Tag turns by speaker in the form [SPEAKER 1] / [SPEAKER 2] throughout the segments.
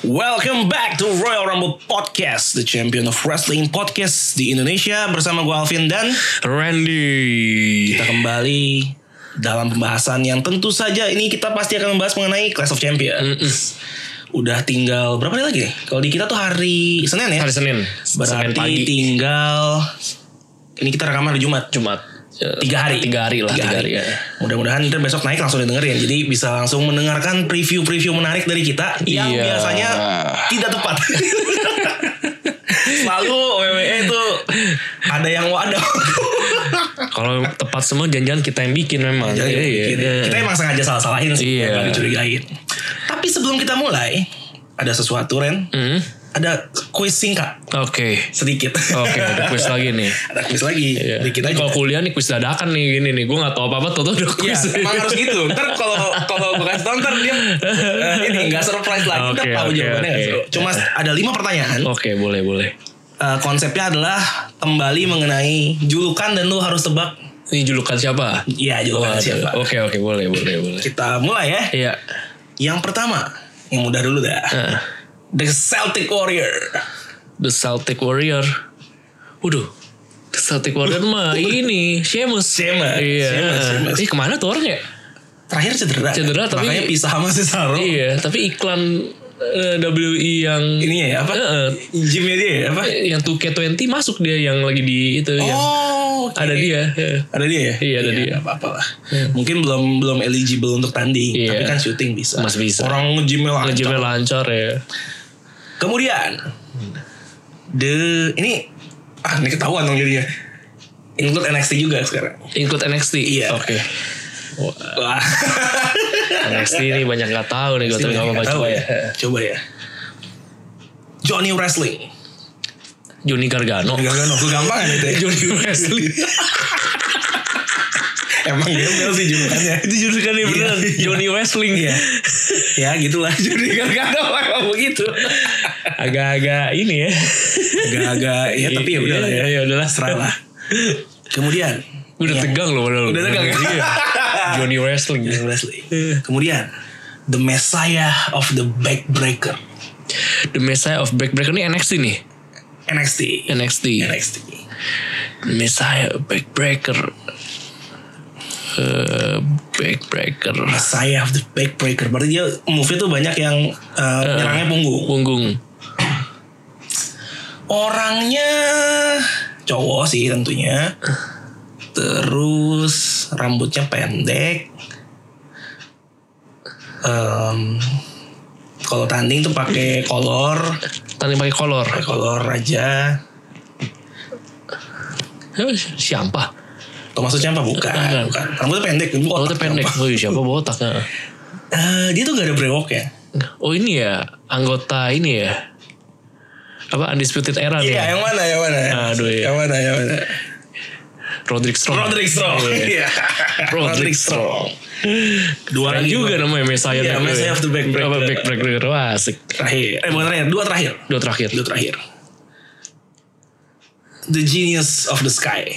[SPEAKER 1] Welcome back to Royal Rumble Podcast, the champion of wrestling podcast di Indonesia bersama gue Alvin dan
[SPEAKER 2] Randy.
[SPEAKER 1] kita kembali dalam pembahasan yang tentu saja ini kita pasti akan membahas mengenai Clash of Champions. Udah tinggal berapa hari lagi? nih? Kalau di kita tuh hari Senin ya.
[SPEAKER 2] Hari Senin.
[SPEAKER 1] Berarti
[SPEAKER 2] Senin pagi.
[SPEAKER 1] tinggal ini kita rekaman hari Jumat.
[SPEAKER 2] Jumat. Ya,
[SPEAKER 1] Tiga hari.
[SPEAKER 2] Tiga hari lah. Tiga, hari. ya.
[SPEAKER 1] Mudah-mudahan ntar besok naik langsung didengerin. Jadi bisa langsung mendengarkan preview-preview menarik dari kita yang
[SPEAKER 2] Iya.
[SPEAKER 1] biasanya tidak tepat. Selalu WWE itu ada yang wadah.
[SPEAKER 2] Kalau tepat semua janjian kita yang bikin memang.
[SPEAKER 1] Jadi
[SPEAKER 2] Iya, iya.
[SPEAKER 1] kita, kita emang sengaja salah-salahin sih.
[SPEAKER 2] Iya.
[SPEAKER 1] bukan dicurigain. Tapi sebelum kita mulai, ada sesuatu Ren.
[SPEAKER 2] Hmm.
[SPEAKER 1] Ada kuis singkat
[SPEAKER 2] Oke.
[SPEAKER 1] sedikit.
[SPEAKER 2] Oke, ada kuis lagi nih.
[SPEAKER 1] ada kuis lagi.
[SPEAKER 2] Iya.
[SPEAKER 1] Dikit aja.
[SPEAKER 2] Kalau kuliah nih kuis dadakan nih gini nih. Gue gak tau apa-apa tau-tau udah
[SPEAKER 1] Iya,
[SPEAKER 2] kuis.
[SPEAKER 1] emang harus gitu. Ntar kalau kalau gue kasih tau ntar dia eh, ini nggak surprise lagi. Ntar
[SPEAKER 2] Oke,
[SPEAKER 1] tahu
[SPEAKER 2] oke,
[SPEAKER 1] jawabannya nggak
[SPEAKER 2] oke. Oh.
[SPEAKER 1] seru. Cuma ada lima pertanyaan.
[SPEAKER 2] Oke, boleh boleh.
[SPEAKER 1] Eh, konsepnya adalah kembali mengenai julukan dan lu harus tebak.
[SPEAKER 2] Ini julukan siapa?
[SPEAKER 1] Iya julukan
[SPEAKER 2] Waduh.
[SPEAKER 1] siapa.
[SPEAKER 2] Oke oke boleh boleh boleh.
[SPEAKER 1] Kita mulai ya.
[SPEAKER 2] Iya.
[SPEAKER 1] Yang pertama, yang mudah dulu dah.
[SPEAKER 2] Nah,
[SPEAKER 1] The Celtic Warrior.
[SPEAKER 2] The Celtic Warrior. Waduh. The Celtic Warrior mah ini Sheamus.
[SPEAKER 1] Sheamus,
[SPEAKER 2] Iya.
[SPEAKER 1] Sheamus, Sheamus.
[SPEAKER 2] Ih kemana tuh orang ya?
[SPEAKER 1] Terakhir cedera.
[SPEAKER 2] Cedera, tapi-
[SPEAKER 1] makanya pisah sama si Saro.
[SPEAKER 2] Iya, tapi iklan eh, WI yang
[SPEAKER 1] Ininya ya apa?
[SPEAKER 2] Heeh.
[SPEAKER 1] Gymnya dia ya, apa?
[SPEAKER 2] yang 2K20 masuk dia yang lagi di itu yang
[SPEAKER 1] Oh, oke.
[SPEAKER 2] Iya. ada dia. Heeh.
[SPEAKER 1] Ada dia ya?
[SPEAKER 2] Iya, ada dia.
[SPEAKER 1] nggak apa-apa lah. Mungkin belum belum eligible untuk tanding,
[SPEAKER 2] Iya.
[SPEAKER 1] tapi kan syuting bisa.
[SPEAKER 2] Masih bisa.
[SPEAKER 1] Orang nge-gymnya lancar.
[SPEAKER 2] Ngejemnya lancar ya.
[SPEAKER 1] Kemudian the ini ah ini ketahuan dong jadinya. Include NXT juga sekarang.
[SPEAKER 2] Include NXT.
[SPEAKER 1] Iya.
[SPEAKER 2] Oke.
[SPEAKER 1] Wah.
[SPEAKER 2] NXT ini banyak nggak tahu nih gue tapi nggak apa-apa
[SPEAKER 1] Tahu
[SPEAKER 2] coba ya.
[SPEAKER 1] Coba ya. Johnny Wrestling.
[SPEAKER 2] Juni Gargano.
[SPEAKER 1] Enggak enggak no, gampang kan itu. ya?
[SPEAKER 2] Juni Wesley.
[SPEAKER 1] Emang gembel sih kan ya? julukannya.
[SPEAKER 2] itu jurusan nih beneran.
[SPEAKER 1] Iya.
[SPEAKER 2] Johnny Wrestling
[SPEAKER 1] Iya. ya gitulah Johnny Gargano emang begitu.
[SPEAKER 2] Agak-agak ini ya.
[SPEAKER 1] Agak-agak ya tapi ya udahlah ya.
[SPEAKER 2] Iya, ya udahlah.
[SPEAKER 1] Serah lah. Kemudian
[SPEAKER 2] Gua Udah
[SPEAKER 1] Iya.
[SPEAKER 2] tegang loh padahal.
[SPEAKER 1] Udah tegang.
[SPEAKER 2] Iya. Johnny Wrestling.
[SPEAKER 1] Johnny Wrestling. Kemudian The Messiah of the Backbreaker
[SPEAKER 2] The Messiah of Backbreaker ini NXT nih.
[SPEAKER 1] NXT.
[SPEAKER 2] NXT.
[SPEAKER 1] NXT.
[SPEAKER 2] Messiah Backbreaker Eh, Backbreaker
[SPEAKER 1] Messiah of the Backbreaker. Berarti dia move-nya tuh banyak yang uh, nyerangnya punggung.
[SPEAKER 2] Punggung
[SPEAKER 1] Orangnya cowok sih tentunya. Terus rambutnya pendek. Em, kalau tanding tuh pakai kolor,
[SPEAKER 2] Tadi pakai kolor
[SPEAKER 1] pakai kolor raja.
[SPEAKER 2] Eh, Siapa?
[SPEAKER 1] Atau maksudnya apa? Bukan, bukan. Rambutnya pendek, botak.
[SPEAKER 2] Kalau pendek
[SPEAKER 1] Apa?
[SPEAKER 2] Oh iya, siapa botak Heeh.
[SPEAKER 1] Eh, dia tuh gak ada brewok ya?
[SPEAKER 2] Oh ini ya Anggota ini ya Apa Undisputed Era
[SPEAKER 1] Iya,
[SPEAKER 2] nih ya?
[SPEAKER 1] yang mana, yang mana?
[SPEAKER 2] Aduh, iya.
[SPEAKER 1] Yang mana, yang mana?
[SPEAKER 2] Roderick Strong
[SPEAKER 1] Roderick Strong.
[SPEAKER 2] Iya.
[SPEAKER 1] Iya. Roderick Strong. Dua
[SPEAKER 2] Keren
[SPEAKER 1] lagi
[SPEAKER 2] juga
[SPEAKER 1] buat-
[SPEAKER 2] namanya Messiah ya.
[SPEAKER 1] Iya, Messiah of the Backbreaker.
[SPEAKER 2] Apa Backbreaker Wah asik
[SPEAKER 1] Terakhir. Eh bukan terakhir, dua terakhir.
[SPEAKER 2] Dua terakhir
[SPEAKER 1] Dua terakhir. The Genius of the Sky.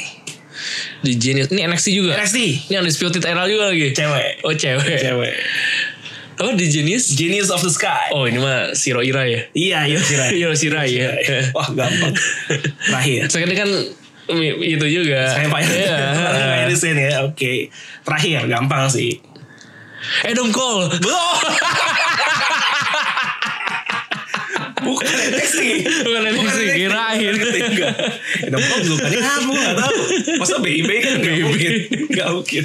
[SPEAKER 2] The Genius Ini NXT juga
[SPEAKER 1] NXT.
[SPEAKER 2] Ini Undisputed Era juga lagi
[SPEAKER 1] Cewek.
[SPEAKER 2] Oh cewek
[SPEAKER 1] Cewek.
[SPEAKER 2] Apa The Genius
[SPEAKER 1] Genius of the Sky.
[SPEAKER 2] Oh ini mah Shiro Ira ya
[SPEAKER 1] Iya, iya Shirai.
[SPEAKER 2] Yoshira ya.
[SPEAKER 1] Wah, gampang. Terakhir.
[SPEAKER 2] Sekarang kan mi- itu juga.
[SPEAKER 1] Saya Pak
[SPEAKER 2] Iya.
[SPEAKER 1] Saya Pak sini ya, oke. Terakhir, gampang sih.
[SPEAKER 2] Adam Eh, Cole.
[SPEAKER 1] Belum. Bukan NXT.
[SPEAKER 2] Bukan NXT, kirain.
[SPEAKER 1] Ketiga. Itu kok belum tadi kamu nggak tahu. Masa BIB kan nggak mungkin. Nggak mungkin.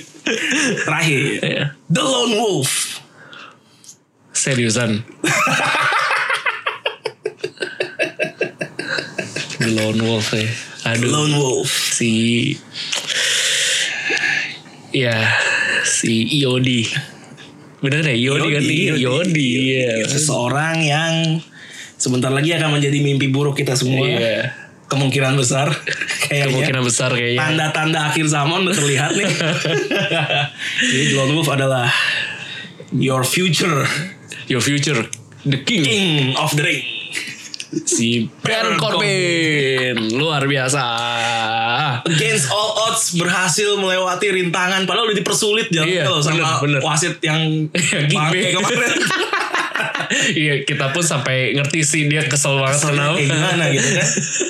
[SPEAKER 1] Terakhir.
[SPEAKER 2] Iya.
[SPEAKER 1] The Lone Wolf.
[SPEAKER 2] Seriusan. The Lone Wolf ya.
[SPEAKER 1] The
[SPEAKER 2] Aduh
[SPEAKER 1] Lone Wolf.
[SPEAKER 2] si ya si IOD Bener ya? Yodi, kan? Iya, Yodi. Iya.
[SPEAKER 1] Seseorang yang sebentar lagi akan menjadi mimpi buruk kita semua.
[SPEAKER 2] Iya.
[SPEAKER 1] Kemungkinan besar kayaknya.
[SPEAKER 2] Kemungkinan besar iya. kayaknya.
[SPEAKER 1] Tanda-tanda akhir zaman udah terlihat nih. Jadi Lone Wolf adalah your future
[SPEAKER 2] Your future. The King.
[SPEAKER 1] king of the ring.
[SPEAKER 2] Si
[SPEAKER 1] Baron
[SPEAKER 2] Baron Corbin. Luar biasa.
[SPEAKER 1] Against all odds berhasil melewati rintangan padahal udah dipersulit jangan
[SPEAKER 2] Iya,
[SPEAKER 1] kalau sama
[SPEAKER 2] bener, bener.
[SPEAKER 1] wasit yang
[SPEAKER 2] Yang
[SPEAKER 1] pakai
[SPEAKER 2] gimmick.
[SPEAKER 1] kemarin.
[SPEAKER 2] Iya, kita pun sampai ngerti sih dia kesel banget
[SPEAKER 1] Kayak
[SPEAKER 2] kenapa.
[SPEAKER 1] gimana gitu kan.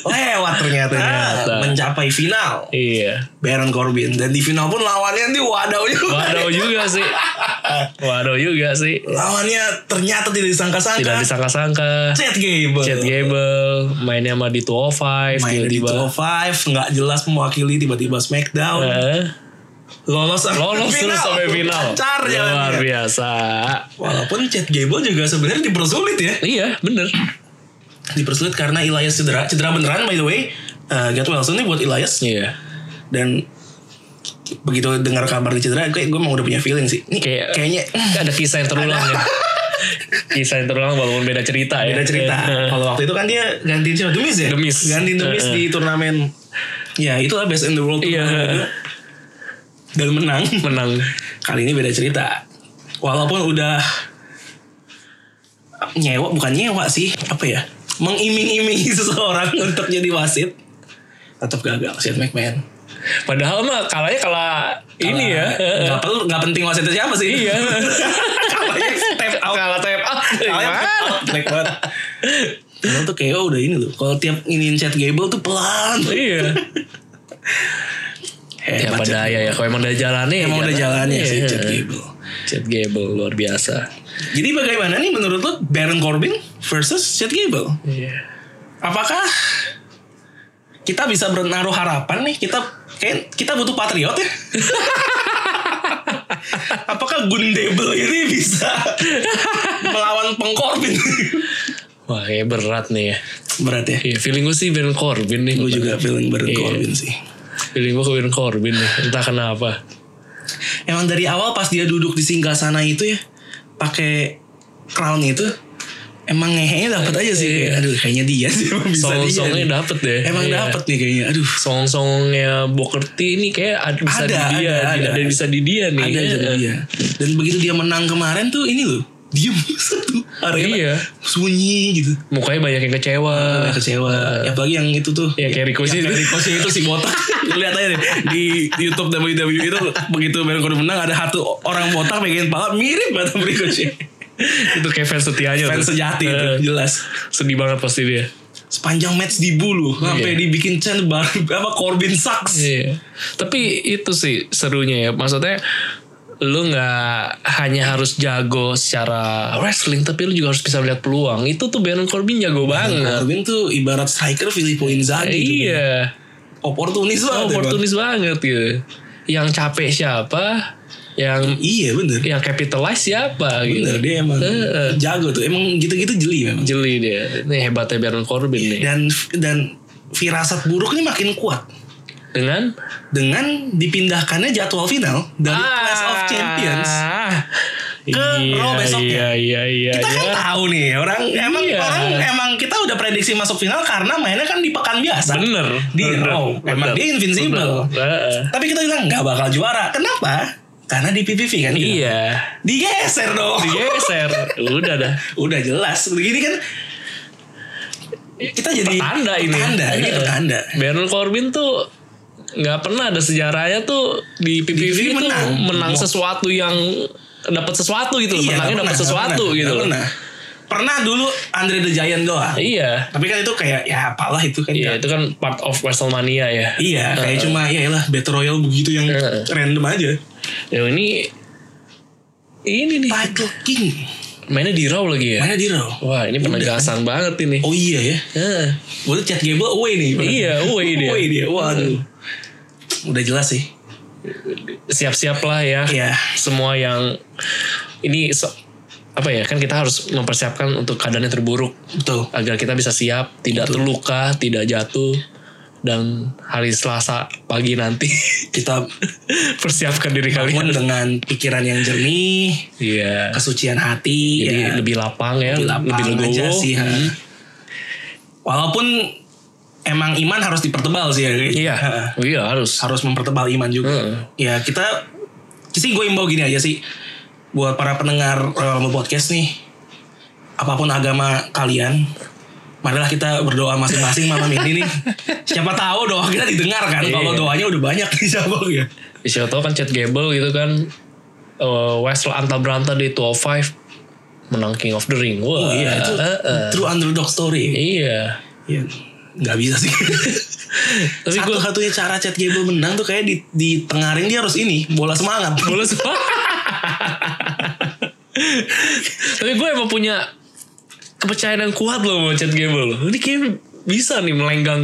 [SPEAKER 1] Lewat ternyata,
[SPEAKER 2] Ternyata.
[SPEAKER 1] mencapai final.
[SPEAKER 2] Ah, Iya.
[SPEAKER 1] Baron Corbin dan di final pun lawannya nanti Wadaw juga.
[SPEAKER 2] Waduh juga sih. Waduh juga sih.
[SPEAKER 1] Lawannya ternyata tidak disangka-sangka.
[SPEAKER 2] Tidak disangka-sangka.
[SPEAKER 1] Chat Gable.
[SPEAKER 2] Chad Gable mainnya sama oh di 205
[SPEAKER 1] Main di
[SPEAKER 2] tiba-tiba.
[SPEAKER 1] 205 nggak jelas mewakili tiba-tiba SmackDown.
[SPEAKER 2] Eh,
[SPEAKER 1] Lolos sampai
[SPEAKER 2] Lolos terus sampai final.
[SPEAKER 1] Lancar
[SPEAKER 2] Luar
[SPEAKER 1] jalannya.
[SPEAKER 2] biasa.
[SPEAKER 1] Walaupun Chad Gable juga sebenarnya dipersulit ya.
[SPEAKER 2] Iya, bener.
[SPEAKER 1] Dipersulit karena Elias cedera. Cedera beneran by the way. Eh, Get well soon nih buat Elias.
[SPEAKER 2] Iya.
[SPEAKER 1] Dan begitu dengar kabar di cedera, kayak gue emang udah punya feeling sih. Ini
[SPEAKER 2] Kayak-
[SPEAKER 1] kayaknya mm,
[SPEAKER 2] Kan Ada kisah yang terulang ya. Kisah yang terulang walaupun beda cerita ya.
[SPEAKER 1] beda cerita.
[SPEAKER 2] Eh,
[SPEAKER 1] Kalau waktu itu kan dia gantiin siapa? Demis ya?
[SPEAKER 2] Demis.
[SPEAKER 1] Gantiin Demis
[SPEAKER 2] Eh, eh.
[SPEAKER 1] di turnamen. Ya itulah best in the world.
[SPEAKER 2] Iya.
[SPEAKER 1] turnamen itu. Dan menang.
[SPEAKER 2] Menang.
[SPEAKER 1] Kali ini beda cerita. Walaupun udah nyewa bukan nyewa sih apa ya mengiming-imingi seseorang untuk jadi wasit tetap gagal Shane McMahon.
[SPEAKER 2] Padahal mah kalahnya kalah ini ya. Eh,
[SPEAKER 1] Gak perlu nggak penting wasitnya siapa sih?
[SPEAKER 2] Iya.
[SPEAKER 1] Kalahnya step out.
[SPEAKER 2] Kalah tap up.
[SPEAKER 1] Kalahnya
[SPEAKER 2] Gimana?
[SPEAKER 1] step out. Black banget. Padahal tuh KO udah ini loh. Kalau tiap ingin chat Gable tuh pelan.
[SPEAKER 2] Iya. Ya
[SPEAKER 1] Hebat, Chad
[SPEAKER 2] pada ya ya. Kalau emang udah jalannya. ya
[SPEAKER 1] Eh, Emang udah jalannya sih
[SPEAKER 2] Iya.
[SPEAKER 1] Chad Gable.
[SPEAKER 2] Chad Gable luar biasa.
[SPEAKER 1] Jadi bagaimana nih menurut lo Baron Corbin versus Chad Gable?
[SPEAKER 2] Iya.
[SPEAKER 1] Apakah kita bisa menaruh harapan nih? Kita kayak kita butuh patriot ya. Apakah Gundable ini bisa melawan pengkorbin?
[SPEAKER 2] Wah, ya berat nih ya.
[SPEAKER 1] Berat ya.
[SPEAKER 2] Iya, feeling gue sih Baron Corbin nih.
[SPEAKER 1] Gue juga feeling Baron
[SPEAKER 2] Iya.
[SPEAKER 1] Corbin sih.
[SPEAKER 2] Feeling gue ke Baron Corbin nih. Entah kenapa.
[SPEAKER 1] Emang dari awal pas dia duduk di singgah sana itu ya, pakai crown itu, emang ngehenya dapat aja sih. Kayak, aduh, kayaknya dia sih emang bisa dia.
[SPEAKER 2] Song-songnya
[SPEAKER 1] nih.
[SPEAKER 2] dapet deh.
[SPEAKER 1] Emang
[SPEAKER 2] Iya.
[SPEAKER 1] dapet ya. nih kayaknya. Aduh,
[SPEAKER 2] Song-songnya Booker T ini kayak ada, bisa
[SPEAKER 1] Ada,
[SPEAKER 2] di dia.
[SPEAKER 1] ada,
[SPEAKER 2] Ada,
[SPEAKER 1] ada.
[SPEAKER 2] bisa di dia nih.
[SPEAKER 1] ada aja
[SPEAKER 2] Eh,
[SPEAKER 1] dia. Dan begitu dia menang kemarin tuh ini loh, diem satu arena
[SPEAKER 2] Iya.
[SPEAKER 1] sunyi gitu.
[SPEAKER 2] Mukanya banyak yang kecewa.
[SPEAKER 1] Kayak kecewa. Apalagi yang itu tuh.
[SPEAKER 2] Ya, kayak Rico sih.
[SPEAKER 1] Yang kayak Rico sih itu si botak. Iya. Lihat aja deh di YouTube WWE itu begitu Baron Corbin menang ada satu orang botak pegangan pala mirip banget sama Rico sih.
[SPEAKER 2] itu kayak fans setianya.
[SPEAKER 1] Fans
[SPEAKER 2] tuh.
[SPEAKER 1] sejati
[SPEAKER 2] Eh,
[SPEAKER 1] itu jelas.
[SPEAKER 2] Sedih banget pasti dia.
[SPEAKER 1] Sepanjang match di bulu sampai dibikin Chan bar- apa Corbin sucks.
[SPEAKER 2] Iya. Tapi itu sih serunya ya. Maksudnya lu nggak hanya harus jago secara wrestling tapi lu juga harus bisa melihat peluang itu tuh Baron Corbin jago
[SPEAKER 1] Iya,
[SPEAKER 2] banget
[SPEAKER 1] Nah, Corbin tuh ibarat striker Filippo Inzaghi. tuh.
[SPEAKER 2] iya
[SPEAKER 1] Oportunis banget. ya, Bang.
[SPEAKER 2] oportunis banget gitu yang capek siapa yang
[SPEAKER 1] Iya bener.
[SPEAKER 2] yang capitalize siapa
[SPEAKER 1] Bener
[SPEAKER 2] gitu
[SPEAKER 1] dia emang
[SPEAKER 2] Heeh.
[SPEAKER 1] jago tuh. Emang gitu-gitu jeli memang.
[SPEAKER 2] jeli dia ini hebatnya Baron Corbin nih
[SPEAKER 1] Dan dan firasat buruk ini makin kuat
[SPEAKER 2] dengan
[SPEAKER 1] dengan dipindahkannya jadwal final dari Clash of Champions.
[SPEAKER 2] Ah.
[SPEAKER 1] ke Raw besoknya.
[SPEAKER 2] iya iya iya
[SPEAKER 1] Kita
[SPEAKER 2] iya.
[SPEAKER 1] kan tahu nih orang emang
[SPEAKER 2] Iya.
[SPEAKER 1] orang emang kita udah prediksi masuk final karena mainnya kan di pekan biasa.
[SPEAKER 2] bener
[SPEAKER 1] Di
[SPEAKER 2] bener,
[SPEAKER 1] Raw. Emang
[SPEAKER 2] bener,
[SPEAKER 1] dia invincible.
[SPEAKER 2] bener. Heeh.
[SPEAKER 1] Tapi kita bilang nggak bakal juara. Kenapa? Karena di PPV kan. kita.
[SPEAKER 2] iya
[SPEAKER 1] Digeser dong.
[SPEAKER 2] digeser udah dah
[SPEAKER 1] udah jelas. Begini kan kita jadi
[SPEAKER 2] Pertanda ini.
[SPEAKER 1] Pertanda, ini
[SPEAKER 2] Iya.
[SPEAKER 1] pertanda.
[SPEAKER 2] Baron Corbin tuh nggak pernah ada sejarahnya tuh di PPV
[SPEAKER 1] PPV
[SPEAKER 2] tuh
[SPEAKER 1] menang.
[SPEAKER 2] menang, sesuatu yang dapat sesuatu gitu loh.
[SPEAKER 1] Iya,
[SPEAKER 2] menangnya
[SPEAKER 1] nggak
[SPEAKER 2] dapat
[SPEAKER 1] pernah,
[SPEAKER 2] sesuatu
[SPEAKER 1] nggak
[SPEAKER 2] gitu
[SPEAKER 1] pernah,
[SPEAKER 2] loh.
[SPEAKER 1] nggak Pernah. Pernah dulu Andre the Giant doang.
[SPEAKER 2] Iya.
[SPEAKER 1] Tapi kan itu kayak ya apalah itu kan.
[SPEAKER 2] Iya,
[SPEAKER 1] ya.
[SPEAKER 2] itu kan part of Wrestlemania ya.
[SPEAKER 1] Iya, kayak
[SPEAKER 2] Heeh.
[SPEAKER 1] cuma ya lah battle royale begitu yang
[SPEAKER 2] Heeh.
[SPEAKER 1] random
[SPEAKER 2] Iya.
[SPEAKER 1] aja.
[SPEAKER 2] Yang ini ini nih
[SPEAKER 1] Title King.
[SPEAKER 2] mainnya di Raw lagi ya.
[SPEAKER 1] Mana di Raw?
[SPEAKER 2] Wah, ini penegasan banget ini.
[SPEAKER 1] Oh iya ya.
[SPEAKER 2] Heeh.
[SPEAKER 1] Gue chat Gable oh, away nih.
[SPEAKER 2] Iya, away dia.
[SPEAKER 1] Away Oh, dia. Waduh. Udah jelas sih.
[SPEAKER 2] Siap-siap lah ya.
[SPEAKER 1] Iya.
[SPEAKER 2] Semua yang ini so- apa ya kan kita harus mempersiapkan untuk keadaan yang terburuk
[SPEAKER 1] Betul.
[SPEAKER 2] agar kita bisa siap, tidak terluka, tidak jatuh. dan hari Selasa pagi nanti
[SPEAKER 1] Kita
[SPEAKER 2] persiapkan diri
[SPEAKER 1] bangun
[SPEAKER 2] kalian.
[SPEAKER 1] dengan pikiran yang jernih,
[SPEAKER 2] Iya.
[SPEAKER 1] kesucian hati,
[SPEAKER 2] Jadi
[SPEAKER 1] ya.
[SPEAKER 2] Iya, lebih lapang ya,
[SPEAKER 1] Lebih lapang
[SPEAKER 2] lebih legowo.
[SPEAKER 1] aja sih, ha.
[SPEAKER 2] Hmm.
[SPEAKER 1] Walaupun emang iman harus dipertebal sih ya.
[SPEAKER 2] Iya,
[SPEAKER 1] Ha.
[SPEAKER 2] iya harus.
[SPEAKER 1] harus mempertebal iman juga.
[SPEAKER 2] Heeh.
[SPEAKER 1] Ya kita sih gue imbau gini aja sih buat para pendengar Royal Podcast nih. Apapun agama kalian, marilah kita berdoa masing-masing malam ini nih. Siapa tahu doa kita didengar kan kalau
[SPEAKER 2] Iya.
[SPEAKER 1] doanya udah banyak nih siapa ya.
[SPEAKER 2] Siapa tahu kan Chad Gable gitu kan eh, West antar beranta di 205 menang King of the Ring.
[SPEAKER 1] Oh
[SPEAKER 2] Wah,
[SPEAKER 1] iya itu
[SPEAKER 2] eh, eh.
[SPEAKER 1] true underdog story.
[SPEAKER 2] Iya.
[SPEAKER 1] Iya. Gak bisa sih.
[SPEAKER 2] Tapi gue
[SPEAKER 1] Satu-satunya cara Chad Gable menang tuh kayak di, di tengarin dia harus ini bola semangat.
[SPEAKER 2] bola semua. Tapi gue emang punya kepercayaan yang kuat loh sama Chad Gable. Ini kayak bisa nih melenggang.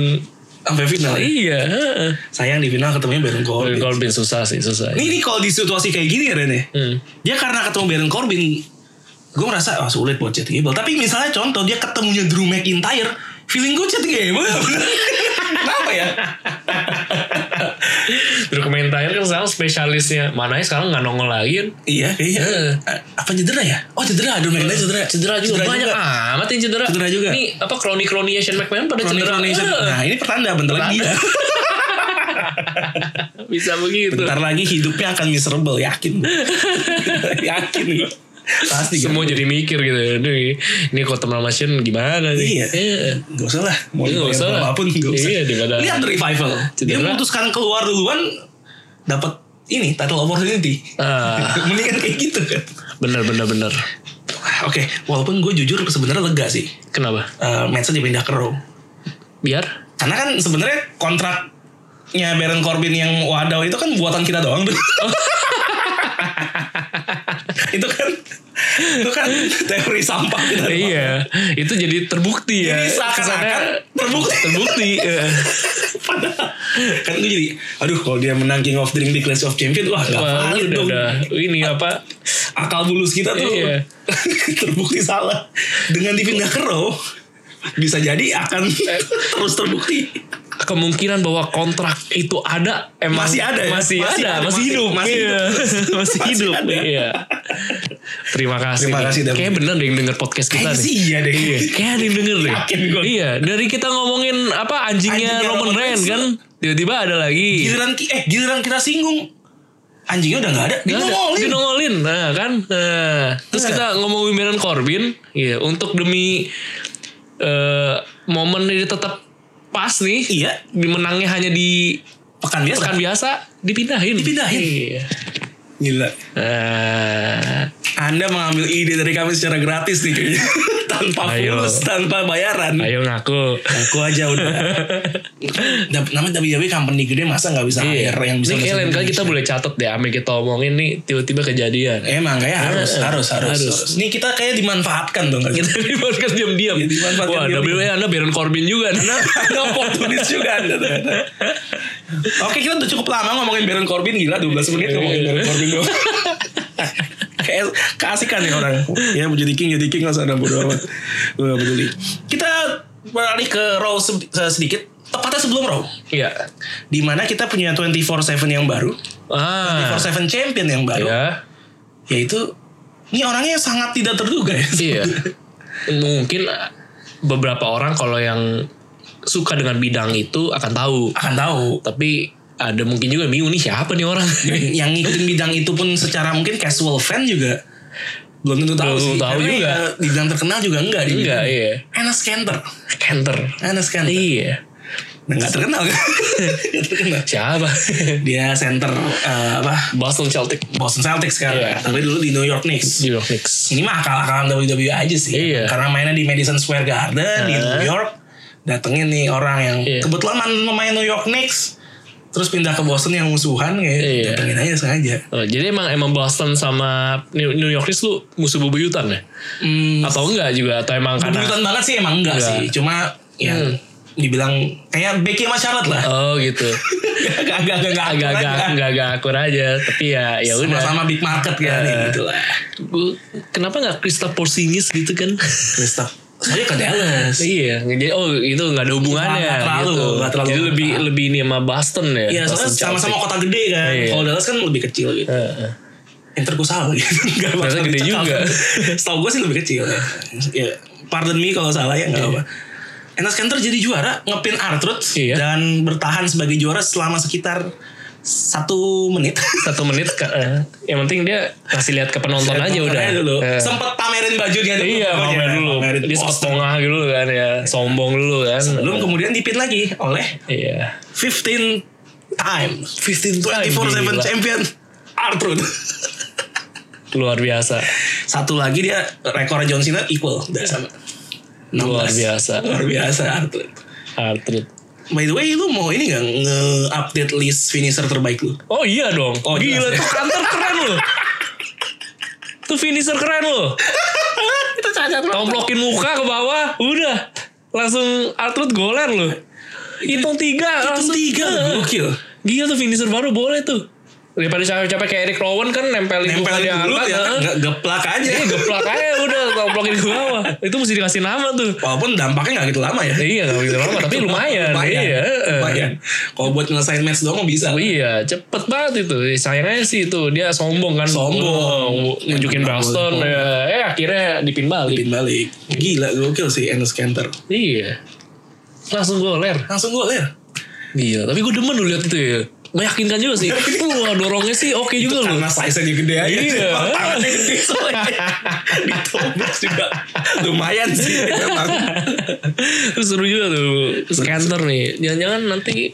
[SPEAKER 1] Sampai final.
[SPEAKER 2] Iya. Oh, heeh.
[SPEAKER 1] Sayang di final ketemunya Baron
[SPEAKER 2] Baron
[SPEAKER 1] Corbin.
[SPEAKER 2] Corbin susah sih susah.
[SPEAKER 1] Ini, ini kalau di situasi kayak gini ya Ren ya.
[SPEAKER 2] Hmm.
[SPEAKER 1] Dia karena ketemu Baron Corbin, gue merasa ah, sulit buat Chad Gable. Tapi misalnya contoh dia ketemunya Drew McIntyre, feeling gue Chad Gable. Kenapa ya?
[SPEAKER 2] Drew McIntyre kan sekarang spesialisnya. Mananya sekarang nggak nongol lagi kan.
[SPEAKER 1] iya kayaknya.
[SPEAKER 2] Heeh.
[SPEAKER 1] A- Apa cedera ya? Oh cedera, Drew McIntyre cedera.
[SPEAKER 2] Cedera juga banyak amat yang cedera.
[SPEAKER 1] Cedera juga.
[SPEAKER 2] Ini apa kroni-kroninya Shane McMahon pada
[SPEAKER 1] Chronic
[SPEAKER 2] cedera.
[SPEAKER 1] Foundation.
[SPEAKER 2] Eh,
[SPEAKER 1] Nah ini pertanda bentar lagi ya. dia.
[SPEAKER 2] bisa begitu.
[SPEAKER 1] Bentar lagi hidupnya akan miserable, yakin. yakin gue. Pasti kan?
[SPEAKER 2] Semua jadi mikir gitu. Aduh, ini kok teman sama Shane gimana nih?
[SPEAKER 1] Iya.
[SPEAKER 2] Eh,
[SPEAKER 1] Gak usah lah. Mau dibayar
[SPEAKER 2] Iya, nggak usah lah.
[SPEAKER 1] berapapun nggak usah.
[SPEAKER 2] Iya, daripada-
[SPEAKER 1] Lihat The revival. Dia
[SPEAKER 2] Cedera.
[SPEAKER 1] memutuskan keluar duluan. Dapat ini title opportunity.
[SPEAKER 2] Ah.
[SPEAKER 1] Mendingan kayak gitu kan.
[SPEAKER 2] Bener bener bener.
[SPEAKER 1] Wah, Oke, walaupun gue jujur sebenarnya lega sih.
[SPEAKER 2] Kenapa?
[SPEAKER 1] Eh Manson dipindah ke Raw.
[SPEAKER 2] Biar?
[SPEAKER 1] Karena kan sebenarnya kontraknya Baron Corbin yang Wadaw itu kan buatan kita doang tuh. itu kan itu kan teori sampah kita doang.
[SPEAKER 2] iya. Itu jadi terbukti ya.
[SPEAKER 1] Ini seakan-akan terbukti.
[SPEAKER 2] terbukti. eh.
[SPEAKER 1] Padahal kan gue jadi aduh kalau dia menang King of the Ring di Clash of Champions wah gak
[SPEAKER 2] Wah,
[SPEAKER 1] valid
[SPEAKER 2] udah,
[SPEAKER 1] dong.
[SPEAKER 2] udah. Ini apa?
[SPEAKER 1] Akal bulus kita tuh
[SPEAKER 2] Iya.
[SPEAKER 1] terbukti salah. Dengan dipindah ke Raw bisa jadi akan
[SPEAKER 2] Eh.
[SPEAKER 1] terus terbukti
[SPEAKER 2] kemungkinan bahwa kontrak itu ada emang
[SPEAKER 1] Masih ada ya?
[SPEAKER 2] masih,
[SPEAKER 1] Masih
[SPEAKER 2] ada,
[SPEAKER 1] ada,
[SPEAKER 2] masih
[SPEAKER 1] masih-
[SPEAKER 2] hidup
[SPEAKER 1] masih
[SPEAKER 2] iya.
[SPEAKER 1] hidup.
[SPEAKER 2] masih
[SPEAKER 1] Masih
[SPEAKER 2] hidup
[SPEAKER 1] ada.
[SPEAKER 2] iya terima kasih
[SPEAKER 1] Terima kasih, Dan.
[SPEAKER 2] kayaknya bener deh yang denger podcast kita
[SPEAKER 1] Kayaknya
[SPEAKER 2] nih
[SPEAKER 1] sih iya deh.
[SPEAKER 2] Iya, kayak ada yang denger deh
[SPEAKER 1] Yakin gua.
[SPEAKER 2] iya dari kita ngomongin apa anjingnya,
[SPEAKER 1] Anjingnya
[SPEAKER 2] Roman,
[SPEAKER 1] Roman
[SPEAKER 2] Reigns
[SPEAKER 1] Reigns.
[SPEAKER 2] kan tiba-tiba ada lagi
[SPEAKER 1] giliran ki- eh giliran kita singgung anjingnya udah nggak ada
[SPEAKER 2] Nggak ada.
[SPEAKER 1] dimongolin
[SPEAKER 2] Dinongolin, nah kan nah. terus
[SPEAKER 1] Nah.
[SPEAKER 2] kita ngomongin Baron Corbin iya untuk demi eh momen ini tetap pas nih
[SPEAKER 1] Iya.
[SPEAKER 2] dimenangnya hanya di
[SPEAKER 1] pekan biasa
[SPEAKER 2] Pekan biasa dipindahin.
[SPEAKER 1] Dipindahin.
[SPEAKER 2] Iya.
[SPEAKER 1] gila
[SPEAKER 2] Nah,
[SPEAKER 1] anda mengambil ide dari kami secara gratis nih kayaknya tanpa
[SPEAKER 2] Ayo.
[SPEAKER 1] fulus tanpa bayaran
[SPEAKER 2] Nah, ayo ngaku.
[SPEAKER 1] aku aja udah Dap- namanya WWE company gede masa nggak bisa hire yang bisa bahasa
[SPEAKER 2] Iya. Ini kayak lain kali
[SPEAKER 1] Indonesia?
[SPEAKER 2] kita boleh catat deh, ame kita omongin nih tiba-tiba kejadian.
[SPEAKER 1] Emang kayak ya, harus,
[SPEAKER 2] Eh, eh,
[SPEAKER 1] harus, harus,
[SPEAKER 2] harus.
[SPEAKER 1] harus. Ini kita kayak dimanfaatkan dong.
[SPEAKER 2] Kita
[SPEAKER 1] Kita
[SPEAKER 2] di podcast kan diam-diam.
[SPEAKER 1] Iya, dimanfaatkan
[SPEAKER 2] Wah,
[SPEAKER 1] diam-diam. Iya.
[SPEAKER 2] WWE Anda Baron Corbin juga. nih.
[SPEAKER 1] ada oportunis juga. Anda, ternyata. Oke, kita udah cukup lama ngomongin Baron Corbin gila 12 menit ngomongin Baron Corbin doang. Kayak keasikan nih orang. Ya mau jadi king jadi king nggak usah ada bodo amat. Gue gak peduli. Kita beralih ke Raw se- sedikit. Tepatnya sebelum Raw.
[SPEAKER 2] Iya.
[SPEAKER 1] Dimana kita punya 24-7 yang baru.
[SPEAKER 2] Ah.
[SPEAKER 1] 24-7 champion yang baru.
[SPEAKER 2] Iya.
[SPEAKER 1] Yaitu ini orangnya sangat tidak terduga ya.
[SPEAKER 2] Iya. Mungkin uh, beberapa orang kalau yang suka dengan bidang itu akan tahu.
[SPEAKER 1] Akan tahu
[SPEAKER 2] Tapi ada mungkin juga yang bingung nih siapa nih orang.
[SPEAKER 1] yang ngikutin bidang itu pun secara mungkin casual fan juga belum tentu tahu
[SPEAKER 2] Belum
[SPEAKER 1] sih.
[SPEAKER 2] tahu
[SPEAKER 1] Karena
[SPEAKER 2] juga.
[SPEAKER 1] ya, dibilang terkenal juga enggak di
[SPEAKER 2] Enggak, iya.
[SPEAKER 1] Anna Scanter.
[SPEAKER 2] Kenter.
[SPEAKER 1] Anna Scanter.
[SPEAKER 2] Iya.
[SPEAKER 1] Nah, enggak terkenal kan. Enggak terkenal.
[SPEAKER 2] Siapa?
[SPEAKER 1] Dia center eh, apa?
[SPEAKER 2] Boston Celtic.
[SPEAKER 1] Boston Celtics kan.
[SPEAKER 2] Iya.
[SPEAKER 1] Tapi dulu di New York Knicks.
[SPEAKER 2] New York Knicks.
[SPEAKER 1] Ini mah akal-akalan WWE E aja sih.
[SPEAKER 2] Iya.
[SPEAKER 1] Karena mainnya di Madison Square Garden di
[SPEAKER 2] Nah.
[SPEAKER 1] New York. Datengin nih orang yang
[SPEAKER 2] Iya.
[SPEAKER 1] kebetulan main pemain New York Knicks. Terus pindah ke Boston yang musuhan kayak
[SPEAKER 2] Iya.
[SPEAKER 1] datengin aja sengaja.
[SPEAKER 2] Oh, jadi emang emang Boston sama New, New York Knicks lu musuh bebuyutan ya?
[SPEAKER 1] Hmm,
[SPEAKER 2] Atau enggak juga? Atau emang karena
[SPEAKER 1] Bebuyutan banget sih emang enggak,
[SPEAKER 2] Enggak.
[SPEAKER 1] sih. Cuma ya dibilang kayak Becky sama Charlotte lah.
[SPEAKER 2] Hmm. Oh gitu.
[SPEAKER 1] Agak-agak enggak
[SPEAKER 2] Agak-agak enggak agak akur aja. Tapi ya ya udah. Iya.
[SPEAKER 1] Sama-sama big market kan ya, gitu lah.
[SPEAKER 2] Gua- Kenapa nggak Krista Porzingis gitu kan?
[SPEAKER 1] Kristoff Soalnya ke Dallas.
[SPEAKER 2] Iya, jadi oh itu nggak ada hubungannya.
[SPEAKER 1] Nggak terlalu,
[SPEAKER 2] gitu.
[SPEAKER 1] nggak terlalu.
[SPEAKER 2] Jadi lebih lebih ini sama Boston ya.
[SPEAKER 1] Iya, soalnya
[SPEAKER 2] Boston Eh,
[SPEAKER 1] sama-sama kota gede kan.
[SPEAKER 2] Iya.
[SPEAKER 1] Kalau Dallas kan lebih kecil gitu.
[SPEAKER 2] Heeh.
[SPEAKER 1] Inter gue salah gitu. Gak
[SPEAKER 2] Ternyata gede juga.
[SPEAKER 1] Setahu gue sih lebih kecil. Ya. ya pardon me kalau salah ya nggak apa. Enas Kanter jadi juara ngepin Artrud
[SPEAKER 2] Iya.
[SPEAKER 1] dan bertahan sebagai juara selama sekitar satu menit.
[SPEAKER 2] Satu menit, ka- eh, yang penting dia kasih lihat ke penonton aja udah.
[SPEAKER 1] Makanya dulu.
[SPEAKER 2] Eh.
[SPEAKER 1] Sempet pamerin bajunya dulu.
[SPEAKER 2] Iya,
[SPEAKER 1] Pokoknya,
[SPEAKER 2] pamer dulu.
[SPEAKER 1] pamerin
[SPEAKER 2] Dia
[SPEAKER 1] poster.
[SPEAKER 2] sepongah dulu kan ya, sombong dulu kan.
[SPEAKER 1] Sebelum kemudian dipin lagi oleh
[SPEAKER 2] Iya.
[SPEAKER 1] 15 times 24/7
[SPEAKER 2] 15 gila.
[SPEAKER 1] champion Artrud.
[SPEAKER 2] Luar biasa.
[SPEAKER 1] Satu lagi dia rekor John Cena equal udah sama.
[SPEAKER 2] Iya. Luar
[SPEAKER 1] 16.
[SPEAKER 2] biasa.
[SPEAKER 1] Luar biasa Artrud.
[SPEAKER 2] Artrit.
[SPEAKER 1] By the way, lu mau ini gak nge-update list finisher terbaik lu?
[SPEAKER 2] Oh iya dong.
[SPEAKER 1] Oh,
[SPEAKER 2] Gila
[SPEAKER 1] jelas.
[SPEAKER 2] tuh kantor keren loh. tuh finisher keren loh.
[SPEAKER 1] Itu cacat
[SPEAKER 2] Tomplokin muka ke bawah, udah langsung Artrit goler loh. Hitung tiga,
[SPEAKER 1] Itu
[SPEAKER 2] langsung
[SPEAKER 1] tiga, gokil.
[SPEAKER 2] Gila tuh finisher baru boleh tuh. Daripada capek-capek kayak Eric Rowan kan nempelin muka
[SPEAKER 1] Nempelin dulu
[SPEAKER 2] diangkat,
[SPEAKER 1] ya,
[SPEAKER 2] heeh.
[SPEAKER 1] nggak geplak aja.
[SPEAKER 2] Iya geplak aja udah tomplokin ke bawah. Itu mesti dikasih nama tuh.
[SPEAKER 1] Walaupun dampaknya gak gitu lama ya.
[SPEAKER 2] Iya gak begitu lama tapi lumayan. Iya. eh.
[SPEAKER 1] lumayan. Kalau buat ngelesain match doang mah bisa.
[SPEAKER 2] Iya, cepet banget itu. Eh, Sayangnya sih itu dia sombong kan.
[SPEAKER 1] Sombong.
[SPEAKER 2] Oh, nunjukin Braxton ya. Eh akhirnya dipin balik.
[SPEAKER 1] Pin balik. Gila, gokil sih Enes Kanter.
[SPEAKER 2] Iya. Langsung goler.
[SPEAKER 1] Langsung gol ya.
[SPEAKER 2] Iya, tapi gue demen lu lihat itu ya. Meyakinkan juga sih. Wah, dorongnya sih oke juga loh.
[SPEAKER 1] Karena size-nya dia gede aja.
[SPEAKER 2] Iya.
[SPEAKER 1] Cuma Tangannya gede soalnya. Ditobas juga. Lumayan sih memang.
[SPEAKER 2] Terus seru juga tuh. Scanter nih. Jangan-jangan nanti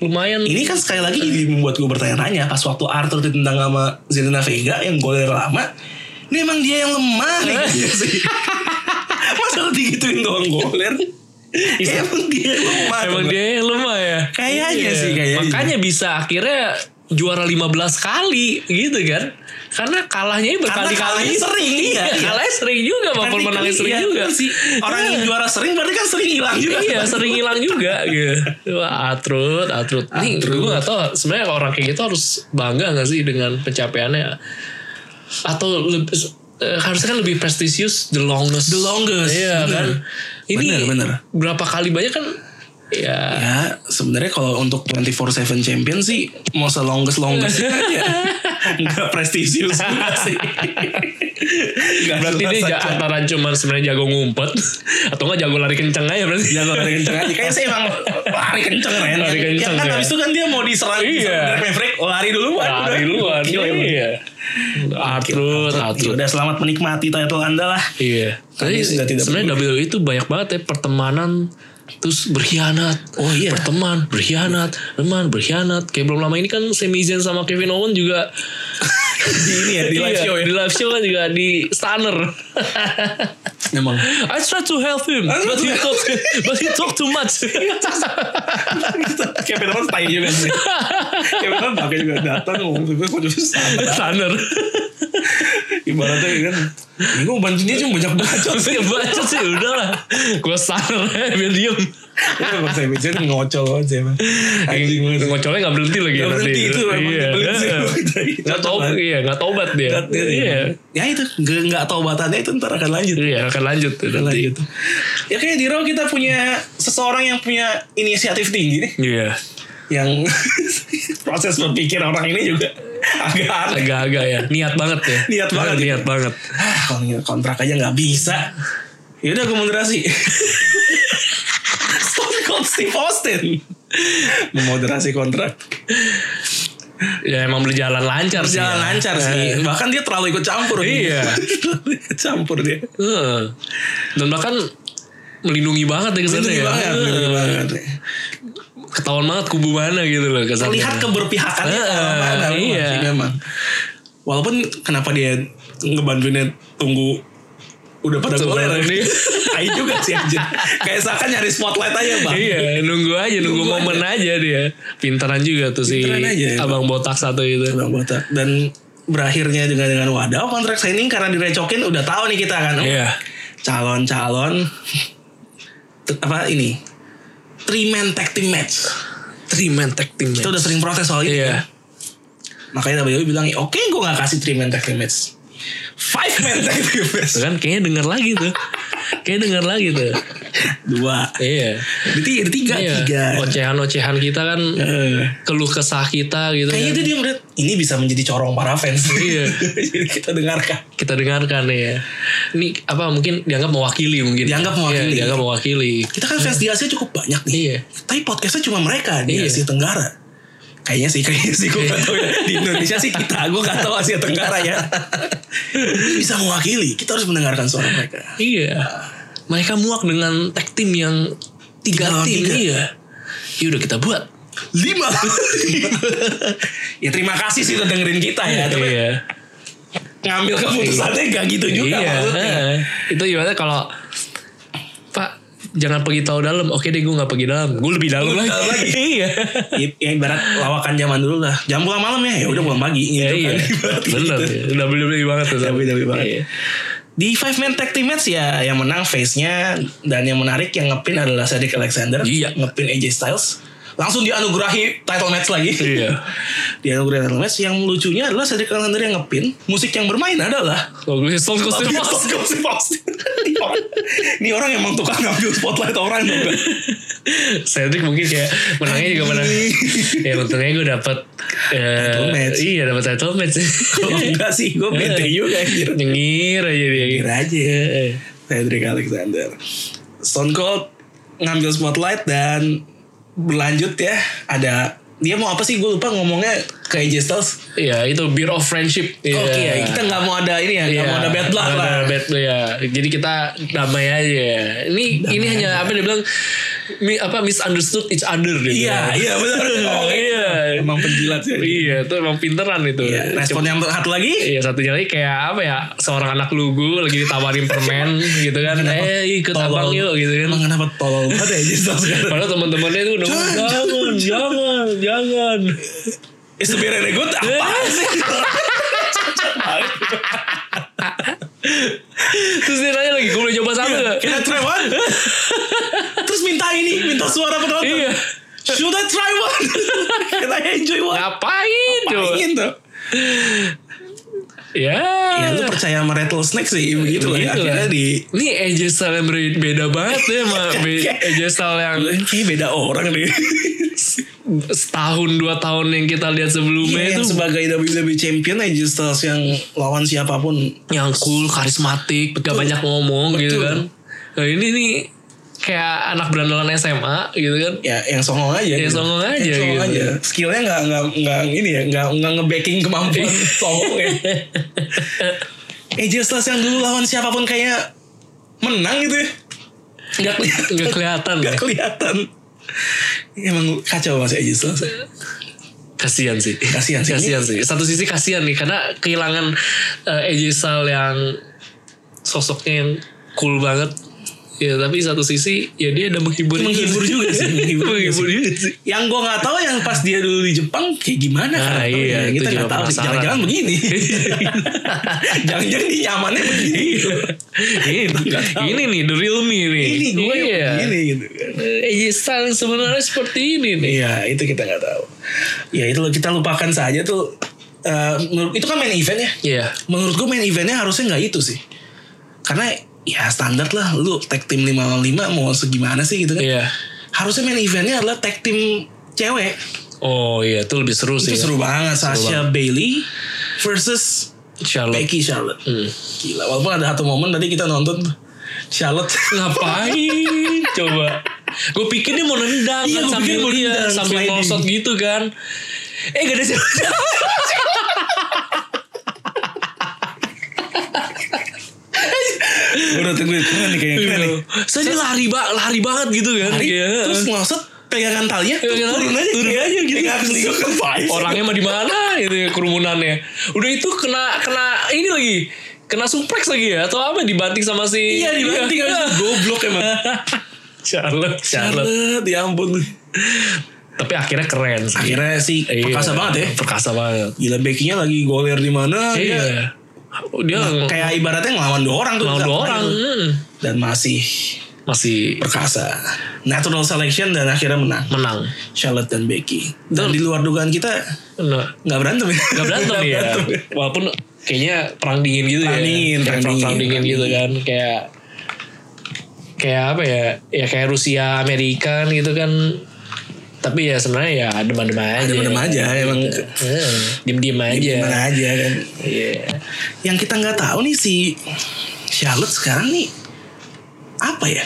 [SPEAKER 2] lumayan.
[SPEAKER 1] Ini kan sekali lagi jadi membuat gue bertanya-tanya. Pas waktu Arthur ditendang sama Zelina Vega yang goler lama. Ini emang dia yang lemah nih. Iya sih. Masa lu digituin doang goler? emang dia yang lemah.
[SPEAKER 2] Emang dia yang lemah ya.
[SPEAKER 1] Kayaknya sih, kayaknya.
[SPEAKER 2] Makanya bisa akhirnya juara 15 kali gitu kan. Karena kalahnya
[SPEAKER 1] Karena
[SPEAKER 2] berkali-kali.
[SPEAKER 1] kalahnya sering. Iya.
[SPEAKER 2] Iya, kalahnya sering juga maupun
[SPEAKER 1] Berarti
[SPEAKER 2] menangnya
[SPEAKER 1] kan
[SPEAKER 2] sering
[SPEAKER 1] iya,
[SPEAKER 2] juga.
[SPEAKER 1] kan sih. Orang yang juara sering berarti kan sering hilang juga.
[SPEAKER 2] Iya sering hilang juga gitu. Wah atrut, atrut. Nih gue gak tau sebenarnya orang kayak gitu harus bangga gak sih dengan pencapaiannya atau lebih, eh, harusnya kan lebih prestisius the longest.
[SPEAKER 1] The longest,
[SPEAKER 2] Iya
[SPEAKER 1] bener.
[SPEAKER 2] kan. Ini
[SPEAKER 1] Bener, bener.
[SPEAKER 2] berapa kali banyak kan? Ya.
[SPEAKER 1] Ya, sebenarnya kalau untuk 24/7 champion sih mau selongges longges aja. Enggak prestisius juga sih. Nggak
[SPEAKER 2] Berarti dia
[SPEAKER 1] jelas
[SPEAKER 2] ja-
[SPEAKER 1] aja.
[SPEAKER 2] antara cuman sebenarnya jago ngumpet atau enggak jago lari kenceng aja berarti.
[SPEAKER 1] Jago lari kenceng aja. Kayaknya sih emang lari kenceng Ren.
[SPEAKER 2] Lari kenceng,
[SPEAKER 1] Ya kan
[SPEAKER 2] ya.
[SPEAKER 1] habis itu kan dia mau diserang.
[SPEAKER 2] Iya.
[SPEAKER 1] diserang Derek Maverick Oh, lari duluan. udah.
[SPEAKER 2] Lari luar.
[SPEAKER 1] Gila, emang.
[SPEAKER 2] Iya. Atrut,
[SPEAKER 1] Ya
[SPEAKER 2] atrut.
[SPEAKER 1] udah selamat menikmati title anda lah.
[SPEAKER 2] Iya. Tapi
[SPEAKER 1] Kami sudah tidak
[SPEAKER 2] sebenarnya WWE itu banyak banget ya pertemanan terus berkhianat.
[SPEAKER 1] Oh, iya.
[SPEAKER 2] Perteman, berkhianat, teman, berkhianat. Kayak belum lama ini kan Sami Zayn sama Kevin Owens juga
[SPEAKER 1] Di ini ya di live
[SPEAKER 2] Iya,
[SPEAKER 1] show ya.
[SPEAKER 2] Di live show kan juga di stunner.
[SPEAKER 1] Emang.
[SPEAKER 2] I tried to help him, but he talk, but he talk too much.
[SPEAKER 1] Gitu. Kevin Owens tai juga sih. Kevin Owens pakai juga datang ngomong juga kok justru sama.
[SPEAKER 2] stunner.
[SPEAKER 1] Ibaratnya kan. Ini gue bantuin dia cuma banyak bacot.
[SPEAKER 2] Terus Iya, baca sih udahlah. Gua stunner eh, biar diem.
[SPEAKER 1] Iya, Bang Sabi Zen ngocol aja emang. Anjing banget.
[SPEAKER 2] Ngocolnya gak berhenti lagi
[SPEAKER 1] Nggak
[SPEAKER 2] nanti.
[SPEAKER 1] berhenti, itu memang
[SPEAKER 2] Iya.
[SPEAKER 1] nyebelin sih.
[SPEAKER 2] Nggak tobat, iya, nggak tobat dia.
[SPEAKER 1] Iya.
[SPEAKER 2] Iya.
[SPEAKER 1] Ya itu nggak nggak taubatannya itu ntar akan lanjut.
[SPEAKER 2] Iya akan lanjut
[SPEAKER 1] Akan lanjut. Ya kayak di Raw kita punya seseorang yang punya inisiatif tinggi nih,
[SPEAKER 2] Iya
[SPEAKER 1] yang proses berpikir orang ini juga agak aneh.
[SPEAKER 2] Agak-agak ya Niat banget ya
[SPEAKER 1] Niat banget ya.
[SPEAKER 2] Niat banget
[SPEAKER 1] Ah, kalau ngirim kontrak aja nggak bisa. Yaudah gue moderasi. Stone Cold Steve Austin. Memoderasi kontrak.
[SPEAKER 2] Ya emang berjalan lancar sih
[SPEAKER 1] Berjalan
[SPEAKER 2] ya.
[SPEAKER 1] lancar sih. Bahkan dia terlalu ikut campur.
[SPEAKER 2] Iya.
[SPEAKER 1] terlalu ikut campur dia.
[SPEAKER 2] Heeh. Eh, Dan bahkan Melindungi banget ya kesana
[SPEAKER 1] Melindungi
[SPEAKER 2] ya Eh,
[SPEAKER 1] banget. melindungi banget.
[SPEAKER 2] Ketahuan banget kubu mana gitu loh kesana
[SPEAKER 1] Terlihat keberpihakannya ke arah
[SPEAKER 2] Heeh,
[SPEAKER 1] mana.
[SPEAKER 2] iya.
[SPEAKER 1] memang sih, Memang. Walaupun kenapa dia ngebantuinnya tunggu udah pada
[SPEAKER 2] Tunggu
[SPEAKER 1] goler
[SPEAKER 2] ini.
[SPEAKER 1] Tai juga sih anjir. Kayak seakan nyari spotlight aja bang.
[SPEAKER 2] Iya nunggu aja Nunggu,
[SPEAKER 1] Nunggu
[SPEAKER 2] momen aja. dia Pintaran juga tuh si
[SPEAKER 1] Pintaran aja ya,
[SPEAKER 2] Abang botak satu itu
[SPEAKER 1] Bang Botak. Dan berakhirnya dengan dengan wadah kontrak signing karena direcokin udah tahu nih kita kan
[SPEAKER 2] Iya
[SPEAKER 1] calon-calon t- apa ini three man tag team match
[SPEAKER 2] Three man tag team
[SPEAKER 1] kita udah sering protes soal ini
[SPEAKER 2] Iya
[SPEAKER 1] makanya WWE bilang oke gue gak kasih three man tag team match five man tag team match
[SPEAKER 2] Tuh kan kayaknya Kan denger lagi tuh Kayak denger lagi tuh.
[SPEAKER 1] Dua.
[SPEAKER 2] Iya.
[SPEAKER 1] Berarti ada tiga.
[SPEAKER 2] Iya.
[SPEAKER 1] Tiga.
[SPEAKER 2] Ocehan-ocehan kita kan
[SPEAKER 1] Eh.
[SPEAKER 2] keluh kesah kita gitu
[SPEAKER 1] Kayaknya
[SPEAKER 2] kan.
[SPEAKER 1] itu dia melihat ini bisa menjadi corong para fans.
[SPEAKER 2] Iya.
[SPEAKER 1] Jadi kita dengarkan.
[SPEAKER 2] kita dengarkan ya. Ini apa mungkin dianggap mewakili mungkin.
[SPEAKER 1] Dianggap mewakili.
[SPEAKER 2] Iya, dianggap mewakili.
[SPEAKER 1] Kita kan fans di Asia cukup banyak nih.
[SPEAKER 2] Iya.
[SPEAKER 1] Tapi podcastnya cuma mereka di
[SPEAKER 2] Iya.
[SPEAKER 1] Asia Tenggara. Kayaknya sih, kayaknya sih gue gak tau ya. Di Indonesia sih kita, gue gak tau Asia Tenggara ya. Ini bisa mewakili, kita harus mendengarkan suara mereka.
[SPEAKER 2] Iya. Mereka muak dengan tag team yang
[SPEAKER 1] Tiga
[SPEAKER 2] tiga
[SPEAKER 1] lawan
[SPEAKER 2] tim.
[SPEAKER 1] tiga.
[SPEAKER 2] Iya. Ya udah kita buat.
[SPEAKER 1] Lima. ya terima kasih sih udah dengerin kita ya. Tapi
[SPEAKER 2] iya.
[SPEAKER 1] ngambil keputusannya gak gitu juga
[SPEAKER 2] iya.
[SPEAKER 1] maksudnya.
[SPEAKER 2] eh. Itu gimana kalau Pak jangan pergi tahu dalam. Oke deh gue nggak pergi dalam. Gue lebih dalam lagi.
[SPEAKER 1] dalam lagi.
[SPEAKER 2] iya.
[SPEAKER 1] Ya, ya ibarat lawakan zaman dulu lah. Jam pulang malam ya, ya udah pulang pagi.
[SPEAKER 2] Ya,
[SPEAKER 1] Gitu
[SPEAKER 2] iya.
[SPEAKER 1] kan. Ibarat
[SPEAKER 2] Bener.
[SPEAKER 1] gitu.
[SPEAKER 2] ya. Udah beli-beli banget tuh.
[SPEAKER 1] Dapet-dapet banget.
[SPEAKER 2] Iya.
[SPEAKER 1] Di five man tag team match ya yang menang face-nya dan yang menarik yang ngepin adalah Cedric Alexander,
[SPEAKER 2] Iya.
[SPEAKER 1] ngepin AJ Styles. Langsung dianugerahi title match lagi.
[SPEAKER 2] Iya.
[SPEAKER 1] dianugerahi title match yang lucunya adalah Cedric Alexander yang ngepin, musik yang bermain adalah
[SPEAKER 2] Kalau gue Stone Cold Steve
[SPEAKER 1] Lagu
[SPEAKER 2] Austin.
[SPEAKER 1] Stone Cold Steve Austin. Ini orang, ini orang emang tukang ngambil spotlight orang tuh. kan.
[SPEAKER 2] Cedric mungkin kayak menangnya juga menang. ya untungnya gue dapet eh,
[SPEAKER 1] Title match.
[SPEAKER 2] Iya dapet title match.
[SPEAKER 1] Kalau enggak sih gue bete
[SPEAKER 2] Iya.
[SPEAKER 1] juga anjir.
[SPEAKER 2] Nyengir aja dia. Eh,
[SPEAKER 1] Kira aja. ya.
[SPEAKER 2] Heeh.
[SPEAKER 1] Cedric Alexander. Stone Cold ngambil spotlight dan berlanjut ya ada dia mau apa sih gue lupa ngomongnya ke AJ Styles.
[SPEAKER 2] Iya itu beer of friendship. Iya.
[SPEAKER 1] Oke ya kita nggak mau ada ini ya nggak
[SPEAKER 2] Iya,
[SPEAKER 1] mau ada bad luck
[SPEAKER 2] nggak
[SPEAKER 1] lah.
[SPEAKER 2] ada bad luck, ya. Jadi kita damai aja. Ini ini hanya apa dia bilang mi- apa misunderstood each other
[SPEAKER 1] Iya
[SPEAKER 2] dia bilang.
[SPEAKER 1] iya benar. Oh,
[SPEAKER 2] iya.
[SPEAKER 1] Emang penjilat sih.
[SPEAKER 2] Iya, itu emang pinteran itu.
[SPEAKER 1] Iya. Respon yang satu lagi
[SPEAKER 2] Iya satunya lagi kayak apa ya seorang anak lugu lagi ditawarin permen gitu kan eh ikut abang yuk gitu kan Iya.
[SPEAKER 1] Emang kenapa tolol banget ya AJ Styles sekarang?
[SPEAKER 2] padahal teman-temannya itu udah
[SPEAKER 1] Jangan,
[SPEAKER 2] jangan jangan jangan
[SPEAKER 1] Is the beer and the good apa sih?
[SPEAKER 2] terus dia nanya lagi gue boleh coba sama gak
[SPEAKER 1] Can I try one? Terus minta ini, minta suara penonton.
[SPEAKER 2] iya
[SPEAKER 1] Should I try one? Can I enjoy one?
[SPEAKER 2] ngapain Nah, coba
[SPEAKER 1] Ingin tuh.
[SPEAKER 2] ya,
[SPEAKER 1] Ya lu percaya sama rattlesnake sih begitu lah. ya.
[SPEAKER 2] Begitu
[SPEAKER 1] Akhirnya
[SPEAKER 2] lah.
[SPEAKER 1] di
[SPEAKER 2] Ini AJ Styles yang beri- beda banget ya sama be- AJ Styles yang
[SPEAKER 1] Ini beda orang nih.
[SPEAKER 2] setahun dua tahun yang kita lihat sebelumnya
[SPEAKER 1] Iya,
[SPEAKER 2] itu
[SPEAKER 1] yang sebagai WWE champion aja Styles yang lawan siapapun
[SPEAKER 2] yang cool, karismatik, gak banyak ngomong gitu
[SPEAKER 1] Betul.
[SPEAKER 2] kan. Nah, ini nih kayak anak berandalan SMA gitu kan.
[SPEAKER 1] ya yang songong aja.
[SPEAKER 2] Ya,
[SPEAKER 1] gitu.
[SPEAKER 2] songong aja
[SPEAKER 1] Yang songong
[SPEAKER 2] gitu.
[SPEAKER 1] aja. Skillnya nggak nggak nggak ini ya nggak nggak ngebacking kemampuan songong ya. AJ Styles yang dulu lawan siapapun kayak menang gitu ya. Nggak kelihatan.
[SPEAKER 2] Gak kelihatan ya.
[SPEAKER 1] Gak kelihatan. Emang kacau banget sih Aegis Laws.
[SPEAKER 2] Kasihan sih.
[SPEAKER 1] Kasihan sih.
[SPEAKER 2] Kasihan sih. Satu sisi kasihan nih karena kehilangan eh, AJ Styles yang sosoknya yang cool banget. Ya tapi satu sisi ya dia ada menghibur
[SPEAKER 1] Menghibur juga sih, menghibur juga
[SPEAKER 2] Menghibur juga sih.
[SPEAKER 1] Yang gue gak tahu yang pas dia dulu di Jepang kayak gimana
[SPEAKER 2] Nah,
[SPEAKER 1] karakternya.
[SPEAKER 2] iya, itu
[SPEAKER 1] Kita
[SPEAKER 2] juga
[SPEAKER 1] gak tahu sih.
[SPEAKER 2] penasaran.
[SPEAKER 1] Jangan-jangan begini. Jangan-jangan dia nyamannya begini.
[SPEAKER 2] Iya.
[SPEAKER 1] gitu.
[SPEAKER 2] ini, ini nih the real me nih.
[SPEAKER 1] Ini gue
[SPEAKER 2] iya.
[SPEAKER 1] yang begini gitu. kan.
[SPEAKER 2] AJ Styles yang sebenarnya seperti ini nih.
[SPEAKER 1] Iya itu kita gak tahu. Ya itu loh, kita lupakan saja tuh. Eh, menurut- itu kan main event ya.
[SPEAKER 2] Iya.
[SPEAKER 1] Menurut gue main eventnya harusnya nggak itu sih. Karena ya standar lah. Lu tag team 5 lawan 5 mau segimana sih gitu kan.
[SPEAKER 2] Iya.
[SPEAKER 1] harusnya main eventnya adalah tag team cewek
[SPEAKER 2] Oh iya, itu lebih seru
[SPEAKER 1] itu
[SPEAKER 2] sih.
[SPEAKER 1] seru banget Sasha Bailey versus
[SPEAKER 2] Charlotte.
[SPEAKER 1] Becky Charlotte gila walaupun ada satu momen tadi kita nonton Charlotte
[SPEAKER 2] Ngapain? Coba. Gue pikir dia mau nendang
[SPEAKER 1] Iya,
[SPEAKER 2] kan
[SPEAKER 1] gua
[SPEAKER 2] sambil
[SPEAKER 1] pikir mau
[SPEAKER 2] dia
[SPEAKER 1] nendang,
[SPEAKER 2] sambil
[SPEAKER 1] sliding.
[SPEAKER 2] melosot gitu kan. Eh gak ada siapa
[SPEAKER 1] Gua udah tungguin keren nih kayaknya keren nih
[SPEAKER 2] Saya dia lari, ba lari banget gitu kan.
[SPEAKER 1] Iya. Lari,
[SPEAKER 2] Iya.
[SPEAKER 1] terus ngelosot pegangan talinya
[SPEAKER 2] Iya, iya,
[SPEAKER 1] turun aja
[SPEAKER 2] turun aja gitu.
[SPEAKER 1] Pegangan tiga ke five.
[SPEAKER 2] Orangnya mah di mana gitu ya, kerumunannya. Udah itu kena kena ini lagi. Kena suplex lagi ya atau apa dibanting sama si
[SPEAKER 1] iya dibanting abis itu goblok emang
[SPEAKER 2] Charlotte, Charlotte.
[SPEAKER 1] Charlotte ya ampun
[SPEAKER 2] Tapi akhirnya keren sih.
[SPEAKER 1] akhirnya sih
[SPEAKER 2] Iya.
[SPEAKER 1] perkasa banget ya
[SPEAKER 2] Perkasa banget.
[SPEAKER 1] gila Becky-nya lagi goler di mana
[SPEAKER 2] Iya.
[SPEAKER 1] dia
[SPEAKER 2] Dia
[SPEAKER 1] kayak ibaratnya ngelawan dua orang tuh
[SPEAKER 2] lawan dua orang hmm.
[SPEAKER 1] dan masih
[SPEAKER 2] masih
[SPEAKER 1] perkasa natural selection dan akhirnya menang
[SPEAKER 2] menang.
[SPEAKER 1] Charlotte dan Becky dan di luar dugaan kita
[SPEAKER 2] Nah,
[SPEAKER 1] nggak berantem ya
[SPEAKER 2] Gak berantem ya. Walaupun kayaknya perang dingin gitu
[SPEAKER 1] Perang
[SPEAKER 2] ya.
[SPEAKER 1] dingin,
[SPEAKER 2] Kayak
[SPEAKER 1] perang
[SPEAKER 2] perang
[SPEAKER 1] dingin,
[SPEAKER 2] dingin
[SPEAKER 1] perang
[SPEAKER 2] gitu kan. Kayak kayak apa ya ya kayak Rusia Amerika gitu kan tapi ya sebenarnya ya deman-deman aja
[SPEAKER 1] Demen-demen aja, emang.
[SPEAKER 2] Iya, diem-diem aja
[SPEAKER 1] Gimana aja kan.
[SPEAKER 2] Iya.
[SPEAKER 1] Yang kita nggak tahu nih si Charlotte sekarang nih apa ya?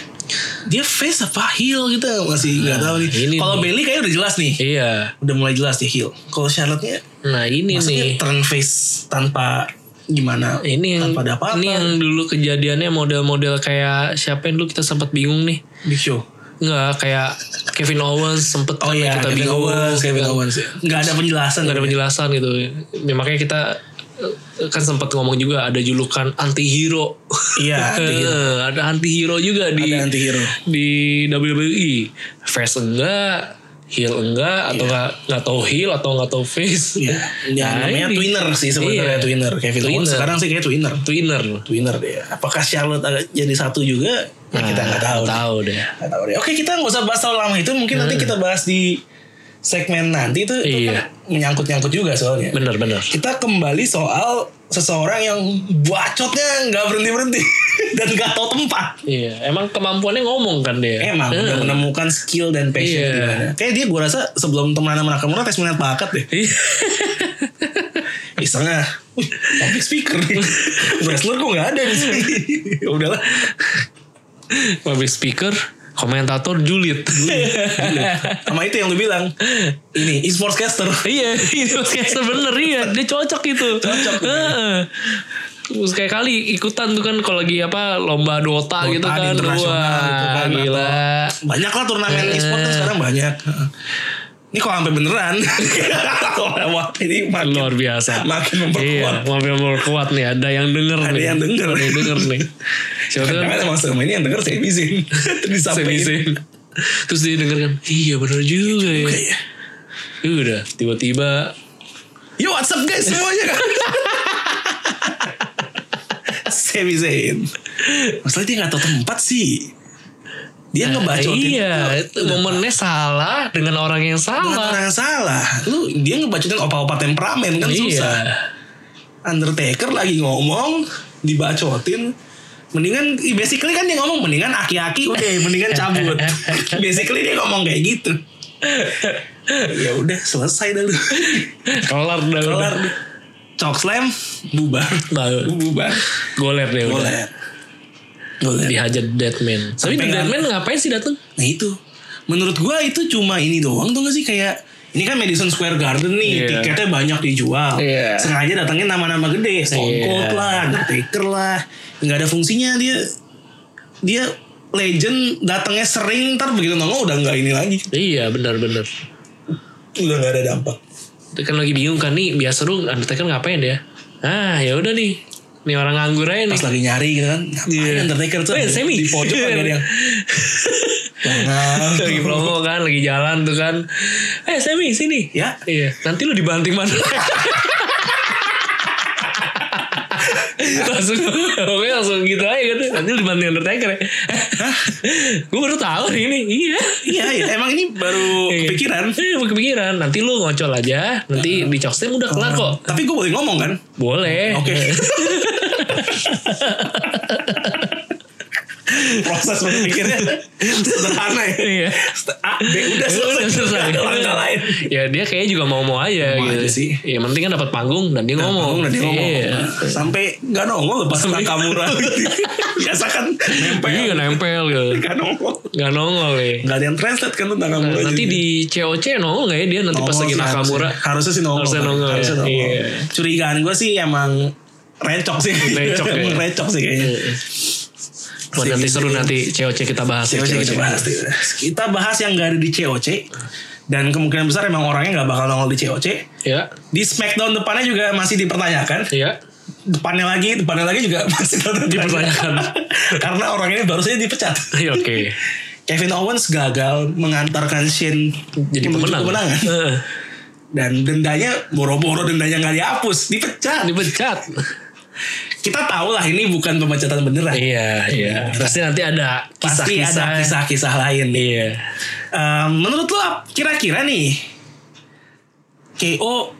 [SPEAKER 1] Dia face apa heel kita masih nggak tahu nih.
[SPEAKER 2] Ah, ini
[SPEAKER 1] Kalau
[SPEAKER 2] nih.
[SPEAKER 1] Bailey kayaknya udah jelas nih.
[SPEAKER 2] iya
[SPEAKER 1] Udah mulai jelas dia heel. Kalau Charlotte-nya
[SPEAKER 2] nah ini
[SPEAKER 1] maksudnya
[SPEAKER 2] nih
[SPEAKER 1] turn face tanpa gimana?
[SPEAKER 2] ini yang
[SPEAKER 1] tanpa ada apa-apa.
[SPEAKER 2] ini yang dulu kejadiannya model-model kayak siapa yang dulu kita sempat bingung nih
[SPEAKER 1] Big Show.
[SPEAKER 2] Nggak kayak Kevin Owens sempet
[SPEAKER 1] Oh
[SPEAKER 2] sampai
[SPEAKER 1] iya,
[SPEAKER 2] kita
[SPEAKER 1] Kevin
[SPEAKER 2] bingung
[SPEAKER 1] Owens, Kevin
[SPEAKER 2] kan.
[SPEAKER 1] Owens. ya. Nggak ada penjelasan.
[SPEAKER 2] nggak ada
[SPEAKER 1] gitu ya.
[SPEAKER 2] penjelasan gitu. Ya, makanya kita eh, kan sempat ngomong juga ada julukan anti hero.
[SPEAKER 1] Iya, anti-hero.
[SPEAKER 2] ada anti hero juga di
[SPEAKER 1] Ada anti-hero.
[SPEAKER 2] di WWE. Face enggak, heel enggak atau enggak nggak tahu heel atau nggak tahu face.
[SPEAKER 1] Iya, ya,
[SPEAKER 2] Nah,
[SPEAKER 1] namanya
[SPEAKER 2] ini.
[SPEAKER 1] twinner sih sebenarnya
[SPEAKER 2] Iya.
[SPEAKER 1] twinner. Kevin Owens
[SPEAKER 2] Twinner.
[SPEAKER 1] sekarang sih kayak twinner.
[SPEAKER 2] Twinner.
[SPEAKER 1] Twinner dia. Apakah Charlotte agak jadi satu juga? Ya, kita nggak tahu. deh.
[SPEAKER 2] Nah, Tahu deh.
[SPEAKER 1] Nggak tahu deh. Oke, kita nggak usah bahas terlalu lama itu. Mungkin nanti kita bahas di segmen nanti itu, itu kan
[SPEAKER 2] Iya.
[SPEAKER 1] menyangkut-nyangkut juga soalnya.
[SPEAKER 2] Bener bener.
[SPEAKER 1] Kita kembali soal seseorang yang bacotnya nggak berhenti berhenti dan nggak tahu tempat.
[SPEAKER 2] Iya, emang kemampuannya ngomong kan dia.
[SPEAKER 1] Emang
[SPEAKER 2] Eh.
[SPEAKER 1] udah menemukan skill dan passion
[SPEAKER 2] Iya.
[SPEAKER 1] di mana. Kayak dia gue rasa sebelum teman sama Nakamura tes minat bakat deh.
[SPEAKER 2] Iya.
[SPEAKER 1] Isengnya, wih, public speaker. Wrestler kok nggak ada di sini. Ya Udahlah.
[SPEAKER 2] Public speaker, komentator julid.
[SPEAKER 1] Sama itu yang lu bilang. Ini e-sportscaster.
[SPEAKER 2] iya, itu podcaster bener iya, dia cocok itu. Cocok.
[SPEAKER 1] iya.
[SPEAKER 2] Terus kayak kali ikutan tuh kan kalau lagi apa lomba Dota, gitu
[SPEAKER 1] Dota di
[SPEAKER 2] kan.
[SPEAKER 1] internasional gitu
[SPEAKER 2] Wah,
[SPEAKER 1] kan,
[SPEAKER 2] gila.
[SPEAKER 1] Banyak lah turnamen
[SPEAKER 2] Eh.
[SPEAKER 1] e-sport kan sekarang banyak. Ini kok sampai beneran. Wah, ini makin,
[SPEAKER 2] Luar biasa.
[SPEAKER 1] makin memperkuat.
[SPEAKER 2] Iya, makin memperkuat nih. Ada yang denger
[SPEAKER 1] Ada
[SPEAKER 2] nih.
[SPEAKER 1] yang denger.
[SPEAKER 2] Ada yang denger nih. Siapa tuh
[SPEAKER 1] Jangan
[SPEAKER 2] kan?
[SPEAKER 1] emang selama ini yang denger saya izin. Disampaikan.
[SPEAKER 2] Semi-semi. Terus dia denger kan, iya bener juga ya. Iya Udah, tiba-tiba
[SPEAKER 1] Yo what's up guys semuanya kan Sami Zayn Masalah dia gak tau tempat sih Dia ngebacotin
[SPEAKER 2] Iya,
[SPEAKER 1] Lu-
[SPEAKER 2] itu
[SPEAKER 1] lu-
[SPEAKER 2] momennya salah dengan orang yang
[SPEAKER 1] dengan
[SPEAKER 2] salah.
[SPEAKER 1] orang yang salah Lu dia ngebacotin opa-opa temperamen kan susah Undertaker lagi ngomong Dibacotin Mendingan Basically kan dia ngomong Mendingan aki-aki udah Mendingan cabut Basically dia ngomong kayak gitu ya udah selesai dah lu
[SPEAKER 2] Nah, Kelar dah.
[SPEAKER 1] Kelar
[SPEAKER 2] udah.
[SPEAKER 1] Cok slam Bubar
[SPEAKER 2] Baru.
[SPEAKER 1] Bubar
[SPEAKER 2] Goler deh udah.
[SPEAKER 1] Boleh. Boleh.
[SPEAKER 2] Dihajar Deadman. Tapi
[SPEAKER 1] Sampai
[SPEAKER 2] The Deadman ngapain sih dateng?
[SPEAKER 1] Nah itu. Menurut gua itu cuma ini doang tuh gak sih kayak ini kan Madison Square Garden nih,
[SPEAKER 2] Iya.
[SPEAKER 1] tiketnya banyak dijual.
[SPEAKER 2] Iya.
[SPEAKER 1] Sengaja datangin nama-nama gede, Stone
[SPEAKER 2] Iya.
[SPEAKER 1] Cold lah, Undertaker lah. Nggak ada fungsinya dia. Dia legend datangnya sering ntar begitu nongol udah nggak ini lagi.
[SPEAKER 2] Iya benar-benar.
[SPEAKER 1] Udah nggak ada dampak.
[SPEAKER 2] Dia Kan lagi bingung kan nih biasa lu Undertaker ngapain ya? Ah ya udah nih. Nih orang nganggur aja nih.
[SPEAKER 1] Pas lagi nyari gitu kan, ngapain
[SPEAKER 2] Iya.
[SPEAKER 1] Undertaker tuh
[SPEAKER 2] Weh, Sammy.
[SPEAKER 1] di pojok kan ada yang. Jangan.
[SPEAKER 2] lagi promo kan, lagi jalan tuh kan. Eh Sammy sini.
[SPEAKER 1] Ya.
[SPEAKER 2] Iya. Nanti lu dibanting mana? langsung pokoknya langsung gitu aja kan nanti lu dibanting Undertaker ya gue baru tahu nih ini iya
[SPEAKER 1] Iya, iya, emang ini baru
[SPEAKER 2] Iya.
[SPEAKER 1] kepikiran.
[SPEAKER 2] Iya, kepikiran nanti lu ngocol aja nanti di Chokeslam udah kelar kok
[SPEAKER 1] Tapi gue boleh ngomong kan?
[SPEAKER 2] boleh
[SPEAKER 1] Oke. Proses berpikirnya sederhana ya.
[SPEAKER 2] Iya.
[SPEAKER 1] A, B, udah selesai.
[SPEAKER 2] Udah selesai.
[SPEAKER 1] Nggak ada Langkah lain.
[SPEAKER 2] ya dia kayaknya juga mau-mau aja
[SPEAKER 1] Mau
[SPEAKER 2] gitu
[SPEAKER 1] aja sih.
[SPEAKER 2] ya penting kan dapat panggung dan dia ngomong
[SPEAKER 1] Ngomong nanti ngomong.
[SPEAKER 2] Iya.
[SPEAKER 1] Sampai nggak nongol lepas Nakamura. Biasa kan nempel.
[SPEAKER 2] Iya nempel gitu.
[SPEAKER 1] Nggak nongol.
[SPEAKER 2] Gak nongol ya.
[SPEAKER 1] Nggak ada yang translate kan tuh Nakamura.
[SPEAKER 2] Nah, Nanti
[SPEAKER 1] jadi.
[SPEAKER 2] di COC nongol gak ya dia nanti pas
[SPEAKER 1] Nongol
[SPEAKER 2] lagi
[SPEAKER 1] sih
[SPEAKER 2] Nakamura.
[SPEAKER 1] harusnya. Harusnya sih nongol.
[SPEAKER 2] Harusnya nongol ya.
[SPEAKER 1] Harusnya nongol.
[SPEAKER 2] Iya.
[SPEAKER 1] Curigaan gue sih emang recok sih.
[SPEAKER 2] Recok ya.
[SPEAKER 1] Emang recok sih kayaknya.
[SPEAKER 2] Buat nanti seru nanti COC kita bahas. ya,
[SPEAKER 1] COC kita bahas deh. gitu. Kita bahas yang gak ada di COC dan kemungkinan besar emang orangnya nggak bakal nongol di COC.
[SPEAKER 2] Ya,
[SPEAKER 1] Di Smackdown depannya juga masih dipertanyakan.
[SPEAKER 2] ya.
[SPEAKER 1] Depannya lagi, depannya lagi juga masih
[SPEAKER 2] Dipertanyakan.
[SPEAKER 1] Karena orang ini baru saja dipecat.
[SPEAKER 2] Ya, Oke.
[SPEAKER 1] Kevin Owens gagal mengantarkan Shane
[SPEAKER 2] Jadi
[SPEAKER 1] menuju
[SPEAKER 2] pemenang. Eh,
[SPEAKER 1] kemenangan.
[SPEAKER 2] Heeh.
[SPEAKER 1] Dan dendanya boro-boro dendanya nggak dihapus, dipecat.
[SPEAKER 2] Dipecat.
[SPEAKER 1] Kita tahu lah ini bukan pemecatan beneran.
[SPEAKER 2] Iya, iya. Pasti nanti ada
[SPEAKER 1] Pasti ada
[SPEAKER 2] kisah-kisah.
[SPEAKER 1] kisah-kisah lain nih.
[SPEAKER 2] Iya.
[SPEAKER 1] Eh, menurut lo ap- kira-kira nih KO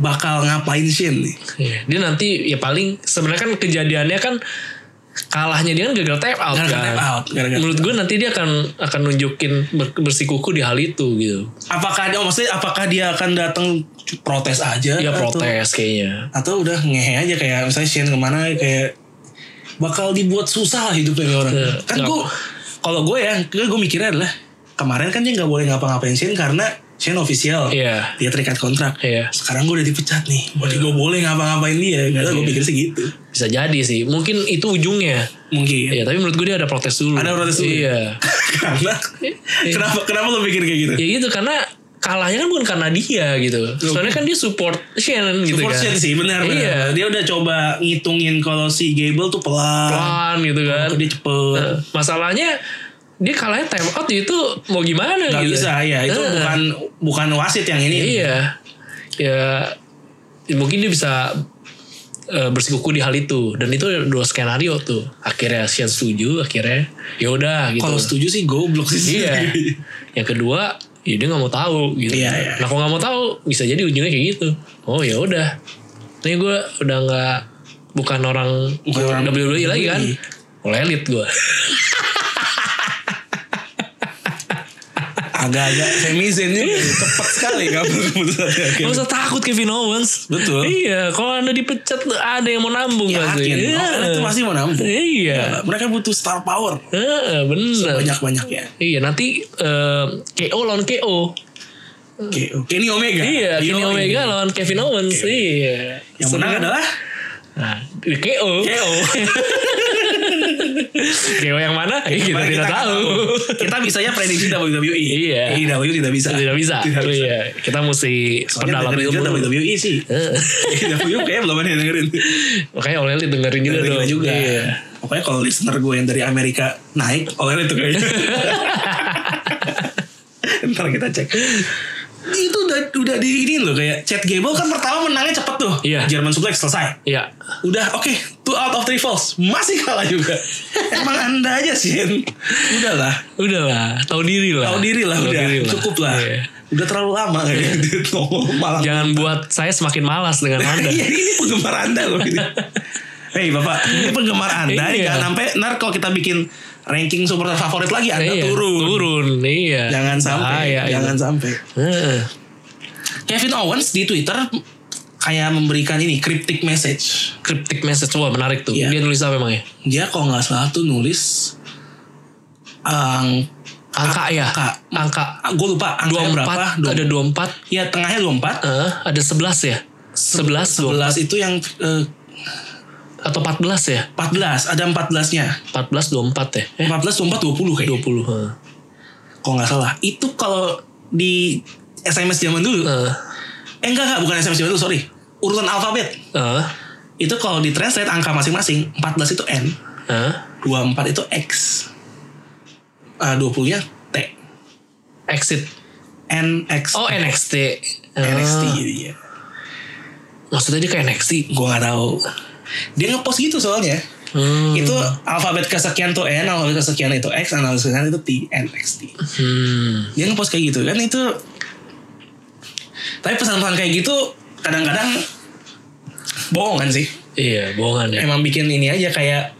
[SPEAKER 1] bakal ngapain Shin nih?
[SPEAKER 2] Iya. Dia nanti ya paling sebenarnya kan kejadiannya kan kalahnya dia kan gagal tap out
[SPEAKER 1] Gara-gara
[SPEAKER 2] kan.
[SPEAKER 1] tap out, gara-gara
[SPEAKER 2] Menurut gue nanti dia akan akan nunjukin ber- bersikuku di hal itu gitu.
[SPEAKER 1] Apakah dia maksudnya apakah dia akan datang protes aja?
[SPEAKER 2] Dia
[SPEAKER 1] atau-
[SPEAKER 2] Iya, protes kayaknya.
[SPEAKER 1] Atau udah ngehe aja kayak misalnya Shane kemana kayak bakal dibuat susah hidupnya nih orang.
[SPEAKER 2] Iya,
[SPEAKER 1] kan
[SPEAKER 2] nggak-
[SPEAKER 1] gue kalau gue ya gue mikirnya adalah kemarin kan dia nggak boleh ngapa-ngapain Shane karena Shane official.
[SPEAKER 2] Iya.
[SPEAKER 1] Dia terikat kontrak.
[SPEAKER 2] Iya.
[SPEAKER 1] Sekarang gue udah dipecat nih. Berarti gue boleh ngapa-ngapain dia. Karena gue
[SPEAKER 2] Iya.
[SPEAKER 1] pikir segitu.
[SPEAKER 2] Bisa jadi sih. Mungkin itu ujungnya.
[SPEAKER 1] Mungkin.
[SPEAKER 2] Ya, tapi menurut gue dia ada protes dulu.
[SPEAKER 1] Ada protes dulu.
[SPEAKER 2] Iya.
[SPEAKER 1] karena kenapa kenapa lo pikir kayak gitu?
[SPEAKER 2] ya gitu karena kalahnya kan bukan karena dia gitu soalnya kan dia support Shannon gitu
[SPEAKER 1] Support
[SPEAKER 2] kan
[SPEAKER 1] Shane sih benar benar.
[SPEAKER 2] iya
[SPEAKER 1] Dia udah coba ngitungin kalau si Gable tuh pelan.
[SPEAKER 2] pelan gitu kan
[SPEAKER 1] Dia cepet.
[SPEAKER 2] Nah, masalahnya dia kalahnya time out ya itu mau gimana
[SPEAKER 1] Gak
[SPEAKER 2] gitu
[SPEAKER 1] bisa ya itu
[SPEAKER 2] Eh,
[SPEAKER 1] bukan bukan wasit yang ini.
[SPEAKER 2] iya ya ya mungkin dia bisa eh, bersikuku di hal itu dan itu ada dua skenario tuh akhirnya Shen setuju akhirnya ya udah gitu
[SPEAKER 1] Kalau setuju sih goblok sih.
[SPEAKER 2] iya yang kedua ya dia nggak mau tahu gitu
[SPEAKER 1] Iya, iya.
[SPEAKER 2] nah kalau nggak mau tahu bisa jadi ujungnya kayak gitu oh ya udah ini gue udah nggak bukan orang
[SPEAKER 1] Bukan orang
[SPEAKER 2] WWE lagi kan
[SPEAKER 1] WWE.
[SPEAKER 2] lelit gue
[SPEAKER 1] Agak-agak femizen juga
[SPEAKER 2] Iya.
[SPEAKER 1] cepat sekali kamu keputusannya. Oke.
[SPEAKER 2] Gak usah takut Kevin Owens
[SPEAKER 1] Betul.
[SPEAKER 2] Iya Kalau anda dipecat Ada yang mau nambung pasti
[SPEAKER 1] Yakin.
[SPEAKER 2] Iya.
[SPEAKER 1] Orang itu masih mau nampung.
[SPEAKER 2] Iya
[SPEAKER 1] Mereka butuh star power
[SPEAKER 2] Heeh, Bener
[SPEAKER 1] banyak-banyak ya.
[SPEAKER 2] Iya nanti eh, KO lawan KO
[SPEAKER 1] Oke, oke. Kenny Omega.
[SPEAKER 2] Iya Kenny
[SPEAKER 1] Yoi.
[SPEAKER 2] Omega lawan Kevin Owens Iya
[SPEAKER 1] Yang menang
[SPEAKER 2] Seru.
[SPEAKER 1] adalah
[SPEAKER 2] Nah, di KO.
[SPEAKER 1] KO.
[SPEAKER 2] KO yang mana? Eh, kita
[SPEAKER 1] Mana
[SPEAKER 2] tidak
[SPEAKER 1] nggak
[SPEAKER 2] tahu.
[SPEAKER 1] Kita bisanya prediksi E. WWE.
[SPEAKER 2] Iya.
[SPEAKER 1] AEW tidak bisa.
[SPEAKER 2] Tidak bisa.
[SPEAKER 1] Tidak bisa.
[SPEAKER 2] Iya, kita mesti
[SPEAKER 1] Soalnya
[SPEAKER 2] pendalam
[SPEAKER 1] dengerin
[SPEAKER 2] itu
[SPEAKER 1] juga E.
[SPEAKER 2] dulu.
[SPEAKER 1] WWE sih.
[SPEAKER 2] Eh,
[SPEAKER 1] AEW kayaknya belum ada yang dengerin.
[SPEAKER 2] Makanya oleh Elit dengerin juga
[SPEAKER 1] Gila
[SPEAKER 2] Gitu dong.
[SPEAKER 1] juga.
[SPEAKER 2] Iya.
[SPEAKER 1] Pokoknya kalau listener gue yang dari Amerika naik, oleh itu kayaknya. Ntar kita cek. Itu udah udah di ini loh kayak Chad Gable kan pertama menangnya cepet tuh.
[SPEAKER 2] Iya.
[SPEAKER 1] German suplex selesai.
[SPEAKER 2] Iya.
[SPEAKER 1] Udah oke, two out of three falls masih kalah juga. Emang anda aja sih. Udahlah,
[SPEAKER 2] Udahlah, tahu diri lah.
[SPEAKER 1] tahu diri lah
[SPEAKER 2] Tahu
[SPEAKER 1] udah.
[SPEAKER 2] diri
[SPEAKER 1] Cukup lah.
[SPEAKER 2] Iya.
[SPEAKER 1] Udah terlalu lama kayaknya dia nongol malam.
[SPEAKER 2] Jangan buat saya semakin malas dengan Anda.
[SPEAKER 1] Iya ini penggemar anda loh ini. Hei bapak, ini penggemar anda ini
[SPEAKER 2] Iya.
[SPEAKER 1] jangan sampai ntar kalau kita bikin ranking supporter favorit lagi anda
[SPEAKER 2] Iya,
[SPEAKER 1] turun.
[SPEAKER 2] Turun, iya.
[SPEAKER 1] Jangan sampai,
[SPEAKER 2] Bahaya iya. itu. Eh,
[SPEAKER 1] jangan sampai.
[SPEAKER 2] Heeh.
[SPEAKER 1] Kevin Owens di Twitter kayak memberikan ini cryptic message.
[SPEAKER 2] Cryptic message wah menarik tuh.
[SPEAKER 1] Iya.
[SPEAKER 2] Dia nulis apa emang ya?
[SPEAKER 1] Dia kalau nggak salah tuh nulis ang
[SPEAKER 2] Angka ya.
[SPEAKER 1] Angka.
[SPEAKER 2] Angka.
[SPEAKER 1] gue lupa angka
[SPEAKER 2] 24
[SPEAKER 1] berapa.
[SPEAKER 2] ada 24
[SPEAKER 1] Ya tengahnya 24.
[SPEAKER 2] Eh, ada 11 ya? 11,
[SPEAKER 1] 11
[SPEAKER 2] 12
[SPEAKER 1] itu yang eh,
[SPEAKER 2] atau 14 ya?
[SPEAKER 1] 14, ada 14-nya.
[SPEAKER 2] 14 24 ya? Eh,
[SPEAKER 1] 14 24 20 kayaknya.
[SPEAKER 2] 20. Heeh.
[SPEAKER 1] Kalau nggak salah, itu kalau di SMS zaman dulu
[SPEAKER 2] Heeh.
[SPEAKER 1] Eh enggak enggak bukan SMS itu sorry Urutan alfabet
[SPEAKER 2] Heeh.
[SPEAKER 1] Itu kalau di translate angka masing-masing 14 itu N
[SPEAKER 2] Heeh.
[SPEAKER 1] 24 itu X Eh 20 nya T
[SPEAKER 2] Exit.
[SPEAKER 1] N X
[SPEAKER 2] Oh, NXT. Heeh.
[SPEAKER 1] NXT jadinya
[SPEAKER 2] Maksudnya dia kayak NXT.
[SPEAKER 1] Gue gak iya. tahu Dia ngepost gitu soalnya
[SPEAKER 2] Hmm.
[SPEAKER 1] Itu alfabet kesekian tuh N Alfabet kesekian itu X Alfabet kesekian itu T NXT
[SPEAKER 2] Hmm.
[SPEAKER 1] Dia ngepost kayak gitu kan itu Tapi pesan-pesan kayak gitu Kadang-kadang Bohongan sih
[SPEAKER 2] Iya, bohongan ya.
[SPEAKER 1] emang bikin ini aja kayak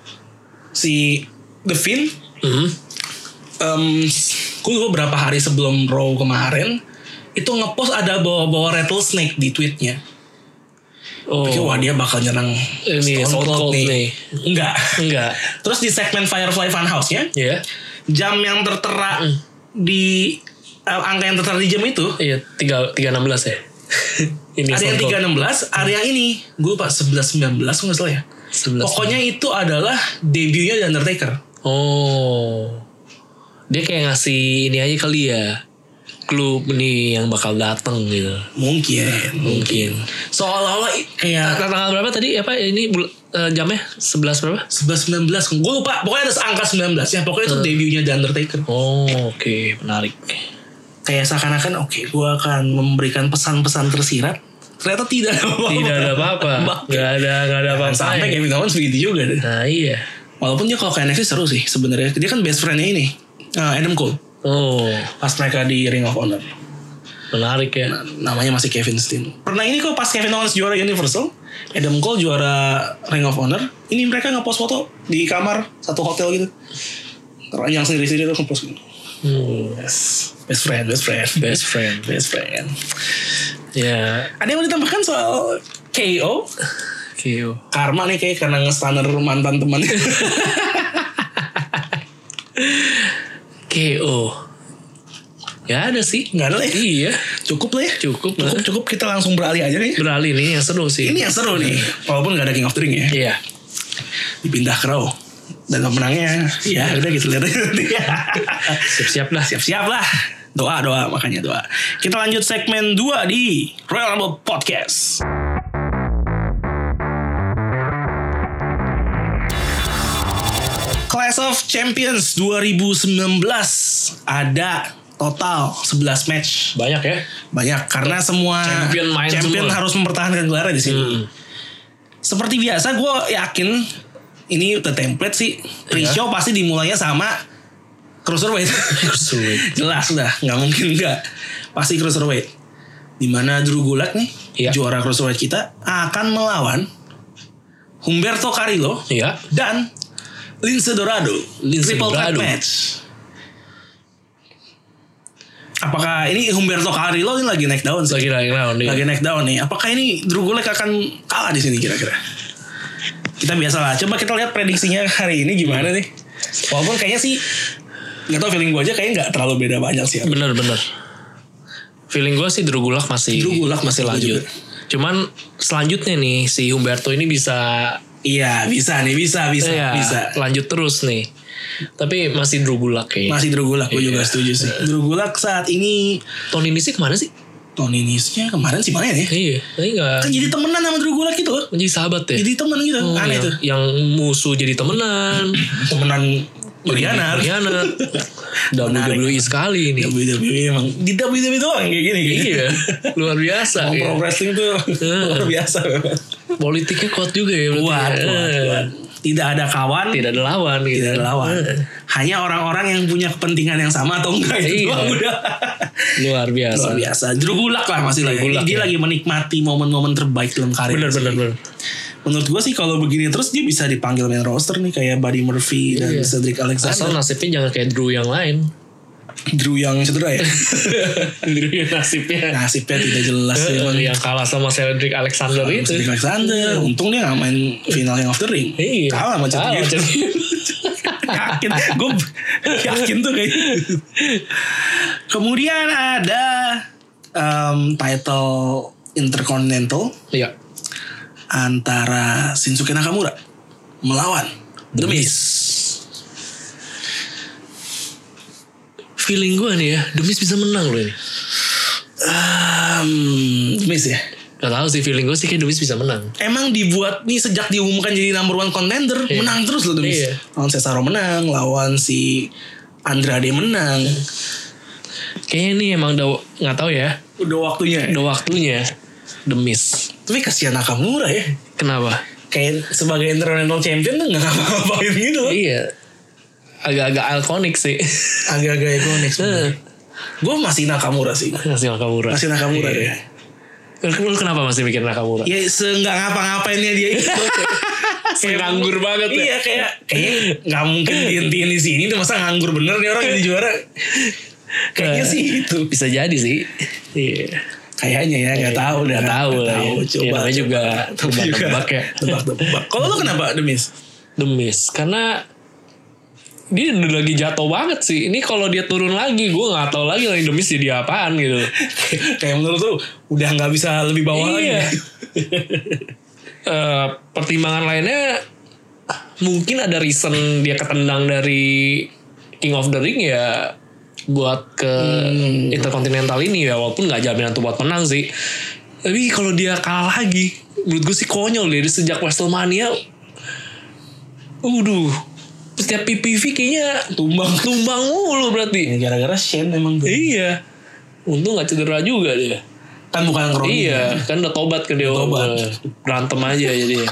[SPEAKER 1] si The Fin
[SPEAKER 2] Hmm.
[SPEAKER 1] em gue lupa berapa hari sebelum Raw kemarin itu ngepost ada bawa-bawa rattlesnake di tweetnya
[SPEAKER 2] Oh.
[SPEAKER 1] Pikir, wah dia bakal nyerang
[SPEAKER 2] Ini, Stone Cold nih.
[SPEAKER 1] enggak
[SPEAKER 2] Enggak.
[SPEAKER 1] terus di segmen Firefly Funhouse nya
[SPEAKER 2] Iya.
[SPEAKER 1] jam yang tertera
[SPEAKER 2] Hmm.
[SPEAKER 1] di eh, angka yang tertera di jam itu
[SPEAKER 2] Iya, 3 316 ya. Ini
[SPEAKER 1] ada yang 316 ada yang ini gue lupa 1119 gue nggak salah ya
[SPEAKER 2] 3
[SPEAKER 1] pokoknya itu adalah debutnya The Undertaker
[SPEAKER 2] Oh. Dia kayak ngasih ini aja kali ya. Clue nih yang bakal dateng gitu.
[SPEAKER 1] mungkin
[SPEAKER 2] Mungkin.
[SPEAKER 1] Nah, seolah-olah i- kayak
[SPEAKER 2] Tang- Tanggal berapa tadi? Apa ini bul- eh, jamnya? 11 berapa?
[SPEAKER 1] 11 19 gue lupa pokoknya ada angka 19 ya pokoknya itu debutnya The Undertaker
[SPEAKER 2] Oh, oke, menarik.
[SPEAKER 1] kayak seakan-akan oke gue akan memberikan pesan-pesan tersirat ternyata tidak ada apa-apa.
[SPEAKER 2] Tidak ada apa-apa.
[SPEAKER 1] Bahkan.
[SPEAKER 2] Gak ada gak ada apa-apa.
[SPEAKER 1] sampai gitu. Kevin Owens begitu juga deh.
[SPEAKER 2] Nah, iya.
[SPEAKER 1] walaupun dia kalau ke NXT seru sih sebenarnya dia kan best friendnya ini eh, Adam Cole
[SPEAKER 2] Oh,
[SPEAKER 1] pas mereka di Ring of Honor
[SPEAKER 2] menarik ya.
[SPEAKER 1] namanya masih Kevin Steen pernah ini kok pas Kevin Owens juara Universal Adam Cole juara Ring of Honor ini mereka ngepost foto di kamar satu hotel gitu yang sendiri-sendiri terus ngepost gitu. Yes. best friend best friend
[SPEAKER 2] Best friend.
[SPEAKER 1] best friend
[SPEAKER 2] Ya,
[SPEAKER 1] ada yang mau ditambahkan soal KO
[SPEAKER 2] Kyo.
[SPEAKER 1] karma nih kayak karena nge-stunner mantan teman
[SPEAKER 2] KO. Ya ada sih.
[SPEAKER 1] nggak ada lah ya
[SPEAKER 2] Iya,
[SPEAKER 1] cukup lah ya cukup
[SPEAKER 2] cukup. lah.
[SPEAKER 1] cukup kita langsung beralih aja nih
[SPEAKER 2] Beralih nih yang seru sih.
[SPEAKER 1] ini yang seru nih walaupun nggak ada King of the Ring ya
[SPEAKER 2] Iya.
[SPEAKER 1] dipindah ke Raw dan pemenangnya ya udah gitu lihat aja nanti.
[SPEAKER 2] Siap-siap lah.
[SPEAKER 1] siap-siap lah doa doa makanya doa kita lanjut segmen 2 di Royal Rumble Podcast Class of Champions 2019 ada total 11 match
[SPEAKER 2] Banyak ya.
[SPEAKER 1] banyak karena semua
[SPEAKER 2] Champion main
[SPEAKER 1] champion
[SPEAKER 2] semua.
[SPEAKER 1] harus mempertahankan gelarnya di sini. Seperti biasa gue yakin ini the template sih
[SPEAKER 2] Iya.
[SPEAKER 1] pre-show pasti dimulainya sama cruiserweight.
[SPEAKER 2] Cruiserweight.
[SPEAKER 1] Jelas sudah, nggak mungkin nggak. Pasti cruiserweight. Dimana Drew Gulak nih
[SPEAKER 2] Iya.
[SPEAKER 1] juara cruiserweight kita akan melawan Humberto Carrillo
[SPEAKER 2] Iya.
[SPEAKER 1] dan Lince Dorado.
[SPEAKER 2] Lince
[SPEAKER 1] Triple threat
[SPEAKER 2] Dorado.
[SPEAKER 1] match. Apakah ini Humberto Carrillo ini lagi naik daun sih?
[SPEAKER 2] Lagi lagi round nih.
[SPEAKER 1] Lagi naik daun nih. Apakah ini Drew Gulak akan kalah di sini kira-kira? Kita biasalah. Coba kita lihat prediksinya hari ini gimana nih. Walaupun kayaknya sih nggak tau feeling gue aja kayaknya nggak terlalu beda banyak sih.
[SPEAKER 2] Bener bener. Feeling gue sih Drew Gulak masih
[SPEAKER 1] Drew Gulak ya?
[SPEAKER 2] masih
[SPEAKER 1] gua
[SPEAKER 2] lanjut.
[SPEAKER 1] juga.
[SPEAKER 2] Cuman selanjutnya nih si Humberto ini bisa
[SPEAKER 1] Iya bisa nih bisa bisa
[SPEAKER 2] ya,
[SPEAKER 1] bisa.
[SPEAKER 2] lanjut terus nih. Tapi masih Drew Gulak kayaknya.
[SPEAKER 1] Masih Drew Gulak, gue
[SPEAKER 2] Iya.
[SPEAKER 1] juga setuju sih. Drew Gulak saat ini
[SPEAKER 2] Tony Nisi kemana sih?
[SPEAKER 1] Tony Nisnya kemarin sih mana ya?
[SPEAKER 2] Iya, tapi nggak
[SPEAKER 1] Kan jadi temenan sama Drew Gulak gitu loh.
[SPEAKER 2] menjadi sahabat ya.
[SPEAKER 1] jadi temen gitu
[SPEAKER 2] Oh,
[SPEAKER 1] aneh
[SPEAKER 2] yang,
[SPEAKER 1] tuh
[SPEAKER 2] yang musuh jadi temenan. Iya,
[SPEAKER 1] temenan Berianar
[SPEAKER 2] Berkhianat.
[SPEAKER 1] Menarik.
[SPEAKER 2] WWE E sekali ini.
[SPEAKER 1] WWE E emang di WWE doang kayak gini kayak
[SPEAKER 2] iya, luar biasa.
[SPEAKER 1] Emang
[SPEAKER 2] ya.
[SPEAKER 1] pro wrestling tuh luar biasa memang.
[SPEAKER 2] Politiknya kuat juga ya. berarti
[SPEAKER 1] kuat
[SPEAKER 2] ya.
[SPEAKER 1] kuat kuat tidak ada kawan
[SPEAKER 2] Tidak ada lawan gitu.
[SPEAKER 1] tidak ada lawan hanya orang-orang yang punya kepentingan yang sama atau enggak itu
[SPEAKER 2] Iya.
[SPEAKER 1] doang udah
[SPEAKER 2] Luar biasa.
[SPEAKER 1] luar biasa Drew Gulak lah masih lagi
[SPEAKER 2] Gulak,
[SPEAKER 1] dia
[SPEAKER 2] ya.
[SPEAKER 1] lagi menikmati momen-momen terbaik dalam karir
[SPEAKER 2] Bener bener bener.
[SPEAKER 1] menurut gue sih kalau begini terus dia bisa dipanggil main roster nih kayak Buddy Murphy dan
[SPEAKER 2] Iya.
[SPEAKER 1] Cedric
[SPEAKER 2] Asal
[SPEAKER 1] Alexander
[SPEAKER 2] nasibnya jangan kayak Drew yang lain.
[SPEAKER 1] Drew yang cedera ya
[SPEAKER 2] Drew yang nasibnya.
[SPEAKER 1] nasibnya tidak jelas
[SPEAKER 2] Eh, gitu.
[SPEAKER 1] memang
[SPEAKER 2] yang kalah sama Cedric Alexander itu.
[SPEAKER 1] Cedric Alexander untung dia gak main final yang of the ring
[SPEAKER 2] Iya.
[SPEAKER 1] kalah sama Cedric
[SPEAKER 2] Kalah sama
[SPEAKER 1] yakin gue yakin tuh kayak gitu. kemudian ada em, title Intercontinental
[SPEAKER 2] Iya.
[SPEAKER 1] antara Shinsuke Nakamura melawan The Miz
[SPEAKER 2] Feeling gue nih ya, Demis bisa menang loh ini.
[SPEAKER 1] Em, The Miz ya
[SPEAKER 2] Gak tau sih feeling gue sih kayak Demis bisa menang.
[SPEAKER 1] emang dibuat nih sejak diumumkan jadi number one contender
[SPEAKER 2] Iya.
[SPEAKER 1] menang terus loh demi
[SPEAKER 2] Iya.
[SPEAKER 1] lawan Cesaro menang lawan si Andrade menang
[SPEAKER 2] Kayaknya ini emang udah nggak tahu ya,
[SPEAKER 1] udah waktunya ya.
[SPEAKER 2] udah waktunya Demis.
[SPEAKER 1] tapi kasihan Nakamura ya
[SPEAKER 2] Kenapa?
[SPEAKER 1] kayak sebagai international champion tuh nggak ngapa-ngapain gitu loh.
[SPEAKER 2] Iya. Agak-agak alkonik sih.
[SPEAKER 1] agak-agak ikonik
[SPEAKER 2] Eh.
[SPEAKER 1] gue masih Nakamura sih
[SPEAKER 2] Masih Nakamura.
[SPEAKER 1] masih Nakamura
[SPEAKER 2] Iya.
[SPEAKER 1] ya
[SPEAKER 2] Lu kenapa masih mikir Nakamura?
[SPEAKER 1] ya seenggak ngapa-ngapainnya dia itu Kayak-
[SPEAKER 2] Nganggur banget ya.
[SPEAKER 1] iya kayak kayaknya nggak mungkin dihentiin di sini tuh masa nganggur bener nih orang jadi juara kayaknya sih itu
[SPEAKER 2] Nah, Bisa jadi sih. Iya.
[SPEAKER 1] kayaknya ya nggak tahu dah
[SPEAKER 2] Nggak tahu lah
[SPEAKER 1] Nggak
[SPEAKER 2] ya. Ya, namanya juga
[SPEAKER 1] coba
[SPEAKER 2] tebak-tebak ya.
[SPEAKER 1] tebak-tebak kalau lu kenapa demis
[SPEAKER 2] Demis. Karena dia udah lagi jatuh banget sih. Ini kalau dia turun lagi, gue nggak tahu lagi lagi Demis jadi apaan gitu.
[SPEAKER 1] kayak menurut lu udah nggak bisa lebih bawah lagi
[SPEAKER 2] Iya. Eh, pertimbangan lainnya mungkin ada reason dia ketendang dari King of the Ring ya buat ke Intercontinental ini ya walaupun nggak jaminan tuh buat menang sih. Tapi kalau dia kalah lagi, menurut gue sih konyol dari sejak WrestleMania. Waduh, setiap PPV kayaknya
[SPEAKER 1] tumbang Hmm.
[SPEAKER 2] tumbang mulu berarti.
[SPEAKER 1] Ya, gara-gara Shane emang tuh.
[SPEAKER 2] Iya. Untung nggak cedera juga dia.
[SPEAKER 1] kan bukan kroni
[SPEAKER 2] Iya, kan udah tobat kan dia.
[SPEAKER 1] Tobat.
[SPEAKER 2] Eh, Berantem aja jadi. ya.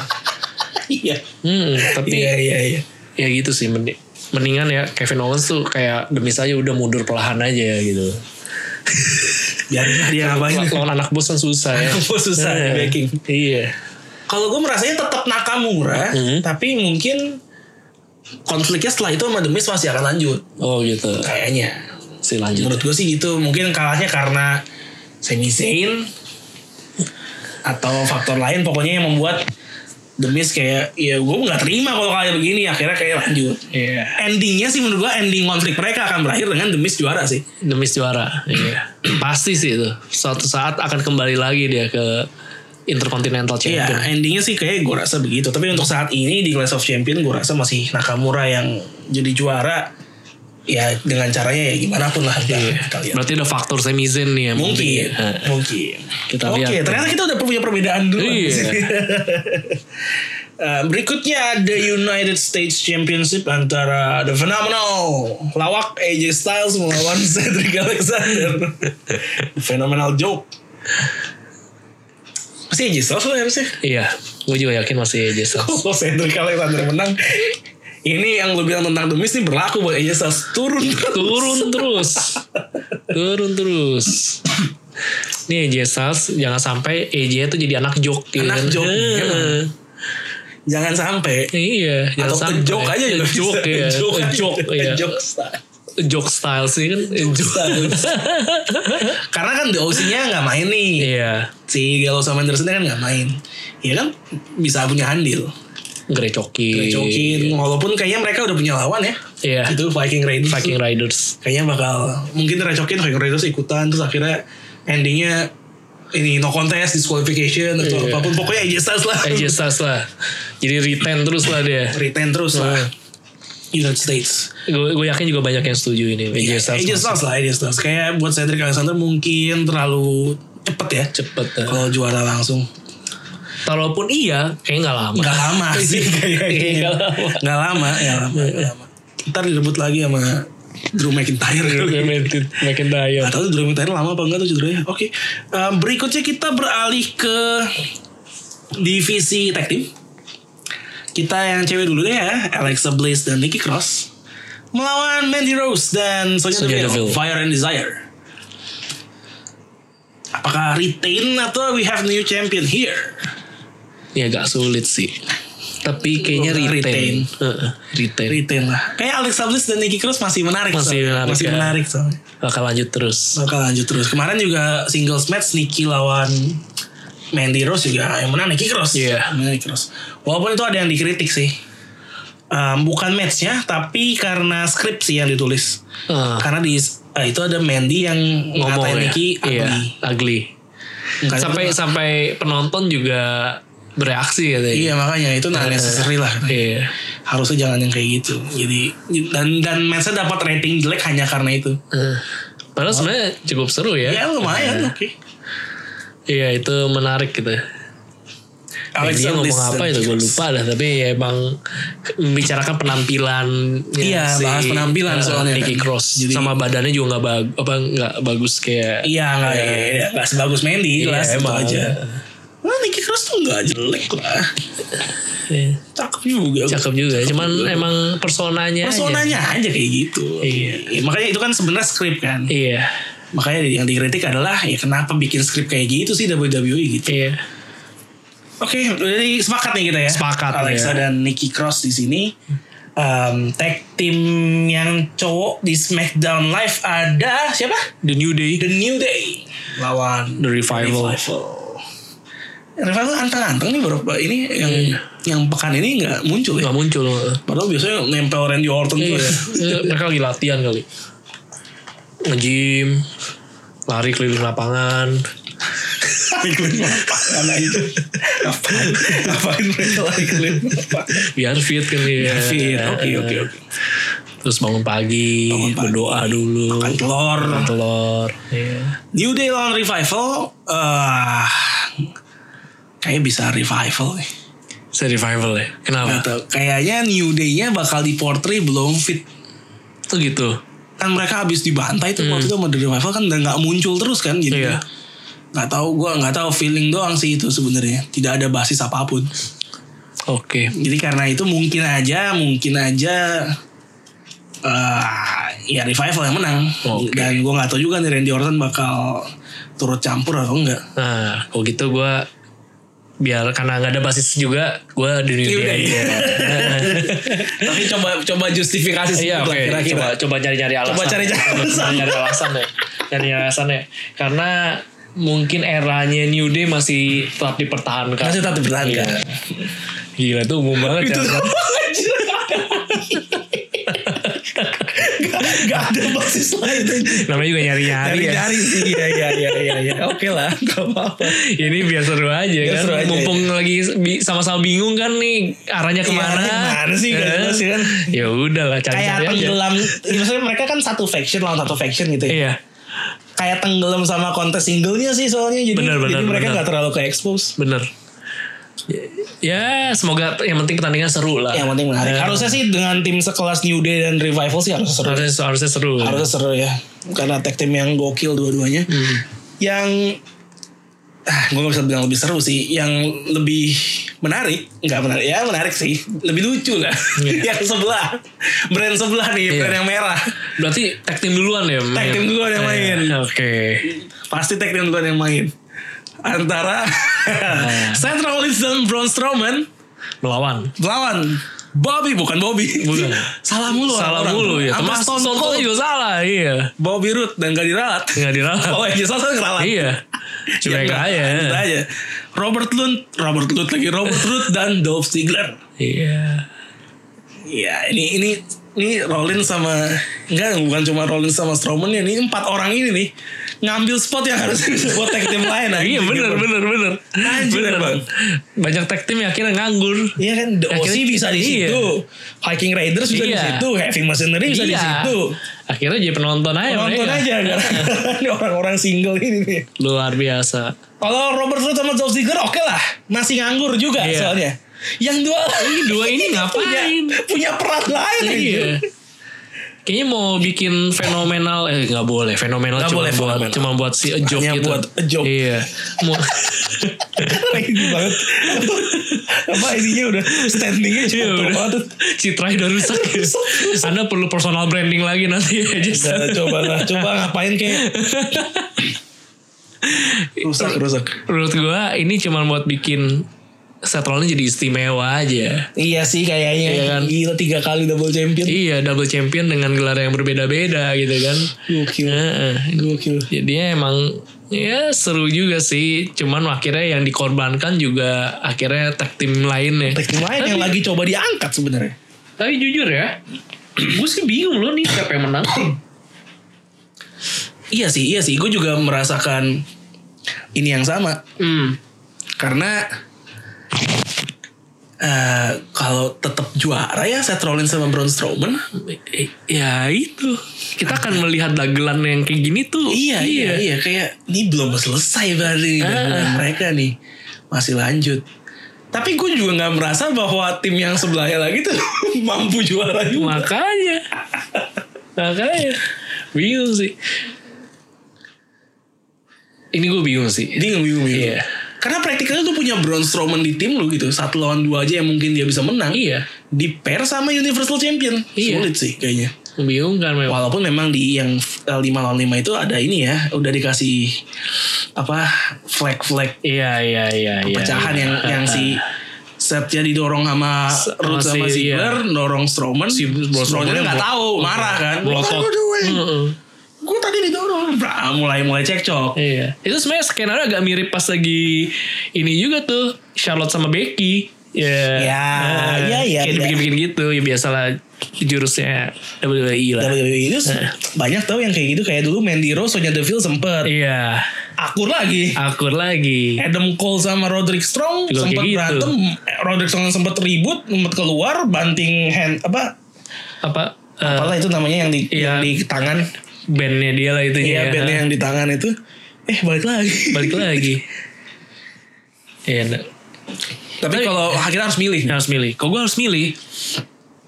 [SPEAKER 1] iya
[SPEAKER 2] Hmm, tapi
[SPEAKER 1] iya iya iya
[SPEAKER 2] ya gitu sih mending- mendingan ya Kevin Owens tuh kayak demi saja udah mundur perlahan aja gitu.
[SPEAKER 1] biarin lah dia ngapain
[SPEAKER 2] Iya, Lawan anak bos kan susah ya.
[SPEAKER 1] Anak bos susah,
[SPEAKER 2] Eh,
[SPEAKER 1] backing.
[SPEAKER 2] Iya.
[SPEAKER 1] Kalau gue merasanya tetap Nakamura,
[SPEAKER 2] Mhm.
[SPEAKER 1] tapi mungkin konfliknya setelah itu sama The Miz masih akan lanjut
[SPEAKER 2] Oh gitu.
[SPEAKER 1] kayaknya.
[SPEAKER 2] Si lanjut.
[SPEAKER 1] Menurut gue sih gitu, mungkin kalahnya karena Sami Zayn atau faktor lain pokoknya yang membuat The Miz kayak ya gue nggak terima kalau kayak begini akhirnya kayak lanjut.
[SPEAKER 2] Iya.
[SPEAKER 1] Endingnya sih menurut gue ending konflik mereka akan berakhir dengan The Miz juara sih.
[SPEAKER 2] Demis juara. Iya. Pasti sih itu. Suatu saat akan kembali lagi dia ke Intercontinental
[SPEAKER 1] Iya,
[SPEAKER 2] Champion.
[SPEAKER 1] endingnya sih kayak gue rasa begitu. Tapi untuk saat ini di Clash of Champion gue rasa masih Nakamura yang jadi juara. Ya dengan caranya ya gimana pun lah
[SPEAKER 2] Iya.
[SPEAKER 1] kita lihat.
[SPEAKER 2] Berarti ada faktor Sami Zayn nih ya, yang
[SPEAKER 1] iya. Mungkin,
[SPEAKER 2] penting. Hah.
[SPEAKER 1] mungkin.
[SPEAKER 2] Kita
[SPEAKER 1] Oke,
[SPEAKER 2] lihat.
[SPEAKER 1] ternyata kita udah punya perbedaan dulu.
[SPEAKER 2] Iya.
[SPEAKER 1] Eh, berikutnya ada United States Championship antara The Phenomenal lawak AJ Styles melawan Cedric Alexander. Phenomenal joke. Pasti AJ Styles lah ya harusnya.
[SPEAKER 2] Iya. Gue juga yakin masih AJ Styles.
[SPEAKER 1] Kalau Cedric Oh, Alexander menang Ini yang lu bilang tentang demis ini berlaku buat AJ Styles Turun
[SPEAKER 2] Turun terus. Turun terus. Nih AJ Styles jangan sampai AJ itu jadi anak jok gitu
[SPEAKER 1] Anak
[SPEAKER 2] kan.
[SPEAKER 1] jok, iya,
[SPEAKER 2] Heeh.
[SPEAKER 1] Bang. Jangan sampai
[SPEAKER 2] Iya, jangan
[SPEAKER 1] Atau
[SPEAKER 2] sampai.
[SPEAKER 1] kejok aja juga
[SPEAKER 2] Kejok,
[SPEAKER 1] bisa.
[SPEAKER 2] iya.
[SPEAKER 1] Kejok,
[SPEAKER 2] Kejok, iya.
[SPEAKER 1] Kejok Styles.
[SPEAKER 2] Jok style sih kan. Jok.
[SPEAKER 1] Styles. Karena kan the OC-nya gak main nih
[SPEAKER 2] Iya,
[SPEAKER 1] Si Galo sama Anderson kan gak main Ya kan bisa punya handil
[SPEAKER 2] gerecokin.
[SPEAKER 1] Cokin Walaupun kayaknya mereka udah punya lawan ya
[SPEAKER 2] Iya.
[SPEAKER 1] Itu Viking Raiders
[SPEAKER 2] Viking Riders.
[SPEAKER 1] Kayaknya bakal Mungkin recokin Viking Raiders ikutan Terus akhirnya endingnya ini no contest disqualification atau
[SPEAKER 2] Iya.
[SPEAKER 1] apapun pokoknya AJ Styles lah
[SPEAKER 2] AJ E Styles lah. Jadi retain terus lah dia.
[SPEAKER 1] retain terus lah United States
[SPEAKER 2] Gue gue yakin juga banyak yang setuju ini. AJ
[SPEAKER 1] Iya,
[SPEAKER 2] Styles.
[SPEAKER 1] AJ
[SPEAKER 2] masuk
[SPEAKER 1] Styles lah AJ Styles kayak buat Cedric Alexander mungkin terlalu cepet ya
[SPEAKER 2] Cepet. eh.
[SPEAKER 1] kalau juara langsung
[SPEAKER 2] Walaupun iya, kayaknya nggak lama.
[SPEAKER 1] Gak Iya, lama sih kayaknya.
[SPEAKER 2] Nggak lama.
[SPEAKER 1] Gak lama, gak lama, nggak lama. Ntar direbut lagi sama Drew McIntyre.
[SPEAKER 2] Makin daya.
[SPEAKER 1] Gak tau tuh Drew McIntyre lama apa enggak tuh cederanya. Oke. Em, berikutnya kita beralih ke divisi tag team. Kita yang cewek dulu deh ya. Alexa Bliss dan Nikki Cross. Melawan Mandy Rose dan Sonya
[SPEAKER 2] Sonya
[SPEAKER 1] Deville.
[SPEAKER 2] Deville.
[SPEAKER 1] Fire and Desire. Apakah retain atau we have new champion here?
[SPEAKER 2] Ya agak sulit sih. Tapi kayaknya
[SPEAKER 1] Retain.
[SPEAKER 2] retain. Heeh, Retain.
[SPEAKER 1] retain lah. Kayak Alexa Bliss dan Nikki Cross masih menarik.
[SPEAKER 2] Masih
[SPEAKER 1] soalnya.
[SPEAKER 2] menarik,
[SPEAKER 1] Masih
[SPEAKER 2] ya.
[SPEAKER 1] menarik soalnya.
[SPEAKER 2] Bakal lanjut terus.
[SPEAKER 1] Bakal lanjut terus. Kemarin juga singles match Nikki lawan Mandy Rose juga yang menang Nikki Cross.
[SPEAKER 2] Iya.
[SPEAKER 1] Menang Nikki Cross. Walaupun itu ada yang dikritik sih. Em, bukan matchnya tapi karena skrip sih yang ditulis.
[SPEAKER 2] Ah.
[SPEAKER 1] Karena di eh, itu ada Mandy yang
[SPEAKER 2] Ngomong
[SPEAKER 1] ngatain
[SPEAKER 2] ya.
[SPEAKER 1] Nikki
[SPEAKER 2] Iya,
[SPEAKER 1] ugly.
[SPEAKER 2] ugly.
[SPEAKER 1] Makanya
[SPEAKER 2] Sampai
[SPEAKER 1] itu-
[SPEAKER 2] sampai penonton juga bereaksi ya
[SPEAKER 1] Iya makanya itu nah necessary lah.
[SPEAKER 2] Iya.
[SPEAKER 1] Harusnya jangan yang kayak gitu. Jadi dan dan matchnya dapat rating jelek hanya karena itu.
[SPEAKER 2] Eh,
[SPEAKER 1] Oh.
[SPEAKER 2] Padahal sebenarnya cukup seru ya.
[SPEAKER 1] Ya lumayan oke.
[SPEAKER 2] Iya itu menarik gitu. Dia
[SPEAKER 1] Bliss
[SPEAKER 2] ngomong
[SPEAKER 1] dan
[SPEAKER 2] apa itu
[SPEAKER 1] Nikki
[SPEAKER 2] gue
[SPEAKER 1] Cross.
[SPEAKER 2] lupa dah tapi ya emang membicarakan penampilan
[SPEAKER 1] Iya, bahas penampilan soalnya
[SPEAKER 2] Nicky
[SPEAKER 1] kan.
[SPEAKER 2] Cross
[SPEAKER 1] Jadi-
[SPEAKER 2] sama badannya juga nggak bag- apa nggak bagus kayak
[SPEAKER 1] Iya nggak ya, ya, nggak sebagus Mandy
[SPEAKER 2] Iya,
[SPEAKER 1] jelas itu
[SPEAKER 2] emang.
[SPEAKER 1] aja. Nah Nicky Cross tuh nggak jelek lah.
[SPEAKER 2] Iya,
[SPEAKER 1] Cakep juga.
[SPEAKER 2] cakep juga ya, cuman
[SPEAKER 1] juga.
[SPEAKER 2] emang personanya aja.
[SPEAKER 1] Personanya aja. kayak gitu.
[SPEAKER 2] Iya.
[SPEAKER 1] Ya, makanya itu kan sebenarnya skrip kan.
[SPEAKER 2] iya
[SPEAKER 1] Makanya yang dikritik adalah ya kenapa bikin skrip kayak gitu sih WWE gitu.
[SPEAKER 2] iya
[SPEAKER 1] Oke, jadi sepakat nih kita ya.
[SPEAKER 2] Sepakat,
[SPEAKER 1] Alexa
[SPEAKER 2] ya.
[SPEAKER 1] dan Nikki Cross di sini. Um, tag team yang cowok di SmackDown Live ada siapa?
[SPEAKER 2] The New Day
[SPEAKER 1] The New Day lawan
[SPEAKER 2] The Revival.
[SPEAKER 1] Revival. Revival anteng-anteng nih beberapa ini yang yang pekan ini nggak muncul ya.
[SPEAKER 2] Iya. nggak muncul
[SPEAKER 1] Padahal biasanya nempel Randy Orton
[SPEAKER 2] iya.
[SPEAKER 1] juga.
[SPEAKER 2] Eh, mereka lagi latihan kali nge-gym lari keliling lapangan
[SPEAKER 1] Keliling lapangan aja. Ngapain? Ngapain mereka lagi keliling lapangan?
[SPEAKER 2] biar fit kan ya
[SPEAKER 1] Fit, oke oke
[SPEAKER 2] eh,
[SPEAKER 1] oke.
[SPEAKER 2] terus bangun pagi,
[SPEAKER 1] Bangun pagi.
[SPEAKER 2] berdoa dulu
[SPEAKER 1] Makan telur.
[SPEAKER 2] makan telur iya.
[SPEAKER 1] New Day lawan Revival, eh kayaknya bisa Revival nih.
[SPEAKER 2] Saya revival ya
[SPEAKER 1] Nggak
[SPEAKER 2] kenapa
[SPEAKER 1] tahu. Kayaknya New Day-nya bakal di portray belum fit.
[SPEAKER 2] tuh gitu
[SPEAKER 1] kan mereka habis dibantai tuh waktu itu sama The Revival kan dan nggak muncul terus kan jadi
[SPEAKER 2] Hmm. Iya.
[SPEAKER 1] nggak tahu gue nggak tahu feeling doang sih itu sebenarnya tidak ada basis apapun
[SPEAKER 2] oke
[SPEAKER 1] jadi karena itu mungkin aja mungkin aja eh ya Revival yang menang
[SPEAKER 2] Oke.
[SPEAKER 1] dan gue nggak tahu juga nih Randy Orton bakal turut campur atau enggak
[SPEAKER 2] nah kalau gitu gue biar karena nggak ada basis juga gue di dunia
[SPEAKER 1] Yaudah,
[SPEAKER 2] aja.
[SPEAKER 1] iya. Tapi coba coba justifikasi
[SPEAKER 2] Iya
[SPEAKER 1] sedikit
[SPEAKER 2] oke
[SPEAKER 1] lah kira-kira.
[SPEAKER 2] coba coba nyari-nyari alasan.
[SPEAKER 1] Coba cari-cari alasan.
[SPEAKER 2] nyari alasan ya. Nyari-nyari alasan ya. Karena mungkin eranya New Day masih tetap dipertahankan.
[SPEAKER 1] Masih tetap dipertahankan.
[SPEAKER 2] Iya. Gila itu umum banget.
[SPEAKER 1] Itu
[SPEAKER 2] ya.
[SPEAKER 1] gak, gak ada basis lain
[SPEAKER 2] Namanya juga nyari-nyari ya.
[SPEAKER 1] Nyari-nyari sih Iya iya iya iya iya. Oke lah Gak apa-apa
[SPEAKER 2] Ini biar seru aja kan.
[SPEAKER 1] seru aja,
[SPEAKER 2] Mumpung lagi bi- sama-sama bingung kan nih arahnya kemana.
[SPEAKER 1] arahnya Iya, kemana sih, gak
[SPEAKER 2] Eh,
[SPEAKER 1] jelas sih kan.
[SPEAKER 2] Ya udahlah
[SPEAKER 1] Kayak
[SPEAKER 2] cari-cari aja.
[SPEAKER 1] Eh, tenggelam Maksudnya mereka kan satu faction lawan satu faction gitu ya
[SPEAKER 2] Iya.
[SPEAKER 1] Kayak tenggelam sama kontes singlenya sih soalnya Jadi,
[SPEAKER 2] Benar, benar,
[SPEAKER 1] jadi mereka
[SPEAKER 2] benar.
[SPEAKER 1] gak terlalu ke expose
[SPEAKER 2] Bener. Ya semoga yang penting pertandingan seru lah.
[SPEAKER 1] Yang penting menarik
[SPEAKER 2] Eh,
[SPEAKER 1] Harusnya sih dengan tim sekelas New Day dan Revival sih harus seru
[SPEAKER 2] harusnya harusnya seru.
[SPEAKER 1] Harusnya seru ya Karena tag team yang gokil dua-duanya
[SPEAKER 2] Hmm.
[SPEAKER 1] Yang ah, Gue gak bisa bilang lebih seru sih Yang lebih menarik Gak menarik Ya menarik sih Lebih lucu lah
[SPEAKER 2] Iya.
[SPEAKER 1] Yang sebelah Brand sebelah nih Brand
[SPEAKER 2] Iya.
[SPEAKER 1] yang merah
[SPEAKER 2] Berarti tag team duluan ya. Tag
[SPEAKER 1] team duluan yang main.
[SPEAKER 2] Oke.
[SPEAKER 1] Pasti tag team duluan yang main Antara Seth Rollins dan Braun Strowman
[SPEAKER 2] Melawan.
[SPEAKER 1] Melawan Bobby bukan Bobby
[SPEAKER 2] Bukan.
[SPEAKER 1] Salah mulu
[SPEAKER 2] salah
[SPEAKER 1] orang.
[SPEAKER 2] mulu ya.
[SPEAKER 1] Sampai
[SPEAKER 2] Termasuk
[SPEAKER 1] Stone
[SPEAKER 2] Stone Cold
[SPEAKER 1] Cold.
[SPEAKER 2] juga salah. Iya.
[SPEAKER 1] Bobby Roode dan gak diralat
[SPEAKER 2] Nggak diralat.
[SPEAKER 1] Oh iya salah keralat
[SPEAKER 2] iya. Cuma
[SPEAKER 1] enggak,
[SPEAKER 2] aja.
[SPEAKER 1] lanjut aja. Robert Lund, Robert Lund lagi Robert Lund dan Dolph Ziggler.
[SPEAKER 2] Iya.
[SPEAKER 1] Iya, ini ini ini Rollins sama enggak bukan cuma Rollins sama Strowman ya, ini empat orang ini nih ngambil spot yang harusnya bisa buat tag team lain. anjing.
[SPEAKER 2] Iya bener bener bener.
[SPEAKER 1] Anjir,
[SPEAKER 2] Bener.
[SPEAKER 1] Bang.
[SPEAKER 2] Banyak tag team yang akhirnya nganggur.
[SPEAKER 1] Iya kan, The OC
[SPEAKER 2] Akhirnya-
[SPEAKER 1] bisa di
[SPEAKER 2] iya.
[SPEAKER 1] situ, Hiking Raiders bisa
[SPEAKER 2] Iya.
[SPEAKER 1] di situ, Heavy Machinery bisa di
[SPEAKER 2] Iya.
[SPEAKER 1] situ.
[SPEAKER 2] Akhirnya jadi penonton aja.
[SPEAKER 1] Nonton
[SPEAKER 2] mereka.
[SPEAKER 1] aja, kan? Ini orang-orang single ini nih.
[SPEAKER 2] Luar biasa.
[SPEAKER 1] Kalau Robert Root sama Dolph Ziggler oke lah, masih nganggur juga
[SPEAKER 2] Iya.
[SPEAKER 1] soalnya. Yang dua
[SPEAKER 2] Ini dua ini
[SPEAKER 1] punya
[SPEAKER 2] ngapain?
[SPEAKER 1] punya peran lain
[SPEAKER 2] Iya.
[SPEAKER 1] anjir.
[SPEAKER 2] Kayaknya mau bikin fenomenal eh nggak boleh fenomenal
[SPEAKER 1] Nggak
[SPEAKER 2] cuma
[SPEAKER 1] boleh
[SPEAKER 2] buat
[SPEAKER 1] fenomenal.
[SPEAKER 2] cuma buat si a joke
[SPEAKER 1] Hanya
[SPEAKER 2] gitu.
[SPEAKER 1] buat a joke.
[SPEAKER 2] Iya. Mau-
[SPEAKER 1] Ranking banget. Apa ininya udah standingnya
[SPEAKER 2] Iya,
[SPEAKER 1] cuma
[SPEAKER 2] udah.
[SPEAKER 1] banget.
[SPEAKER 2] Citra udah rusak. ya. Anda perlu personal branding lagi nanti ya
[SPEAKER 1] Udah,
[SPEAKER 2] Jason.
[SPEAKER 1] Iya, coba lah, coba ngapain kayak rusak rusak.
[SPEAKER 2] Menurut gua ini cuma buat bikin Seth Rollins jadi istimewa aja.
[SPEAKER 1] Iya sih kayaknya
[SPEAKER 2] Iya kan?
[SPEAKER 1] Gila tiga kali double champion
[SPEAKER 2] Iya double champion dengan gelar yang berbeda-beda gitu kan.
[SPEAKER 1] Gokil
[SPEAKER 2] Heeh.
[SPEAKER 1] Gokil
[SPEAKER 2] Jadi emang ya seru juga sih. Cuman akhirnya yang dikorbankan juga akhirnya tag team ya. lainnya.
[SPEAKER 1] Tag team lain yang lagi coba diangkat sebenarnya
[SPEAKER 2] Tapi jujur ya, gue sih bingung loh nih siapa yang menang.
[SPEAKER 1] Iya sih iya sih Gue juga merasakan Ini yang sama
[SPEAKER 2] hmm.
[SPEAKER 1] karena eh kalau tetap juara ya Seth Rollins sama Braun Strowman
[SPEAKER 2] Ya itu. Kita akan melihat dagelan yang kayak gini tuh.
[SPEAKER 1] iya iya Ah. iya kayak ini belum selesai berarti nih, dengan mereka nih masih lanjut tapi gue juga nggak merasa bahwa tim yang sebelahnya lagi tuh mampu juara juga
[SPEAKER 2] Iya. Makanya. Makanya. Bingung sih. Ini gue bingung sih.
[SPEAKER 1] bingung bingung bingung
[SPEAKER 2] Iya.
[SPEAKER 1] karena praktiknya tuh punya Braun Strowman di tim lu gitu satu lawan dua aja yang mungkin dia bisa menang
[SPEAKER 2] Iya.
[SPEAKER 1] di pair sama Universal Champion
[SPEAKER 2] Iya.
[SPEAKER 1] sulit sih kayaknya
[SPEAKER 2] Bingung kan memang.
[SPEAKER 1] Walaupun memang di yang 5 lawan 5 itu ada ini ya, udah dikasih apa flag-flag
[SPEAKER 2] Iya, iya, iya. iya,
[SPEAKER 1] pecahan
[SPEAKER 2] iya.
[SPEAKER 1] yang yang si Septia didorong sama
[SPEAKER 2] S-
[SPEAKER 1] Ruth
[SPEAKER 2] sama
[SPEAKER 1] sama
[SPEAKER 2] si- iya.
[SPEAKER 1] Ziggler, dorong Strowman, si
[SPEAKER 2] Braun Strowman
[SPEAKER 1] nggak
[SPEAKER 2] bro-
[SPEAKER 1] tahu, marah kan.
[SPEAKER 2] Brotot. Heeh.
[SPEAKER 1] Gue tadi didorong, Bra, mulai mulai cekcok.
[SPEAKER 2] Iya. Itu sebenarnya skenario agak mirip pas lagi ini juga tuh Charlotte sama Becky. Ya,
[SPEAKER 1] Ya, iya, iya,
[SPEAKER 2] Kayak
[SPEAKER 1] iya.
[SPEAKER 2] dibikin-bikin gitu ya biasalah jurusnya WWE lah.
[SPEAKER 1] WWE itu
[SPEAKER 2] Eh.
[SPEAKER 1] banyak tau yang kayak gitu kayak dulu Mandy Rose, Sonya Deville sempet
[SPEAKER 2] Iya,
[SPEAKER 1] akur lagi.
[SPEAKER 2] akur lagi.
[SPEAKER 1] Adam Cole sama Roderick Strong
[SPEAKER 2] Juga
[SPEAKER 1] sempat
[SPEAKER 2] kayak gitu.
[SPEAKER 1] berantem, Eh, Roderick Strong sempat ribut, sempat keluar banting hand apa
[SPEAKER 2] Apa eh,
[SPEAKER 1] apalah itu namanya yang di
[SPEAKER 2] Iya.
[SPEAKER 1] yang di tangan
[SPEAKER 2] bandnya dia lah itu
[SPEAKER 1] iya bandnya yang di tangan itu eh balik lagi
[SPEAKER 2] balik lagi. Iya, nah,
[SPEAKER 1] tapi kalau akhirnya harus milih
[SPEAKER 2] harus milih. Kok gue harus milih?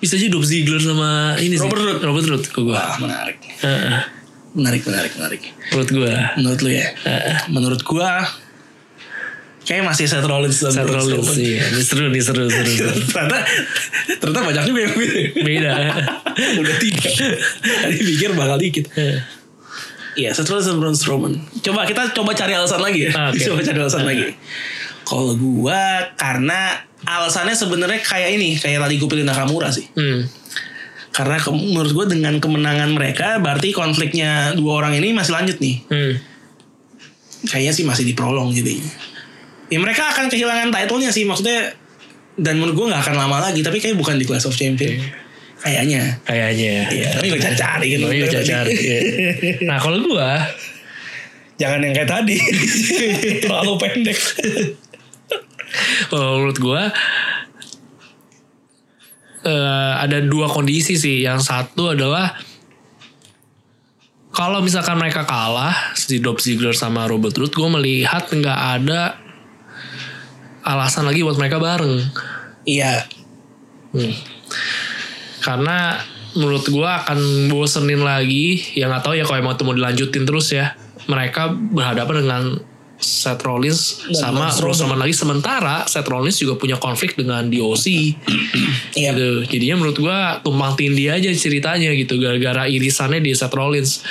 [SPEAKER 2] Bisa aja Dolph Ziggler sama ini sih.
[SPEAKER 1] Robert Roode.
[SPEAKER 2] Robert Roode kok gue.
[SPEAKER 1] wah Ah, menarik menarik menarik menarik
[SPEAKER 2] menurut gue.
[SPEAKER 1] menurut lu ya
[SPEAKER 2] Eh.
[SPEAKER 1] menurut gua kayak masih Seth Rollins dan
[SPEAKER 2] Seth
[SPEAKER 1] Braun
[SPEAKER 2] Rollins
[SPEAKER 1] Strowman.
[SPEAKER 2] sih. Iya, Ini seru nih, seru, seru. seru.
[SPEAKER 1] ternyata ternyata banyak juga yang milih
[SPEAKER 2] Beda.
[SPEAKER 1] udah tiga tadi pikir bakal dikit
[SPEAKER 2] Hmm,
[SPEAKER 1] Iya, Seth Rollins dan Braun Strowman. Coba kita coba cari alasan lagi ya.
[SPEAKER 2] Ah, oke.
[SPEAKER 1] Coba cari alasan lagi. Kalau gua karena alasannya sebenarnya kayak ini, kayak tadi gue pilih Nakamura sih.
[SPEAKER 2] Hmm.
[SPEAKER 1] Karena ke- menurut gue dengan kemenangan mereka berarti konfliknya dua orang ini masih lanjut nih.
[SPEAKER 2] Hmm.
[SPEAKER 1] Kayaknya sih masih diprolong jadi. Ya mereka akan kehilangan title-nya sih maksudnya dan menurut gue nggak akan lama lagi tapi kayak bukan di Clash of Champion.
[SPEAKER 2] Iya.
[SPEAKER 1] Kayaknya.
[SPEAKER 2] Kayaknya. ya.
[SPEAKER 1] Iya, tapi gue cari-cari kan.
[SPEAKER 2] Lo
[SPEAKER 1] Tadi.
[SPEAKER 2] cari. Nah kalau gua
[SPEAKER 1] Jangan yang kayak tadi. Terlalu pendek.
[SPEAKER 2] kalau menurut gua eh, ada dua kondisi sih. Yang satu adalah kalau misalkan mereka kalah si Dolph Ziggler sama Robert Root, gue melihat nggak ada alasan lagi buat mereka bareng.
[SPEAKER 1] Iya,
[SPEAKER 2] Hmm. Karena menurut gua akan bosenin lagi. Ya nggak tahu ya kalau emang itu mau dilanjutin terus ya. Mereka berhadapan dengan Seth Rollins
[SPEAKER 1] Dan
[SPEAKER 2] sama
[SPEAKER 1] Braun Strowman.
[SPEAKER 2] Braun Strowman lagi. Sementara Seth Rollins juga punya konflik dengan DOC.
[SPEAKER 1] iya.
[SPEAKER 2] gitu. Jadinya menurut gua tumpang tindih aja ceritanya gitu. Gara-gara irisannya di Seth Rollins.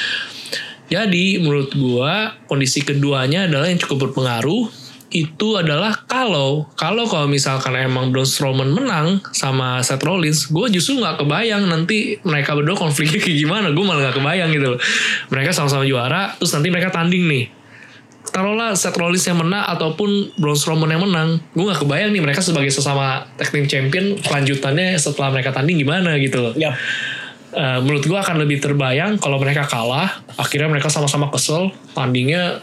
[SPEAKER 2] Jadi menurut gua kondisi keduanya adalah yang cukup berpengaruh itu adalah kalau kalau kalau misalkan emang Braun Strowman menang sama Seth Rollins, gue justru nggak kebayang nanti mereka berdua konfliknya kayak gimana, gue malah nggak kebayang gitu loh. Mereka sama-sama juara, terus nanti mereka tanding nih. Taruhlah Seth Rollins yang menang ataupun Braun Strowman yang menang, gue nggak kebayang nih mereka sebagai sesama tag team champion kelanjutannya setelah mereka tanding gimana gitu loh.
[SPEAKER 1] Iya.
[SPEAKER 2] Eh, menurut gue akan lebih terbayang kalau mereka kalah akhirnya mereka sama-sama kesel tandingnya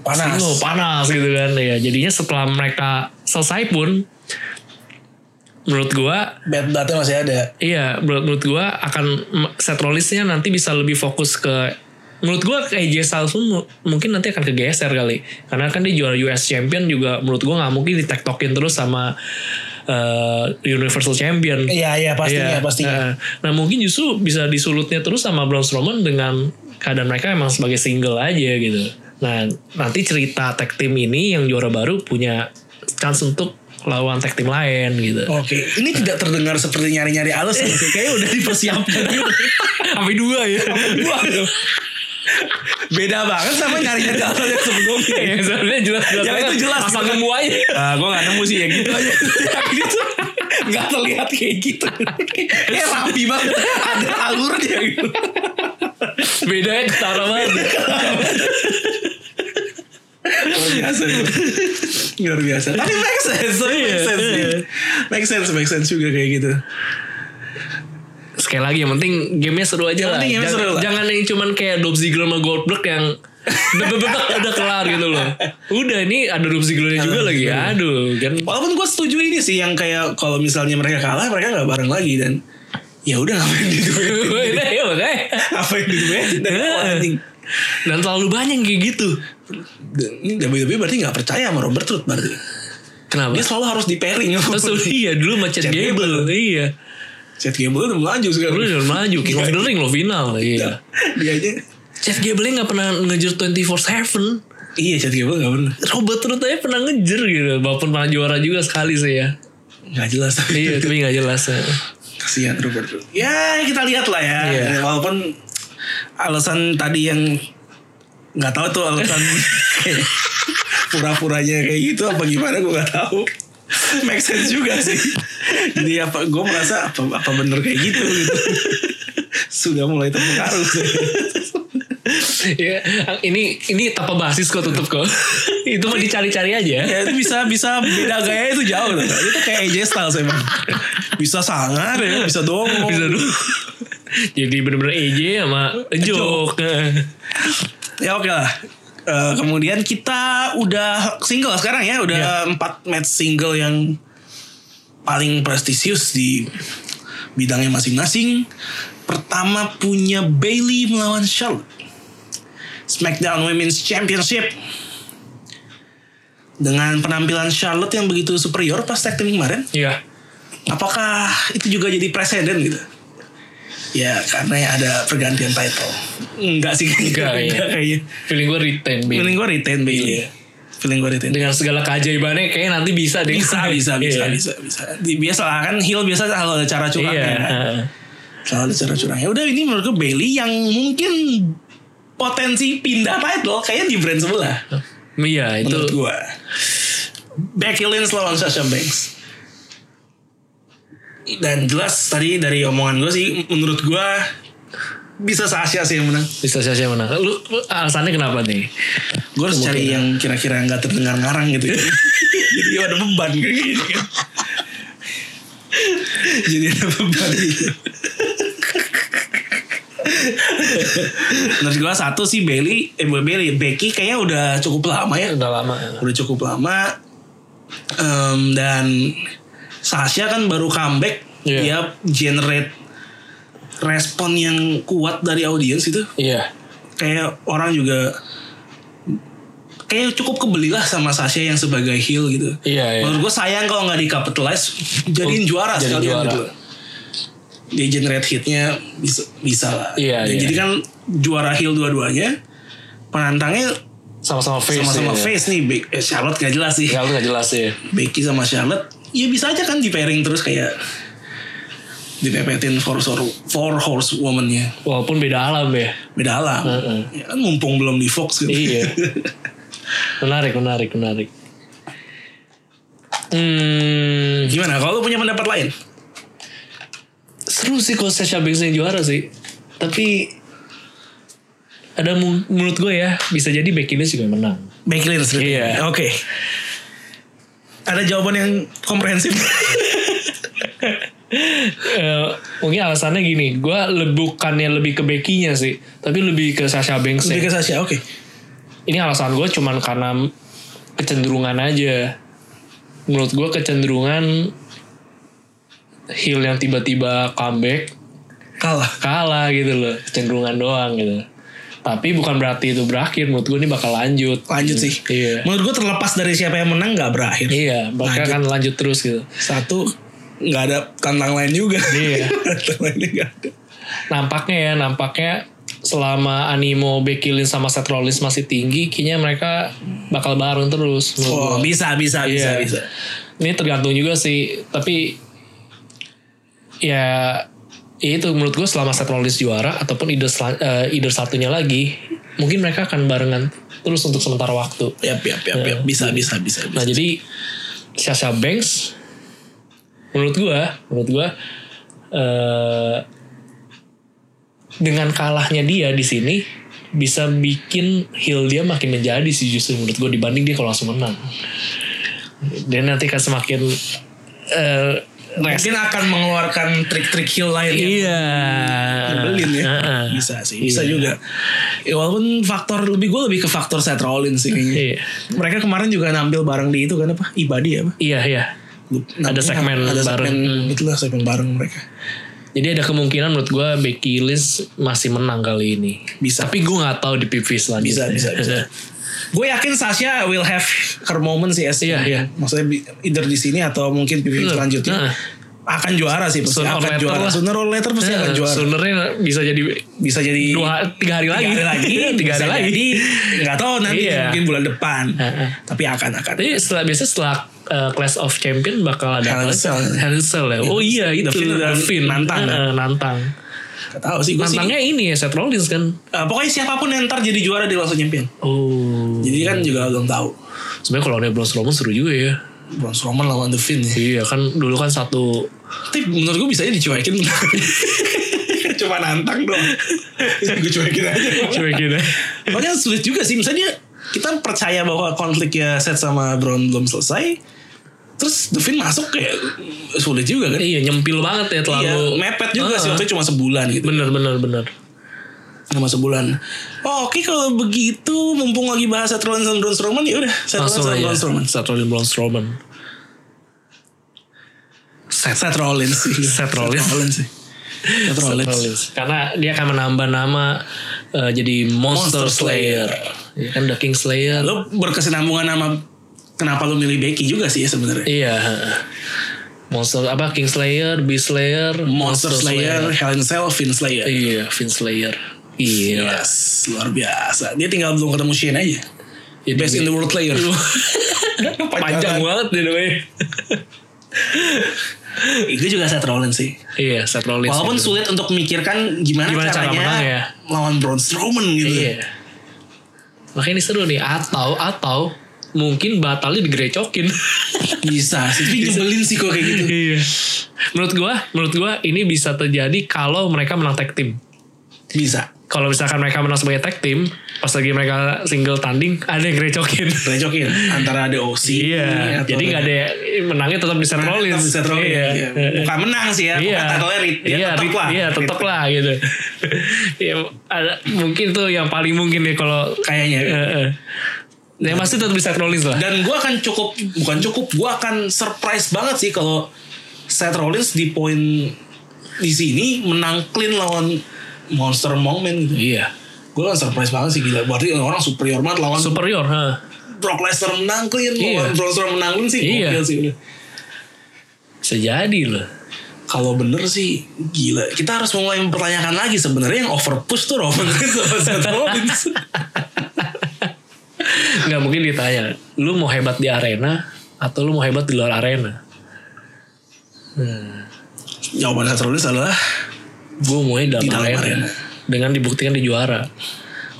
[SPEAKER 1] Panas.
[SPEAKER 2] single, panas gitu kan ya jadinya setelah mereka selesai pun menurut gua
[SPEAKER 1] Bad bloodnya masih ada.
[SPEAKER 2] iya menurut, menurut gua akan m- set rolisnya nanti bisa lebih fokus ke menurut gua ke AJ Styles pun mu- mungkin nanti akan kegeser kali karena kan dia juara US Champion juga menurut gua nggak mungkin ditektokin terus sama eh, Universal Champion
[SPEAKER 1] Iya, iya, pastinya,
[SPEAKER 2] Iya,
[SPEAKER 1] pastinya.
[SPEAKER 2] eh, Nah, mungkin justru bisa disulutnya terus sama Braun Strowman dengan keadaan mereka emang sebagai single aja gitu. Nah, nanti cerita tag team ini yang juara baru punya chance untuk lawan tag team lain gitu.
[SPEAKER 1] Oke, ini tidak terdengar seperti nyari-nyari alasan. sih. Kayaknya udah dipersiapkan.
[SPEAKER 2] Sampai dua ya.
[SPEAKER 1] Waduh. Beda banget sama nyari-nyari alasan yang sebelumnya.
[SPEAKER 2] ya, sebenarnya jelas jelas.
[SPEAKER 1] Yang itu jelas.
[SPEAKER 2] Asal nemu aja.
[SPEAKER 1] Ah, gue gak nemu sih ya gitu aja. gitu. Gak terlihat kayak gitu. Kayak rapi banget. Ada alurnya gitu.
[SPEAKER 2] Bedanya ketara banget.
[SPEAKER 1] Luar biasa gua. Luar biasa. Tapi make sense. Tapi
[SPEAKER 2] Iya,
[SPEAKER 1] make sense. sih.
[SPEAKER 2] iya.
[SPEAKER 1] Make sense, make sense juga kayak gitu.
[SPEAKER 2] Sekali lagi yang penting gamenya seru aja
[SPEAKER 1] Yang
[SPEAKER 2] lah.
[SPEAKER 1] penting gamenya
[SPEAKER 2] jangan,
[SPEAKER 1] seru lah.
[SPEAKER 2] jangan yang cuman kayak Dolph Ziggler sama Goldberg yang bebek udah kelar gitu loh. Udah ini ada Dolph Zigglernya juga lagi. Aduh kan.
[SPEAKER 1] Walaupun gue setuju ini sih yang kayak kalau misalnya mereka kalah mereka nggak bareng lagi dan ya udah ngapain diduetin
[SPEAKER 2] Udah ya makanya.
[SPEAKER 1] ngapain diduetin dan
[SPEAKER 2] Iya.
[SPEAKER 1] oh, anjing
[SPEAKER 2] Dan terlalu banyak kayak gitu.
[SPEAKER 1] Dan ini WWE berarti nggak percaya sama Robert Root berarti
[SPEAKER 2] Kenapa?
[SPEAKER 1] dia selalu harus di pairing
[SPEAKER 2] Nah. Terus dulu, iya dulu macet
[SPEAKER 1] Chad
[SPEAKER 2] Gable. Iya.
[SPEAKER 1] Chat Gable udah melaju
[SPEAKER 2] Dulu
[SPEAKER 1] sekarang
[SPEAKER 2] udah maju King of the Ring loh final. Iya.
[SPEAKER 1] dia aja
[SPEAKER 2] Chad Gable nggak pernah ngejar 24/7.
[SPEAKER 1] iya Chat Gable nggak bener
[SPEAKER 2] Robert Root aja pernah ngejar gitu. Walaupun pernah juara juga sekali sih ya.
[SPEAKER 1] nggak jelas tapi
[SPEAKER 2] Iya tapi nggak jelas. ya.
[SPEAKER 1] kasihan Robert Root ya kita lihat lah ya
[SPEAKER 2] Iya.
[SPEAKER 1] walaupun alasan tadi yang nggak tahu tuh alasan kayak pura-puranya kayak gitu apa gimana gue nggak tahu make sense juga sih jadi apa gue merasa apa, apa bener kayak gitu gitu sudah mulai terpengaruh sih.
[SPEAKER 2] Iya. Ini ini tanpa basis kok tutup kok. Itu mah dicari-cari aja.
[SPEAKER 1] ya itu bisa bisa beda gaya itu jauh loh itu kayak AJ Styles emang bisa sangar ya bisa Eh, dong
[SPEAKER 2] Bisa dulu. Jadi bener-bener AJ sama Jok. Eh,
[SPEAKER 1] Ya oke lah. Eh, kemudian kita udah single sekarang ya,
[SPEAKER 2] Iya.
[SPEAKER 1] udah empat match single yang paling prestisius di bidangnya masing-masing. Pertama punya Bailey melawan Charlotte. SmackDown Women's Championship dengan penampilan Charlotte yang begitu superior pas tag team kemarin,
[SPEAKER 2] Iya.
[SPEAKER 1] apakah itu juga jadi presiden gitu? Ya karena ada pergantian title. Enggak sih kayaknya.
[SPEAKER 2] Enggak, iya.
[SPEAKER 1] Enggak kayaknya.
[SPEAKER 2] Feeling gue retain Bailey.
[SPEAKER 1] Feeling gue retain Bailey. ya. Feeling gue retain.
[SPEAKER 2] dengan segala keajaibannya kayaknya nanti bisa deh.
[SPEAKER 1] Bisa, bisa, bisa,
[SPEAKER 2] Iya.
[SPEAKER 1] bisa, bisa. Di- Biasa lah kan heel biasa kalau ada cara curangnya.
[SPEAKER 2] Iya.
[SPEAKER 1] kan. Selalu ada cara curangnya. Udah ini menurut gue Bailey yang mungkin potensi pindah title kayaknya di brand sebelah.
[SPEAKER 2] Iya itu
[SPEAKER 1] Menurut gue. Becky Lynch lawan Sasha Banks. Dan jelas tadi dari omongan gue sih menurut gue bisa Sasha sih yang menang.
[SPEAKER 2] Bisa siapa yang menang? Lu lu alasannya kenapa nih?
[SPEAKER 1] Gue harus cari yang kira-kira nggak terdengar ngarang gitu. Jadi ada beban kayak gini kan. Jadi ada beban gitu. Menurut gue satu sih Bailey, eh bukan Bailey, Becky kayaknya udah cukup lama ya
[SPEAKER 2] Udah lama.
[SPEAKER 1] udah cukup lama Em, dan Sasha kan baru comeback
[SPEAKER 2] Iya.
[SPEAKER 1] dia generate respon yang kuat dari audiens gitu. itu
[SPEAKER 2] Iya.
[SPEAKER 1] kayak orang juga kayak cukup kebelilah sama Sasha yang sebagai heel gitu
[SPEAKER 2] Iya, iya.
[SPEAKER 1] menurut gue sayang kalau nggak di capitalize jadiin
[SPEAKER 2] Oh,
[SPEAKER 1] juara
[SPEAKER 2] jadiin
[SPEAKER 1] sekalian
[SPEAKER 2] juara.
[SPEAKER 1] gitu loh. dia generate hitnya bisa, bisa lah
[SPEAKER 2] Iya,
[SPEAKER 1] Dan
[SPEAKER 2] iya.
[SPEAKER 1] jadi kan juara heel dua-duanya penantangnya
[SPEAKER 2] Sama-sama face.
[SPEAKER 1] sama-sama
[SPEAKER 2] ya.
[SPEAKER 1] face nih Be- eh, Charlotte gak jelas sih
[SPEAKER 2] Ya lu gak jelas ya.
[SPEAKER 1] Becky sama Charlotte ya bisa aja kan di pairing terus kayak dipepetin four, sor- four horse woman-nya
[SPEAKER 2] Walaupun beda alam ya.
[SPEAKER 1] beda alam
[SPEAKER 2] Heeh.
[SPEAKER 1] ya kan mumpung belum di Fox gitu
[SPEAKER 2] Iya. Menarik, menarik, menarik. Hmm,
[SPEAKER 1] gimana kalau lu punya pendapat lain
[SPEAKER 2] seru sih kalau Sasha Banks yang juara sih. Tapi ada mu- menurut gue ya bisa jadi Becky Lynch juga menang.
[SPEAKER 1] Becky Lynch berarti.
[SPEAKER 2] Iya.
[SPEAKER 1] oke ada jawaban yang komprehensif
[SPEAKER 2] Eh, mungkin alasannya gini, gue le- bukannya lebih ke Becky-nya sih, tapi lebih ke Sasha Banks. ya.
[SPEAKER 1] lebih ke Sasha oke
[SPEAKER 2] Ini alasan gue cuman karena kecenderungan aja. Menurut gue kecenderungan heel yang tiba-tiba comeback
[SPEAKER 1] kalah
[SPEAKER 2] kalah gitu loh kecenderungan doang gitu tapi bukan berarti itu berakhir menurut gue ini bakal lanjut
[SPEAKER 1] lanjut sih
[SPEAKER 2] iya
[SPEAKER 1] menurut gua terlepas dari siapa yang menang nggak berakhir
[SPEAKER 2] iya bakal
[SPEAKER 1] Lanjut.
[SPEAKER 2] akan lanjut terus gitu
[SPEAKER 1] satu nggak ada tantang lain juga
[SPEAKER 2] Iya.
[SPEAKER 1] tantang lainnya nggak ada
[SPEAKER 2] nampaknya ya nampaknya selama animo Becky Lynch sama Seth Rollins masih tinggi kayaknya mereka bakal bareng terus menurut
[SPEAKER 1] oh
[SPEAKER 2] gua.
[SPEAKER 1] bisa bisa bisa
[SPEAKER 2] Iya.
[SPEAKER 1] bisa
[SPEAKER 2] ini tergantung juga sih tapi ya ya itu menurut gue selama Seth Rollins juara ataupun either, sel- eh, either satunya lagi mungkin mereka akan barengan terus untuk sementara waktu
[SPEAKER 1] Yap, yap, yap, yap. Bisa, bisa, bisa, bisa.
[SPEAKER 2] Nah jadi Sasha Banks menurut gua, menurut gua eh, dengan kalahnya dia di sini bisa bikin heel dia makin menjadi sih justru menurut gua dibanding dia kalau langsung menang. Dia nanti kan semakin eh, rest.
[SPEAKER 1] Mungkin akan mengeluarkan trik-trik heel lain yang
[SPEAKER 2] Iya.
[SPEAKER 1] nyebelin ya.
[SPEAKER 2] Heeh.
[SPEAKER 1] Bisa sih, bisa
[SPEAKER 2] Iya.
[SPEAKER 1] juga. Ya, walaupun faktor lebih gue lebih ke faktor Seth Rollins sih kayaknya.
[SPEAKER 2] Iya.
[SPEAKER 1] Mereka kemarin juga nampil bareng di itu kan apa? Ibadi apa?
[SPEAKER 2] Iya, iya.
[SPEAKER 1] Lupa,
[SPEAKER 2] Ada
[SPEAKER 1] namanya
[SPEAKER 2] segmen
[SPEAKER 1] apa? ada segmen,
[SPEAKER 2] bareng. Hmm.
[SPEAKER 1] Itulah segmen bareng mereka.
[SPEAKER 2] Jadi ada kemungkinan menurut gua Becky Lynch masih menang kali ini.
[SPEAKER 1] Bisa.
[SPEAKER 2] Tapi gua nggak tahu di PV
[SPEAKER 1] Bisa,
[SPEAKER 2] selanjutnya.
[SPEAKER 1] bisa, bisa. Gue yakin Sasha will have her moment sih as
[SPEAKER 2] Iya, iya.
[SPEAKER 1] Maksudnya bi- either di sini atau mungkin pilihan
[SPEAKER 2] Betul.
[SPEAKER 1] selanjutnya.
[SPEAKER 2] Nah.
[SPEAKER 1] Akan juara sih pasti
[SPEAKER 2] Sooner or
[SPEAKER 1] akan
[SPEAKER 2] later
[SPEAKER 1] juara.
[SPEAKER 2] lah.
[SPEAKER 1] Sooner or later pasti akan
[SPEAKER 2] Nah,
[SPEAKER 1] juara.
[SPEAKER 2] Sebenarnya bisa jadi
[SPEAKER 1] Bisa jadi
[SPEAKER 2] dua tiga hari lagi,
[SPEAKER 1] tiga hari lagi,
[SPEAKER 2] tiga hari
[SPEAKER 1] bisa
[SPEAKER 2] lagi.
[SPEAKER 1] jadi. nggak tahu nanti
[SPEAKER 2] Iya.
[SPEAKER 1] mungkin bulan depan.
[SPEAKER 2] Heeh.
[SPEAKER 1] Tapi akan akan.
[SPEAKER 2] Tapi setelah biasa setelah uh, Clash of Champion bakal ada
[SPEAKER 1] Hell in a
[SPEAKER 2] apa?
[SPEAKER 1] Cell.
[SPEAKER 2] Hell in a Cell ya. Oh iya
[SPEAKER 1] The
[SPEAKER 2] itu
[SPEAKER 1] Fiend dan nantang,
[SPEAKER 2] Eh,
[SPEAKER 1] kan?
[SPEAKER 2] eh, nantang.
[SPEAKER 1] Nggak tahu sih gue sih.
[SPEAKER 2] Nantangnya ini ya Seth Rollins kan.
[SPEAKER 1] Eh, pokoknya siapapun yang ntar jadi juara di Los Champion.
[SPEAKER 2] Oh.
[SPEAKER 1] Jadi kan juga belum tahu.
[SPEAKER 2] Sebenarnya kalau ada Braun Strowman seru juga ya.
[SPEAKER 1] Braun Strowman lawan The Finn ya.
[SPEAKER 2] Iya kan dulu kan satu
[SPEAKER 1] Tapi menurut gue bisa aja dicuekin. Cuma nantang dong. gue cuekin aja.
[SPEAKER 2] cewek gitu.
[SPEAKER 1] Makanya sulit juga sih. Misalnya dia- kita percaya bahwa konfliknya Seth sama Brown belum selesai. Terus The Finn masuk kayak sulit juga kan.
[SPEAKER 2] iya nyempil banget ya terlalu.
[SPEAKER 1] Iya, mepet juga sih
[SPEAKER 2] Ah,
[SPEAKER 1] waktu cuma sebulan gitu.
[SPEAKER 2] Bener bener bener.
[SPEAKER 1] Cuma sebulan. Oh, Oke kalau begitu mumpung lagi bahas Seth Rollins dan Braun Strowman ya udah Seth Rollins
[SPEAKER 2] Langsung
[SPEAKER 1] dan
[SPEAKER 2] aja.
[SPEAKER 1] Braun Strowman.
[SPEAKER 2] Seth Rollins Braun Strowman.
[SPEAKER 1] Seth Rollins sih.
[SPEAKER 2] Seth Rollins.
[SPEAKER 1] sih. Seth Rollins.
[SPEAKER 2] Karena dia akan menambah nama eh, jadi
[SPEAKER 1] Monster
[SPEAKER 2] Monster,
[SPEAKER 1] Slayer.
[SPEAKER 2] Slayer. Iya kan The King Slayer.
[SPEAKER 1] Lo berkesinambungan sama kenapa lo milih Becky juga sih ya sebenarnya.
[SPEAKER 2] Iya. Monster apa King Slayer, Beast Slayer,
[SPEAKER 1] Monster Slayer, Hell in a Cell, Finn Slayer.
[SPEAKER 2] Iya, Finn Slayer. Iya.
[SPEAKER 1] Yes, luar biasa. Dia tinggal belum ketemu Shane aja.
[SPEAKER 2] Jadi
[SPEAKER 1] Best in the world player. banget.
[SPEAKER 2] panjang kan? banget by the way.
[SPEAKER 1] Itu juga Seth Rollins sih.
[SPEAKER 2] iya, Seth Rollins.
[SPEAKER 1] Walaupun
[SPEAKER 2] Iya.
[SPEAKER 1] sulit untuk memikirkan gimana,
[SPEAKER 2] Gimana cara
[SPEAKER 1] caranya
[SPEAKER 2] menang ya?
[SPEAKER 1] lawan Braun Strowman gitu.
[SPEAKER 2] Iya. Makanya ini seru nih atau atau mungkin batalnya digrecokin.
[SPEAKER 1] bisa sih tapi nyebelin sih kok kayak gitu
[SPEAKER 2] iya. Menurut gua, menurut gua ini bisa terjadi kalau mereka menang tag team.
[SPEAKER 1] bisa
[SPEAKER 2] Kalau misalkan mereka menang sebagai tag team, pas lagi mereka single tanding, ada yang grecokin.
[SPEAKER 1] recokin antara DOC
[SPEAKER 2] Iya, jadi nggak ada menangnya tetap di Seth Rollins.
[SPEAKER 1] Seth Rollins,
[SPEAKER 2] Iya.
[SPEAKER 1] iya. bukan menang sih ya
[SPEAKER 2] Iya,
[SPEAKER 1] bukan title rit dia
[SPEAKER 2] iya,
[SPEAKER 1] tetap
[SPEAKER 2] rit-
[SPEAKER 1] lah
[SPEAKER 2] iya, tetap
[SPEAKER 1] Rit.
[SPEAKER 2] lah gitu. Iya, ada mungkin tuh yang paling mungkin ya kalau
[SPEAKER 1] kayaknya
[SPEAKER 2] eh, eh. Ya pasti tetap di Seth Rollins lah.
[SPEAKER 1] dan gue akan cukup bukan cukup gue akan surprise banget sih kalau Seth Rollins di poin di sini menang clean lawan Monster Moment gitu
[SPEAKER 2] Iya.
[SPEAKER 1] gue kan surprise banget sih gila berarti orang superior banget lawan
[SPEAKER 2] Superior, ha.
[SPEAKER 1] Brock Lesnar menang clean
[SPEAKER 2] Iya.
[SPEAKER 1] lawan Brock Lesnar menang clean sih
[SPEAKER 2] Iya.
[SPEAKER 1] gokil sih
[SPEAKER 2] Sejadi loh.
[SPEAKER 1] kalau bener sih gila kita harus mulai mempertanyakan lagi sebenarnya yang over push tuh Roman Reigns sama Seth Rollins
[SPEAKER 2] Nggak mungkin ditanya, lu mau hebat di arena atau lu mau hebat di luar arena?
[SPEAKER 1] jawaban Seth Rollins adalah
[SPEAKER 2] Gue mau di dalam
[SPEAKER 1] Di dalam
[SPEAKER 2] arena.
[SPEAKER 1] arena.
[SPEAKER 2] Dengan dibuktikan di juara.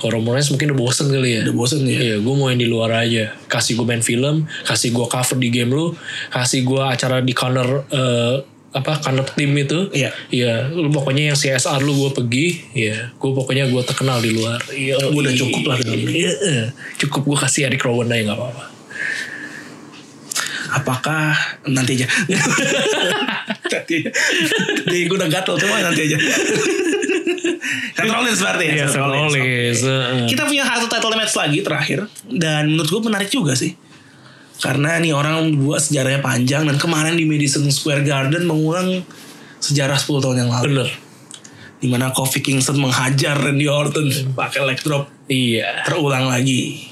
[SPEAKER 2] Kalau Roman Reigns mungkin udah bosen kali ya.
[SPEAKER 1] udah bosen ya
[SPEAKER 2] Iya, gue mau yang di luar aja. Kasih gue main film, kasih gue cover di game lu, kasih gue acara di corner eh, apa corner tim itu.
[SPEAKER 1] Iya.
[SPEAKER 2] Iya, lu pokoknya yang CSR lu gue pergi. Iya, gue pokoknya gue terkenal di luar. Iya,
[SPEAKER 1] Gua udah cukup lah dengan ini.
[SPEAKER 2] Iya, iya. cukup gue kasih Eric Rowan aja nggak apa-apa.
[SPEAKER 1] apakah nanti aja nanti aja Jadi gue udah gatel cuma nanti aja Seth Rollins berarti ya
[SPEAKER 2] Iya,
[SPEAKER 1] Seth Rollins. kita punya satu title match lagi terakhir dan menurut gue menarik juga sih karena nih orang buat sejarahnya panjang dan kemarin di Madison Square Garden mengulang sejarah 10 tahun yang lalu
[SPEAKER 2] Bener.
[SPEAKER 1] dimana Kofi Kingston menghajar Randy Orton pakai leg drop
[SPEAKER 2] Iya.
[SPEAKER 1] terulang lagi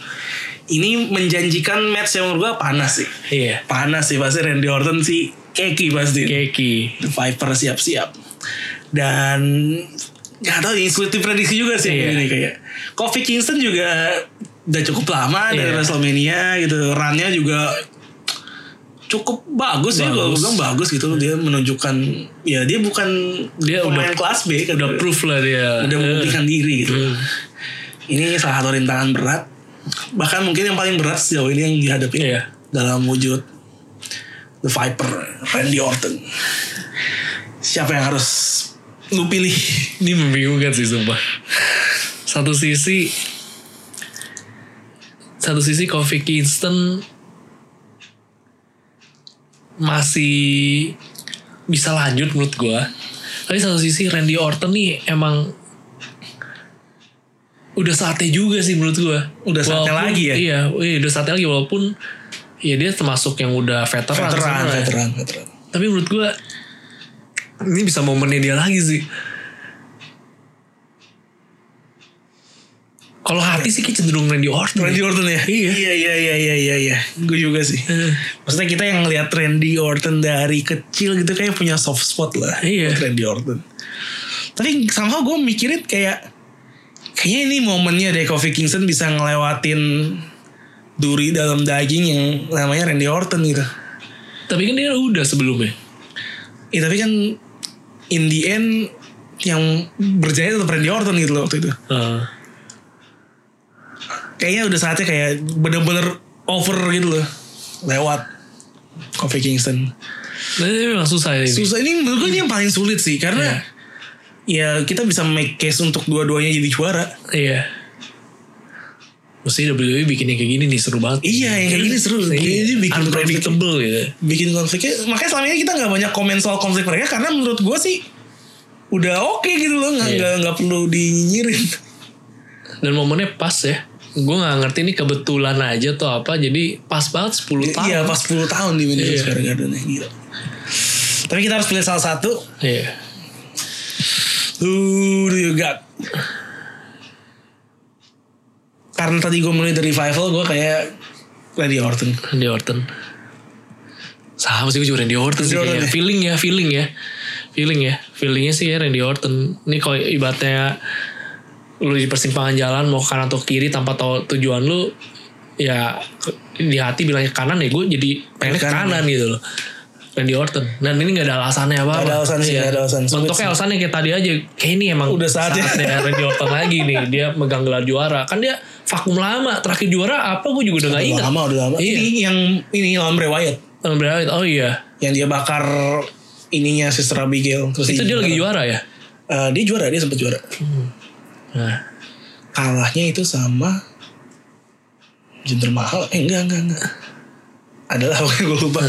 [SPEAKER 1] ini menjanjikan match yang menurut gue panas sih
[SPEAKER 2] Iya.
[SPEAKER 1] panas sih pasti Randy Orton sih keki pasti
[SPEAKER 2] Keki.
[SPEAKER 1] The Viper siap-siap dan nggak tahu ini sulit diprediksi juga sih
[SPEAKER 2] Iya.
[SPEAKER 1] ini kayak Kofi Kingston juga udah cukup lama dari
[SPEAKER 2] Iya.
[SPEAKER 1] Wrestlemania gitu runnya juga cukup bagus, ya kalau gue
[SPEAKER 2] Bagus.
[SPEAKER 1] bilang bagus gitu dia menunjukkan ya dia bukan
[SPEAKER 2] Dia
[SPEAKER 1] pemain
[SPEAKER 2] udah-
[SPEAKER 1] kelas B kan
[SPEAKER 2] Udah Iya. proof lah dia. Eh,
[SPEAKER 1] udah membuktikan diri gitu
[SPEAKER 2] Hmm.
[SPEAKER 1] ini salah satu rintangan berat bahkan mungkin yang paling berat sejauh ini yang dihadapi
[SPEAKER 2] Iya.
[SPEAKER 1] dalam wujud The Viper Randy Orton siapa yang harus lu pilih
[SPEAKER 2] Ini membingungkan sih sumpah. Satu sisi satu sisi Kofi Kingston masih bisa lanjut menurut gua. Tapi satu sisi Randy Orton nih emang udah saatnya juga sih menurut gua.
[SPEAKER 1] Udah saatnya
[SPEAKER 2] Walaupun-
[SPEAKER 1] lagi ya?
[SPEAKER 2] Iya, iya, udah saatnya lagi walaupun ya dia termasuk yang udah veteran.
[SPEAKER 1] veteran
[SPEAKER 2] sebenarnya.
[SPEAKER 1] veteran veteran
[SPEAKER 2] Tapi menurut gua ini bisa momennya dia lagi sih. Kalau hati sih kayak cenderung Randy Orton.
[SPEAKER 1] Randy Orton ya
[SPEAKER 2] Iya.
[SPEAKER 1] iya iya iya iya iya, iya. gue juga sih
[SPEAKER 2] Eh,
[SPEAKER 1] maksudnya kita yang lihat Randy Orton dari kecil gitu kayak punya soft spot lah
[SPEAKER 2] Iya.
[SPEAKER 1] buat Randy Orton tapi somehow gue mikirin kayak kayaknya ini momennya deh Kofi Kingston bisa ngelewatin duri dalam daging yang namanya Randy Orton gitu
[SPEAKER 2] Tapi kan dia udah sebelumnya.
[SPEAKER 1] ya tapi kan in the end yang berjaya tetap Randy Orton gitu loh waktu itu
[SPEAKER 2] Eh,
[SPEAKER 1] kayaknya udah saatnya kayak bener-bener over gitu loh lewat Kofi Kingston
[SPEAKER 2] tapi Nah, memang susah ini.
[SPEAKER 1] susah ini menurut gue ini yang paling sulit sih karena ya kita bisa make case untuk dua-duanya jadi juara
[SPEAKER 2] Iya. Mesti WWE bikin yang E kayak gini nih seru banget.
[SPEAKER 1] Iya, yang kayak gini seru. Kayak gini bikin
[SPEAKER 2] unpredictable gitu.
[SPEAKER 1] bikin konfliknya makanya selama ini kita nggak banyak komen soal konflik mereka karena menurut gue sih udah oke gitu loh nggak
[SPEAKER 2] Iya.
[SPEAKER 1] nggak nggak perlu dinyinyirin
[SPEAKER 2] Dan momennya pas ya. Gue gak ngerti ini kebetulan aja atau apa. Jadi pas banget 10 tahun.
[SPEAKER 1] iya pas 10 tahun di Madison
[SPEAKER 2] Iya.
[SPEAKER 1] Square Garden ya, gila tapi kita harus pilih salah satu
[SPEAKER 2] Iya.
[SPEAKER 1] who do you got karena tadi gue mulai dari revival gue kayak Randy Orton
[SPEAKER 2] Randy Orton. Sama sih gue juga Randy Orton sih
[SPEAKER 1] Randy
[SPEAKER 2] kayaknya.
[SPEAKER 1] Orton ya?
[SPEAKER 2] Feeling ya, feeling ya. Feeling ya. Feelingnya sih ya Randy Orton. Ini kalau ibaratnya lu di persimpangan jalan mau ke kanan atau kiri tanpa tahu tujuan lu ya ke- di hati bilangnya kanan ya gue jadi pengen ke
[SPEAKER 1] Ke kanan.
[SPEAKER 2] kanan gitu loh. Randy Orton. Dan ini gak ada alasannya apa-apa.
[SPEAKER 1] Nggak ada alasan sih,
[SPEAKER 2] Iya.
[SPEAKER 1] nggak ada alasan. Sulit
[SPEAKER 2] Bentuknya alasannya kayak tadi aja. Kayak ini emang
[SPEAKER 1] Udah saatnya.
[SPEAKER 2] Randy Orton lagi nih. Dia megang gelar juara. Kan dia vakum lama. Terakhir juara apa gue juga udah gak
[SPEAKER 1] Udah
[SPEAKER 2] ingat.
[SPEAKER 1] lama, udah lama.
[SPEAKER 2] Iya.
[SPEAKER 1] Ini yang ini lawan Bray Wyatt.
[SPEAKER 2] Lawan Bray Wyatt. Oh iya.
[SPEAKER 1] Yang dia bakar ininya Sister Abigail. Terus
[SPEAKER 2] Itu dia lagi juara ya?
[SPEAKER 1] Eh, dia juara, dia sempat juara.
[SPEAKER 2] Nah.
[SPEAKER 1] Kalahnya itu sama Jinder Mahal. Eh enggak, enggak, enggak. Adalah pokoknya gue lupa.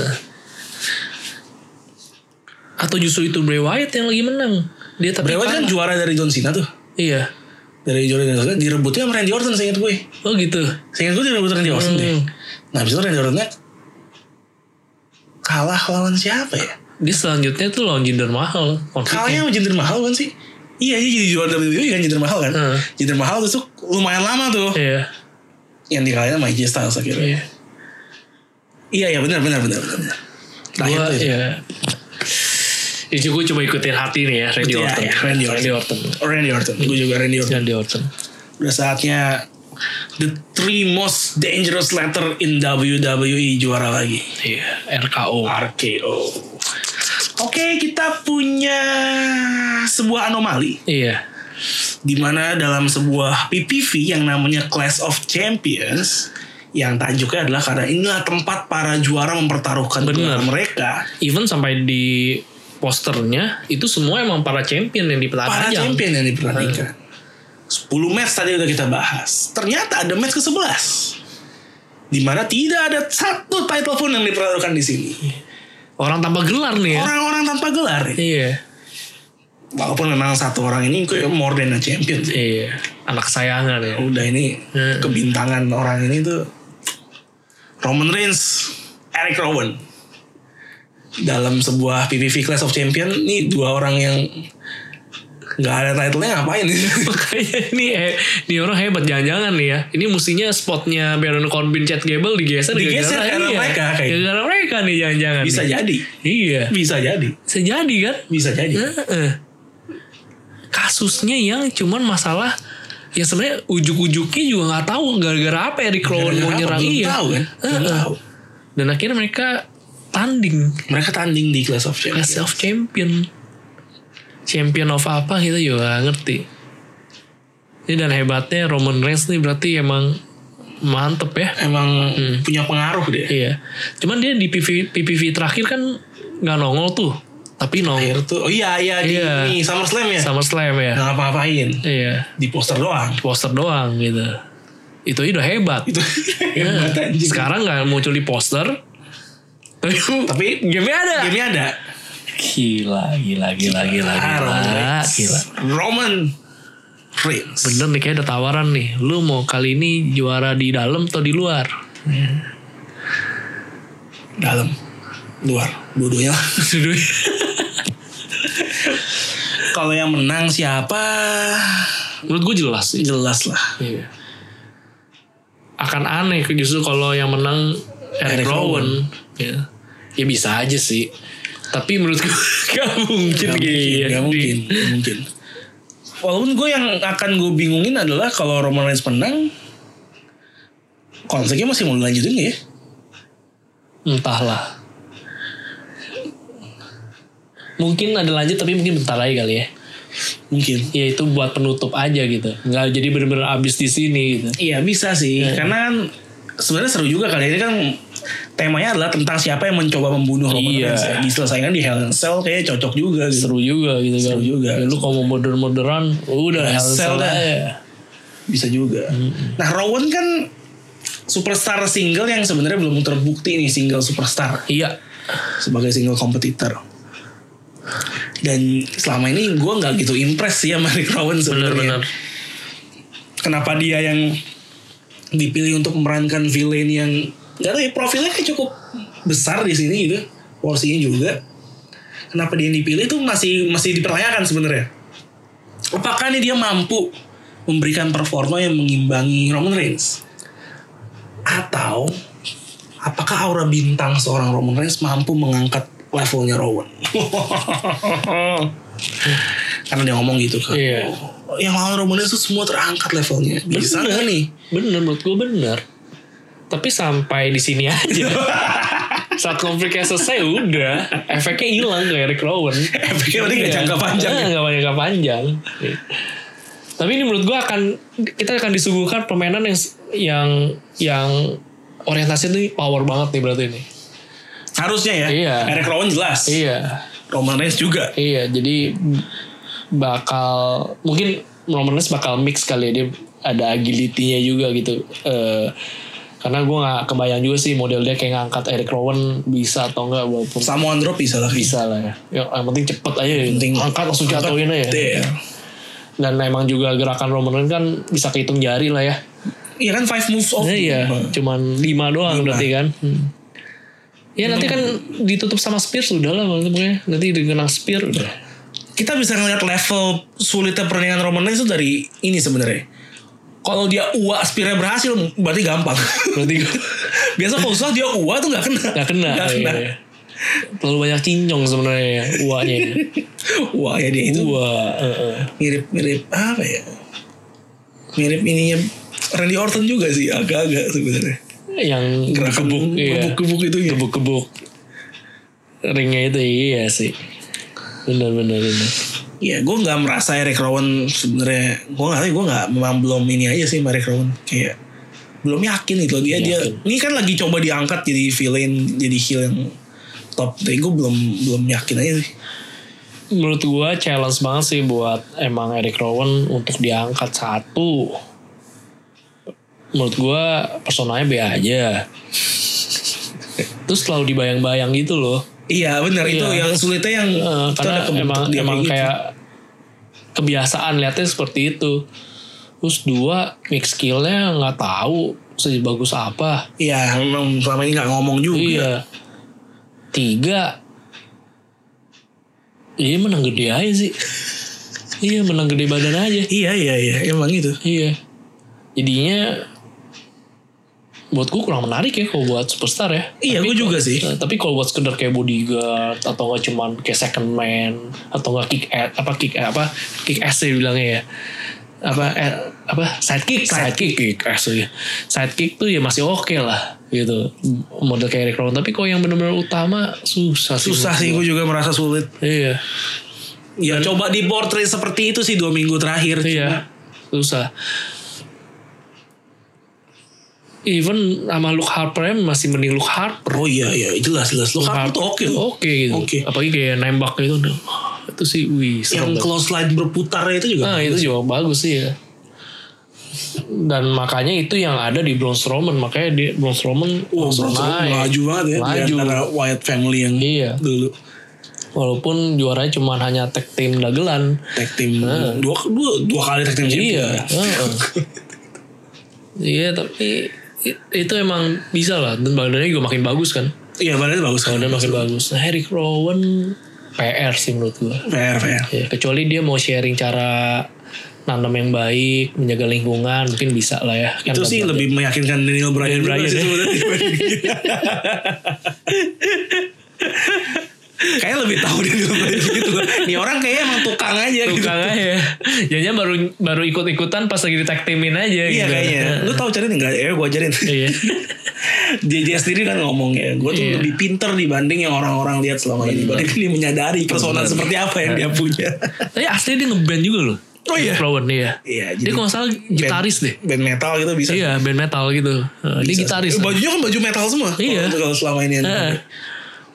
[SPEAKER 2] Atau justru itu Bray Wyatt yang lagi menang. Dia tapi
[SPEAKER 1] Bray Wyatt kan
[SPEAKER 2] kalah.
[SPEAKER 1] juara dari John Cena tuh.
[SPEAKER 2] Iya.
[SPEAKER 1] Dari juara dari John Cena. Direbutnya sama Randy Orton seinget gue.
[SPEAKER 2] Oh gitu.
[SPEAKER 1] Seinget gue direbut Randy Orton deh.
[SPEAKER 2] Hmm.
[SPEAKER 1] Nah abis itu Randy Ortonnya kalah lawan siapa ya?
[SPEAKER 2] Dia selanjutnya tuh lawan Jinder Mahal.
[SPEAKER 1] Kalahnya
[SPEAKER 2] Konfliknya.
[SPEAKER 1] sama Jinder Mahal kan sih? Iya, dia jadi juara WWE kan Jinder Mahal kan?
[SPEAKER 2] Hmm.
[SPEAKER 1] Jinder Mahal itu lumayan lama tuh.
[SPEAKER 2] Iya.
[SPEAKER 1] Yang dikalahin sama AJ Styles akhirnya.
[SPEAKER 2] Iya.
[SPEAKER 1] Iya, iya benar, benar, benar, benar. benar. Terakhir
[SPEAKER 2] Gua,
[SPEAKER 1] tuh itu.
[SPEAKER 2] ya. Ya, gue cuma ikutin hati nih ya Randy
[SPEAKER 1] Iya,
[SPEAKER 2] Orton.
[SPEAKER 1] iya, Randy Orton.
[SPEAKER 2] Randy Orton.
[SPEAKER 1] Randy Orton, gue juga Randy Orton.
[SPEAKER 2] Randy Orton.
[SPEAKER 1] Udah saatnya the three most dangerous letter in WWE juara lagi.
[SPEAKER 2] Iya, RKO.
[SPEAKER 1] RKO. Oke, kita punya sebuah anomali
[SPEAKER 2] Iya.
[SPEAKER 1] di mana dalam sebuah PPV yang namanya Clash of Champions yang tajuknya adalah karena inilah tempat para juara mempertaruhkan
[SPEAKER 2] Benar.
[SPEAKER 1] gelar mereka.
[SPEAKER 2] Even sampai di posternya itu semua emang para champion yang Eh.
[SPEAKER 1] Para
[SPEAKER 2] dipertandingkan.
[SPEAKER 1] champion yang diperhatikan. 10 match tadi udah kita bahas. Ternyata ada match ke-11. Dimana tidak ada satu title pun yang dipertaruhkan di sini.
[SPEAKER 2] Orang tanpa gelar nih ya.
[SPEAKER 1] Orang-orang tanpa gelar.
[SPEAKER 2] Iya.
[SPEAKER 1] Walaupun memang satu orang ini kayak more than a champion sih.
[SPEAKER 2] Iya. Anak sayangan ya.
[SPEAKER 1] Udah ini
[SPEAKER 2] Hmm.
[SPEAKER 1] kebintangan orang ini tuh Roman Reigns, Eric Rowan. Dalam sebuah PPV Clash of Champion ini dua orang yang nggak ada title-nya ngapain
[SPEAKER 2] Makanya ini eh, ini orang hebat jangan-jangan nih ya. Ini mestinya spotnya Baron Corbin Chad Gable digeser
[SPEAKER 1] Digeser
[SPEAKER 2] gara-gara
[SPEAKER 1] karena
[SPEAKER 2] iya.
[SPEAKER 1] mereka, kayaknya.
[SPEAKER 2] Gara-gara mereka nih jangan-jangan.
[SPEAKER 1] Bisa
[SPEAKER 2] nih.
[SPEAKER 1] jadi,
[SPEAKER 2] Iya.
[SPEAKER 1] bisa jadi,
[SPEAKER 2] Bisa jadi kan?
[SPEAKER 1] bisa jadi.
[SPEAKER 2] Heeh. Kasusnya yang cuman masalah ya sebenarnya ujuk-ujuknya juga nggak tahu gara-gara apa ya Eric Rowan
[SPEAKER 1] Gara-gara
[SPEAKER 2] mau
[SPEAKER 1] apa?
[SPEAKER 2] nyerang
[SPEAKER 1] Belum
[SPEAKER 2] iya.
[SPEAKER 1] tahu kan? Belum
[SPEAKER 2] Heeh.
[SPEAKER 1] tahu.
[SPEAKER 2] Dan akhirnya mereka tanding
[SPEAKER 1] Mereka tanding di Clash of Champions.
[SPEAKER 2] Clash of Champion. Champion of apa kita juga nggak ngerti. Ini dan hebatnya Roman Reigns nih berarti emang mantep ya.
[SPEAKER 1] Emang punya pengaruh dia.
[SPEAKER 2] Iya. Cuman dia di PV, PPV terakhir kan nggak nongol tuh. Tapi
[SPEAKER 1] Akhir
[SPEAKER 2] nongol
[SPEAKER 1] tuh, oh iya iya di
[SPEAKER 2] Iya.
[SPEAKER 1] ini SummerSlam ya.
[SPEAKER 2] sama Slam ya.
[SPEAKER 1] Nggak ngapa-ngapain.
[SPEAKER 2] Iya.
[SPEAKER 1] Di poster doang.
[SPEAKER 2] poster doang gitu. Itu udah hebat.
[SPEAKER 1] Itu
[SPEAKER 2] Nah,
[SPEAKER 1] hebat anjing.
[SPEAKER 2] sekarang nggak muncul di poster. Tapi,
[SPEAKER 1] Tapi
[SPEAKER 2] game ada.
[SPEAKER 1] gamenya ada.
[SPEAKER 2] Gila, gila, gila, gila, gila,
[SPEAKER 1] Roman
[SPEAKER 2] gila.
[SPEAKER 1] Reigns. Roman Reigns.
[SPEAKER 2] Bener nih kayak ada tawaran nih. Lu mau kali ini juara di dalam atau di luar?
[SPEAKER 1] Dalam. Luar. Dua-duanya. lah. Kalau yang menang siapa?
[SPEAKER 2] Menurut gue jelas sih.
[SPEAKER 1] Jelas lah.
[SPEAKER 2] Iya. Akan aneh justru kalau yang menang Eric
[SPEAKER 1] Eric
[SPEAKER 2] Rowan. Ya. ya bisa aja sih. Tapi menurut gue gak mungkin
[SPEAKER 1] Gak mungkin,
[SPEAKER 2] gitu.
[SPEAKER 1] gak mungkin, gak mungkin. Walaupun gue yang akan gue bingungin adalah kalau Roman Reigns menang, konfliknya masih mau dilanjutin gak ya?
[SPEAKER 2] Entahlah. Mungkin ada lanjut tapi mungkin bentar lagi kali ya.
[SPEAKER 1] Mungkin.
[SPEAKER 2] Ya itu buat penutup aja gitu. Nggak jadi bener-bener abis di sini gitu.
[SPEAKER 1] Iya bisa sih, karena kan sebenarnya seru juga kali ini kan temanya adalah tentang siapa yang mencoba membunuh Roman
[SPEAKER 2] Iya.
[SPEAKER 1] Reigns. Ya. Diselesaikan di Hell in a Cell kayaknya cocok juga gitu.
[SPEAKER 2] Seru juga gitu kan.
[SPEAKER 1] Seru juga.
[SPEAKER 2] Ya, lu kalau mau modern-moderan udah
[SPEAKER 1] Nah,
[SPEAKER 2] hal
[SPEAKER 1] sel dah.
[SPEAKER 2] aja.
[SPEAKER 1] Bisa juga. Nah Rowan kan superstar single yang sebenarnya belum terbukti nih single superstar
[SPEAKER 2] Iya.
[SPEAKER 1] sebagai single kompetitor. Dan selama ini gue nggak gitu impress sih sama Rick Rowan sebenarnya.
[SPEAKER 2] Bener-bener.
[SPEAKER 1] Kenapa dia yang dipilih untuk memerankan villain yang nggak tahu ya profilnya kayak cukup besar di sini gitu porsinya juga kenapa dia yang dipilih itu masih masih dipertanyakan sebenarnya apakah nih dia mampu memberikan performa yang mengimbangi Roman Reigns atau apakah aura bintang seorang Roman Reigns mampu mengangkat levelnya Rowan karena dia ngomong gitu kan
[SPEAKER 2] Iya.
[SPEAKER 1] yang lawan Roman Reigns itu semua terangkat levelnya bisa nggak nih
[SPEAKER 2] Bener menurut gue bener. Tapi sampai di sini aja. saat konfliknya selesai udah efeknya hilang kayak Eric Rowan
[SPEAKER 1] Efeknya berarti nggak
[SPEAKER 2] Iya.
[SPEAKER 1] jangka panjang
[SPEAKER 2] Eh,
[SPEAKER 1] ya.
[SPEAKER 2] nggak jangka panjang tapi ini menurut gua akan kita akan disuguhkan permainan yang yang yang orientasinya tuh power banget nih berarti ini
[SPEAKER 1] Harusnya ya.
[SPEAKER 2] Iya.
[SPEAKER 1] Eric Rowan jelas.
[SPEAKER 2] iya
[SPEAKER 1] Roman Reigns juga.
[SPEAKER 2] Iya, jadi bakal mungkin Roman Reigns bakal mix kali ya dia ada agility-nya juga gitu. Eh karena gue nggak kebayang juga sih model dia kayak ngangkat Eric Rowan bisa atau enggak walaupun
[SPEAKER 1] Samoan Drop bisa lah.
[SPEAKER 2] bisa lah ya. Ya, Yang penting cepet aja ya. angkat langsung jatuhin aja.
[SPEAKER 1] Iya.
[SPEAKER 2] Dan emang juga gerakan Roman Reigns kan bisa kehitung jari lah ya.
[SPEAKER 1] Iya kan five moves off.
[SPEAKER 2] Nah, iya, cuman lima doang berarti kan. Hmm. Ya nanti kan ditutup sama spear sudah lah pokoknya. Nanti dikenang spear udah.
[SPEAKER 1] Kita bisa ngeliat level sulitnya pertandingan Roman Reigns itu dari ini sebenarnya. Kalau dia uak spearnya berhasil berarti gampang.
[SPEAKER 2] Berarti
[SPEAKER 1] Biasa kalau susah dia uak tuh nggak kena.
[SPEAKER 2] Gak kena.
[SPEAKER 1] Nggak kena.
[SPEAKER 2] Iya. Terlalu banyak cincong sebenarnya ya, uaknya.
[SPEAKER 1] Wah ya dia itu
[SPEAKER 2] Uak. heeh.
[SPEAKER 1] mirip-mirip apa ya? Mirip ininya Randy Orton juga sih agak-agak sebenarnya.
[SPEAKER 2] Yang iya.
[SPEAKER 1] Gerak gebuk, gebuk-gebuk itu ya.
[SPEAKER 2] Gebuk-gebuk. Ringnya itu iya sih. Benar benar benar.
[SPEAKER 1] Ya gue nggak merasa Eric Rowan sebenarnya gue nggak tahu gue nggak memang belum ini aja sih sama Eric Rowan kayak belum yakin gitu loh. dia dia ini kan lagi coba diangkat jadi villain jadi heel yang top tapi gue belum belum yakin aja sih
[SPEAKER 2] Menurut gua challenge banget sih buat emang Eric Rowan untuk diangkat satu. Menurut gua personanya B aja. Terus selalu dibayang-bayang gitu loh.
[SPEAKER 1] iya benar itu
[SPEAKER 2] Iya.
[SPEAKER 1] yang sulitnya yang
[SPEAKER 2] Eh,
[SPEAKER 1] itu
[SPEAKER 2] karena
[SPEAKER 1] ada kebentuk
[SPEAKER 2] emang
[SPEAKER 1] dia
[SPEAKER 2] emang
[SPEAKER 1] gitu.
[SPEAKER 2] kayak kebiasaan lihatnya seperti itu terus dua mix skillnya nggak tahu sebagus apa
[SPEAKER 1] iya memang selama ini nggak ngomong juga
[SPEAKER 2] iya tiga iya menang gede aja sih iya menang gede badan aja
[SPEAKER 1] iya iya iya emang itu
[SPEAKER 2] iya jadinya buat gue kurang menarik ya kalau buat superstar ya
[SPEAKER 1] iya gue juga sih
[SPEAKER 2] Nah, tapi kalau buat sekedar kayak bodyguard atau nggak cuman kayak second man atau nggak kick ass apa kick apa kick ass ya bilangnya ya apa eh, apa sidekick sidekick kick ass ya sidekick tuh ya masih oke lah gitu model kayak Eric Rowan tapi kalau yang benar-benar utama susah sih
[SPEAKER 1] susah sih gue juga merasa sulit
[SPEAKER 2] iya
[SPEAKER 1] ya coba di portrait seperti itu sih dua minggu terakhir
[SPEAKER 2] iya susah even sama Luke Harper masih mending Luke Harper
[SPEAKER 1] oh iya iya jelas jelas lo kan tuh oke loh
[SPEAKER 2] Oke gitu.
[SPEAKER 1] Oke.
[SPEAKER 2] Apalagi kayak nembak gitu. aduh, Itu sih
[SPEAKER 1] yang
[SPEAKER 2] wih serem banget.
[SPEAKER 1] close line berputarnya itu juga
[SPEAKER 2] Nah itu juga bagus sih ya. Dan makanya itu yang ada di Braun Strowman. Makanya di Braun Strowman
[SPEAKER 1] Wah,
[SPEAKER 2] langsung
[SPEAKER 1] Bronson
[SPEAKER 2] naik.
[SPEAKER 1] melaju banget ya di
[SPEAKER 2] Melaju.
[SPEAKER 1] antara Wyatt family yang
[SPEAKER 2] Iya.
[SPEAKER 1] dulu
[SPEAKER 2] Walaupun juaranya cuma hanya tag team dagelan.
[SPEAKER 1] tag team dua, dua dua kali tag team
[SPEAKER 2] Ah. Iya.
[SPEAKER 1] champion.
[SPEAKER 2] heeh. Iya tapi i- itu emang bisa lah. Dan badannya juga makin bagus kan.
[SPEAKER 1] Iya, badannya bagus kan.
[SPEAKER 2] Badannya makin bagus. Nah, Eric Rowan PR sih menurut gua.
[SPEAKER 1] PR, PR.
[SPEAKER 2] Ya, kecuali dia mau sharing cara nanam yang baik, menjaga lingkungan, mungkin bisa lah ya. Kan
[SPEAKER 1] Itu sih
[SPEAKER 2] bantuan.
[SPEAKER 1] lebih meyakinkan Daniel Bryan,
[SPEAKER 2] Daniel
[SPEAKER 1] juga
[SPEAKER 2] Bryan
[SPEAKER 1] sih
[SPEAKER 2] ya.
[SPEAKER 1] sebenarnya. Kayaknya lebih tahu Daniel Bryan gitu. Nih orang kayaknya emang tukang aja gitu.
[SPEAKER 2] tukang aja. ya. Jadinya baru baru ikut-ikutan pas lagi ditek timin aja
[SPEAKER 1] Iya
[SPEAKER 2] gitu.
[SPEAKER 1] kayaknya. Lu tahu cari enggak? Ya gua ajarin.
[SPEAKER 2] Iya.
[SPEAKER 1] dia, dia sendiri kan ngomong ya, gue tuh
[SPEAKER 2] Iya.
[SPEAKER 1] lebih pinter dibanding yang orang-orang lihat selama ini. Berarti dia menyadari persona
[SPEAKER 2] Bener.
[SPEAKER 1] seperti apa yang dia
[SPEAKER 2] Iya.
[SPEAKER 1] punya.
[SPEAKER 2] Tapi asli dia ngeband juga loh.
[SPEAKER 1] Oh iya?
[SPEAKER 2] Rowan iya.
[SPEAKER 1] Iya,
[SPEAKER 2] dia
[SPEAKER 1] jadi
[SPEAKER 2] kalau nggak salah gitaris deh.
[SPEAKER 1] Band metal gitu bisa.
[SPEAKER 2] Iya, band metal gitu. Nah, dia
[SPEAKER 1] Bisa.
[SPEAKER 2] gitaris.
[SPEAKER 1] Eh, Bajunya kan baju metal semua.
[SPEAKER 2] Iya.
[SPEAKER 1] Kalau- Kalau selama ini. yang
[SPEAKER 2] Nah,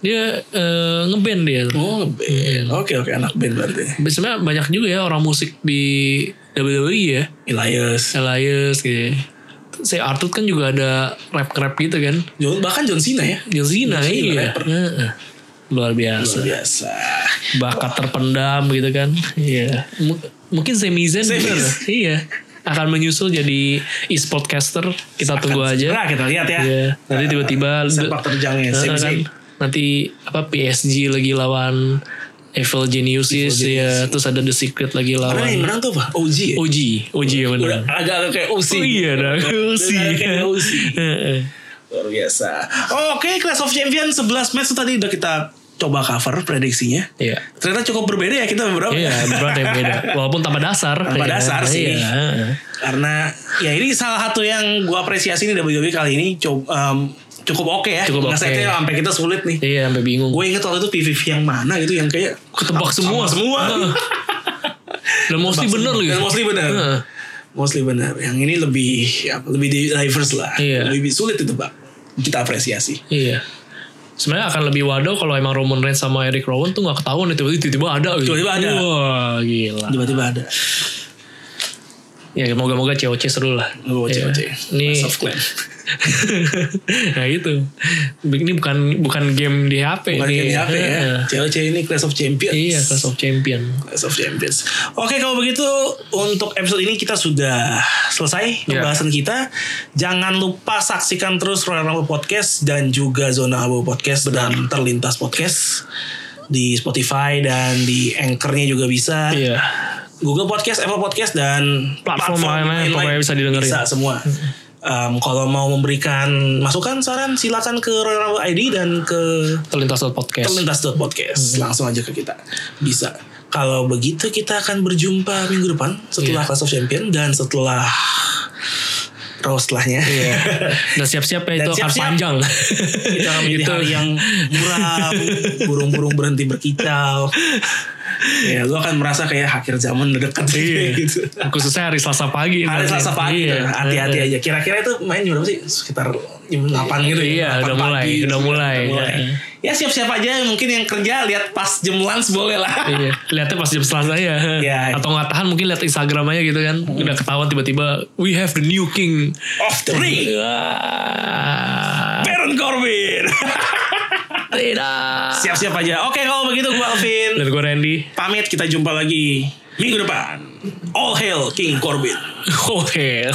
[SPEAKER 2] dia eh, ngeband dia. Iya.
[SPEAKER 1] Oh, band. Oke, oke. Anak band berarti.
[SPEAKER 2] Sebenarnya banyak juga ya orang musik di WWE ya.
[SPEAKER 1] Elias.
[SPEAKER 2] Elias gitu. Si Artut kan juga ada rap-rap gitu kan.
[SPEAKER 1] John, bahkan John Cena ya.
[SPEAKER 2] John Cena
[SPEAKER 1] John Cena,
[SPEAKER 2] iya.
[SPEAKER 1] rapper.
[SPEAKER 2] Heeh.
[SPEAKER 1] Luar
[SPEAKER 2] Luar biasa.
[SPEAKER 1] Biasa.
[SPEAKER 2] Bakat terpendam gitu kan. Iya. M- mungkin Sami Zayn
[SPEAKER 1] Sami
[SPEAKER 2] bener.
[SPEAKER 1] Zayn.
[SPEAKER 2] Iya. Akan menyusul jadi e-sportcaster. Kita tunggu aja.
[SPEAKER 1] Segera kita lihat ya.
[SPEAKER 2] Iya. Nanti tiba-tiba
[SPEAKER 1] Sepak terjangnya Sami
[SPEAKER 2] Heeh, kan.
[SPEAKER 1] Zayn.
[SPEAKER 2] Nanti apa PSG lagi lawan Evil Geniuses ya. Terus ada The Secret lagi
[SPEAKER 1] Karena yang
[SPEAKER 2] lawan
[SPEAKER 1] menang tuh apa? OG ya?
[SPEAKER 2] OG. OG yang
[SPEAKER 1] Udah
[SPEAKER 2] menang.
[SPEAKER 1] agak-agak kayak OC.
[SPEAKER 2] Oh iya dah. Usi.
[SPEAKER 1] Udah kayak Usi.
[SPEAKER 2] Heeh.
[SPEAKER 1] Luar biasa. Oke, Clash of Champions 11 match tuh tadi udah kita coba cover prediksinya.
[SPEAKER 2] Iya.
[SPEAKER 1] Ternyata cukup berbeda ya kita beberapa.
[SPEAKER 2] Iya, beneran ada yang beda. Walaupun tanpa dasar.
[SPEAKER 1] Tanpa
[SPEAKER 2] Iya,
[SPEAKER 1] dasar sih.
[SPEAKER 2] Iya.
[SPEAKER 1] E Karena ya ini salah satu yang gue apresiasi nih WWE kali ini coba cukup oke ya.
[SPEAKER 2] Cukup oke.
[SPEAKER 1] Ngesetnya sampai kita sulit nih.
[SPEAKER 2] Iya sampai bingung.
[SPEAKER 1] Gue inget waktu itu PVV yang mana gitu yang kayak
[SPEAKER 2] Ketebak
[SPEAKER 1] sama
[SPEAKER 2] semua.
[SPEAKER 1] semua.
[SPEAKER 2] Heeh. Dan mostly bener loh.
[SPEAKER 1] Dan mostly bener.
[SPEAKER 2] Heeh.
[SPEAKER 1] Mostly benar. Yang ini lebih apa, lebih diverse lah.
[SPEAKER 2] Iya.
[SPEAKER 1] Lebih sulit ditebak. Kita apresiasi.
[SPEAKER 2] Iya. Sebenarnya akan lebih waduh kalau emang Roman Reigns sama Eric Rowan tuh nggak ketahuan ya, tiba-tiba tiba-tiba ada gitu.
[SPEAKER 1] Tiba-tiba ada.
[SPEAKER 2] Wah gila.
[SPEAKER 1] Tiba-tiba ada.
[SPEAKER 2] Ya moga-moga COC seru lah.
[SPEAKER 1] Oh,
[SPEAKER 2] Ya.
[SPEAKER 1] COC.
[SPEAKER 2] Ini
[SPEAKER 1] Clash of Clans.
[SPEAKER 2] nah itu. Ini bukan bukan game di HP.
[SPEAKER 1] Bukan game
[SPEAKER 2] ini.
[SPEAKER 1] di HP ya.
[SPEAKER 2] Heeh.
[SPEAKER 1] COC ini Clash of Champions.
[SPEAKER 2] Iya, Clash of Champion.
[SPEAKER 1] Clash of Champions. Oke kalau begitu untuk episode ini kita sudah selesai
[SPEAKER 2] Iya.
[SPEAKER 1] pembahasan kita. Jangan lupa saksikan terus Royal Rumble Podcast dan juga Zona Abu Podcast dan Terlintas Podcast di Spotify dan di Anchor-nya juga bisa.
[SPEAKER 2] Iya.
[SPEAKER 1] Google Podcast, Apple Podcast dan
[SPEAKER 2] Platform lain-lain, pokoknya bisa didengerin.
[SPEAKER 1] Bisa semua. Um, kalau mau memberikan masukan saran silakan ke Royal Rumble ID dan ke
[SPEAKER 2] Terlintas podcast. Mm-hmm.
[SPEAKER 1] terlintas.podcast langsung aja ke kita bisa kalau begitu kita akan berjumpa minggu depan setelah
[SPEAKER 2] Iya.
[SPEAKER 1] Clash of Champion dan setelah ya. Raw setelahnya
[SPEAKER 2] Iya. Dan siap-siap ya
[SPEAKER 1] Dan
[SPEAKER 2] itu akan
[SPEAKER 1] siap-siap.
[SPEAKER 2] panjang.
[SPEAKER 1] kita akan menjadi hari yang muram burung-burung berhenti berkicau ya lu akan merasa kayak akhir zaman udah dekat gitu
[SPEAKER 2] Iya. khususnya hari Selasa pagi.
[SPEAKER 1] hari
[SPEAKER 2] nanti.
[SPEAKER 1] Selasa pagi
[SPEAKER 2] Iya.
[SPEAKER 1] tuh, gitu. hati-hati aja kira-kira itu main jam berapa sih sekitar jam 8 gitu
[SPEAKER 2] Iya,
[SPEAKER 1] ya 8
[SPEAKER 2] udah mulai,
[SPEAKER 1] pagi,
[SPEAKER 2] udah mulai.
[SPEAKER 1] ya siap-siap aja mungkin yang kerja lihat pas jam lunch boleh lah
[SPEAKER 2] Iya, lihatnya pas jam Selasa ya.
[SPEAKER 1] Iya.
[SPEAKER 2] Atau nggak tahan mungkin lihat Instagram aja gitu kan. Udah ketahuan tiba-tiba we have the new king.
[SPEAKER 1] off the ring
[SPEAKER 2] Wah,
[SPEAKER 1] Baron Corbin.
[SPEAKER 2] Tidak.
[SPEAKER 1] Siap-siap aja. Oke kalau begitu gue Alvin.
[SPEAKER 2] Dan gue Randy.
[SPEAKER 1] Pamit kita jumpa lagi minggu depan. All hail King Corbin.
[SPEAKER 2] Oke.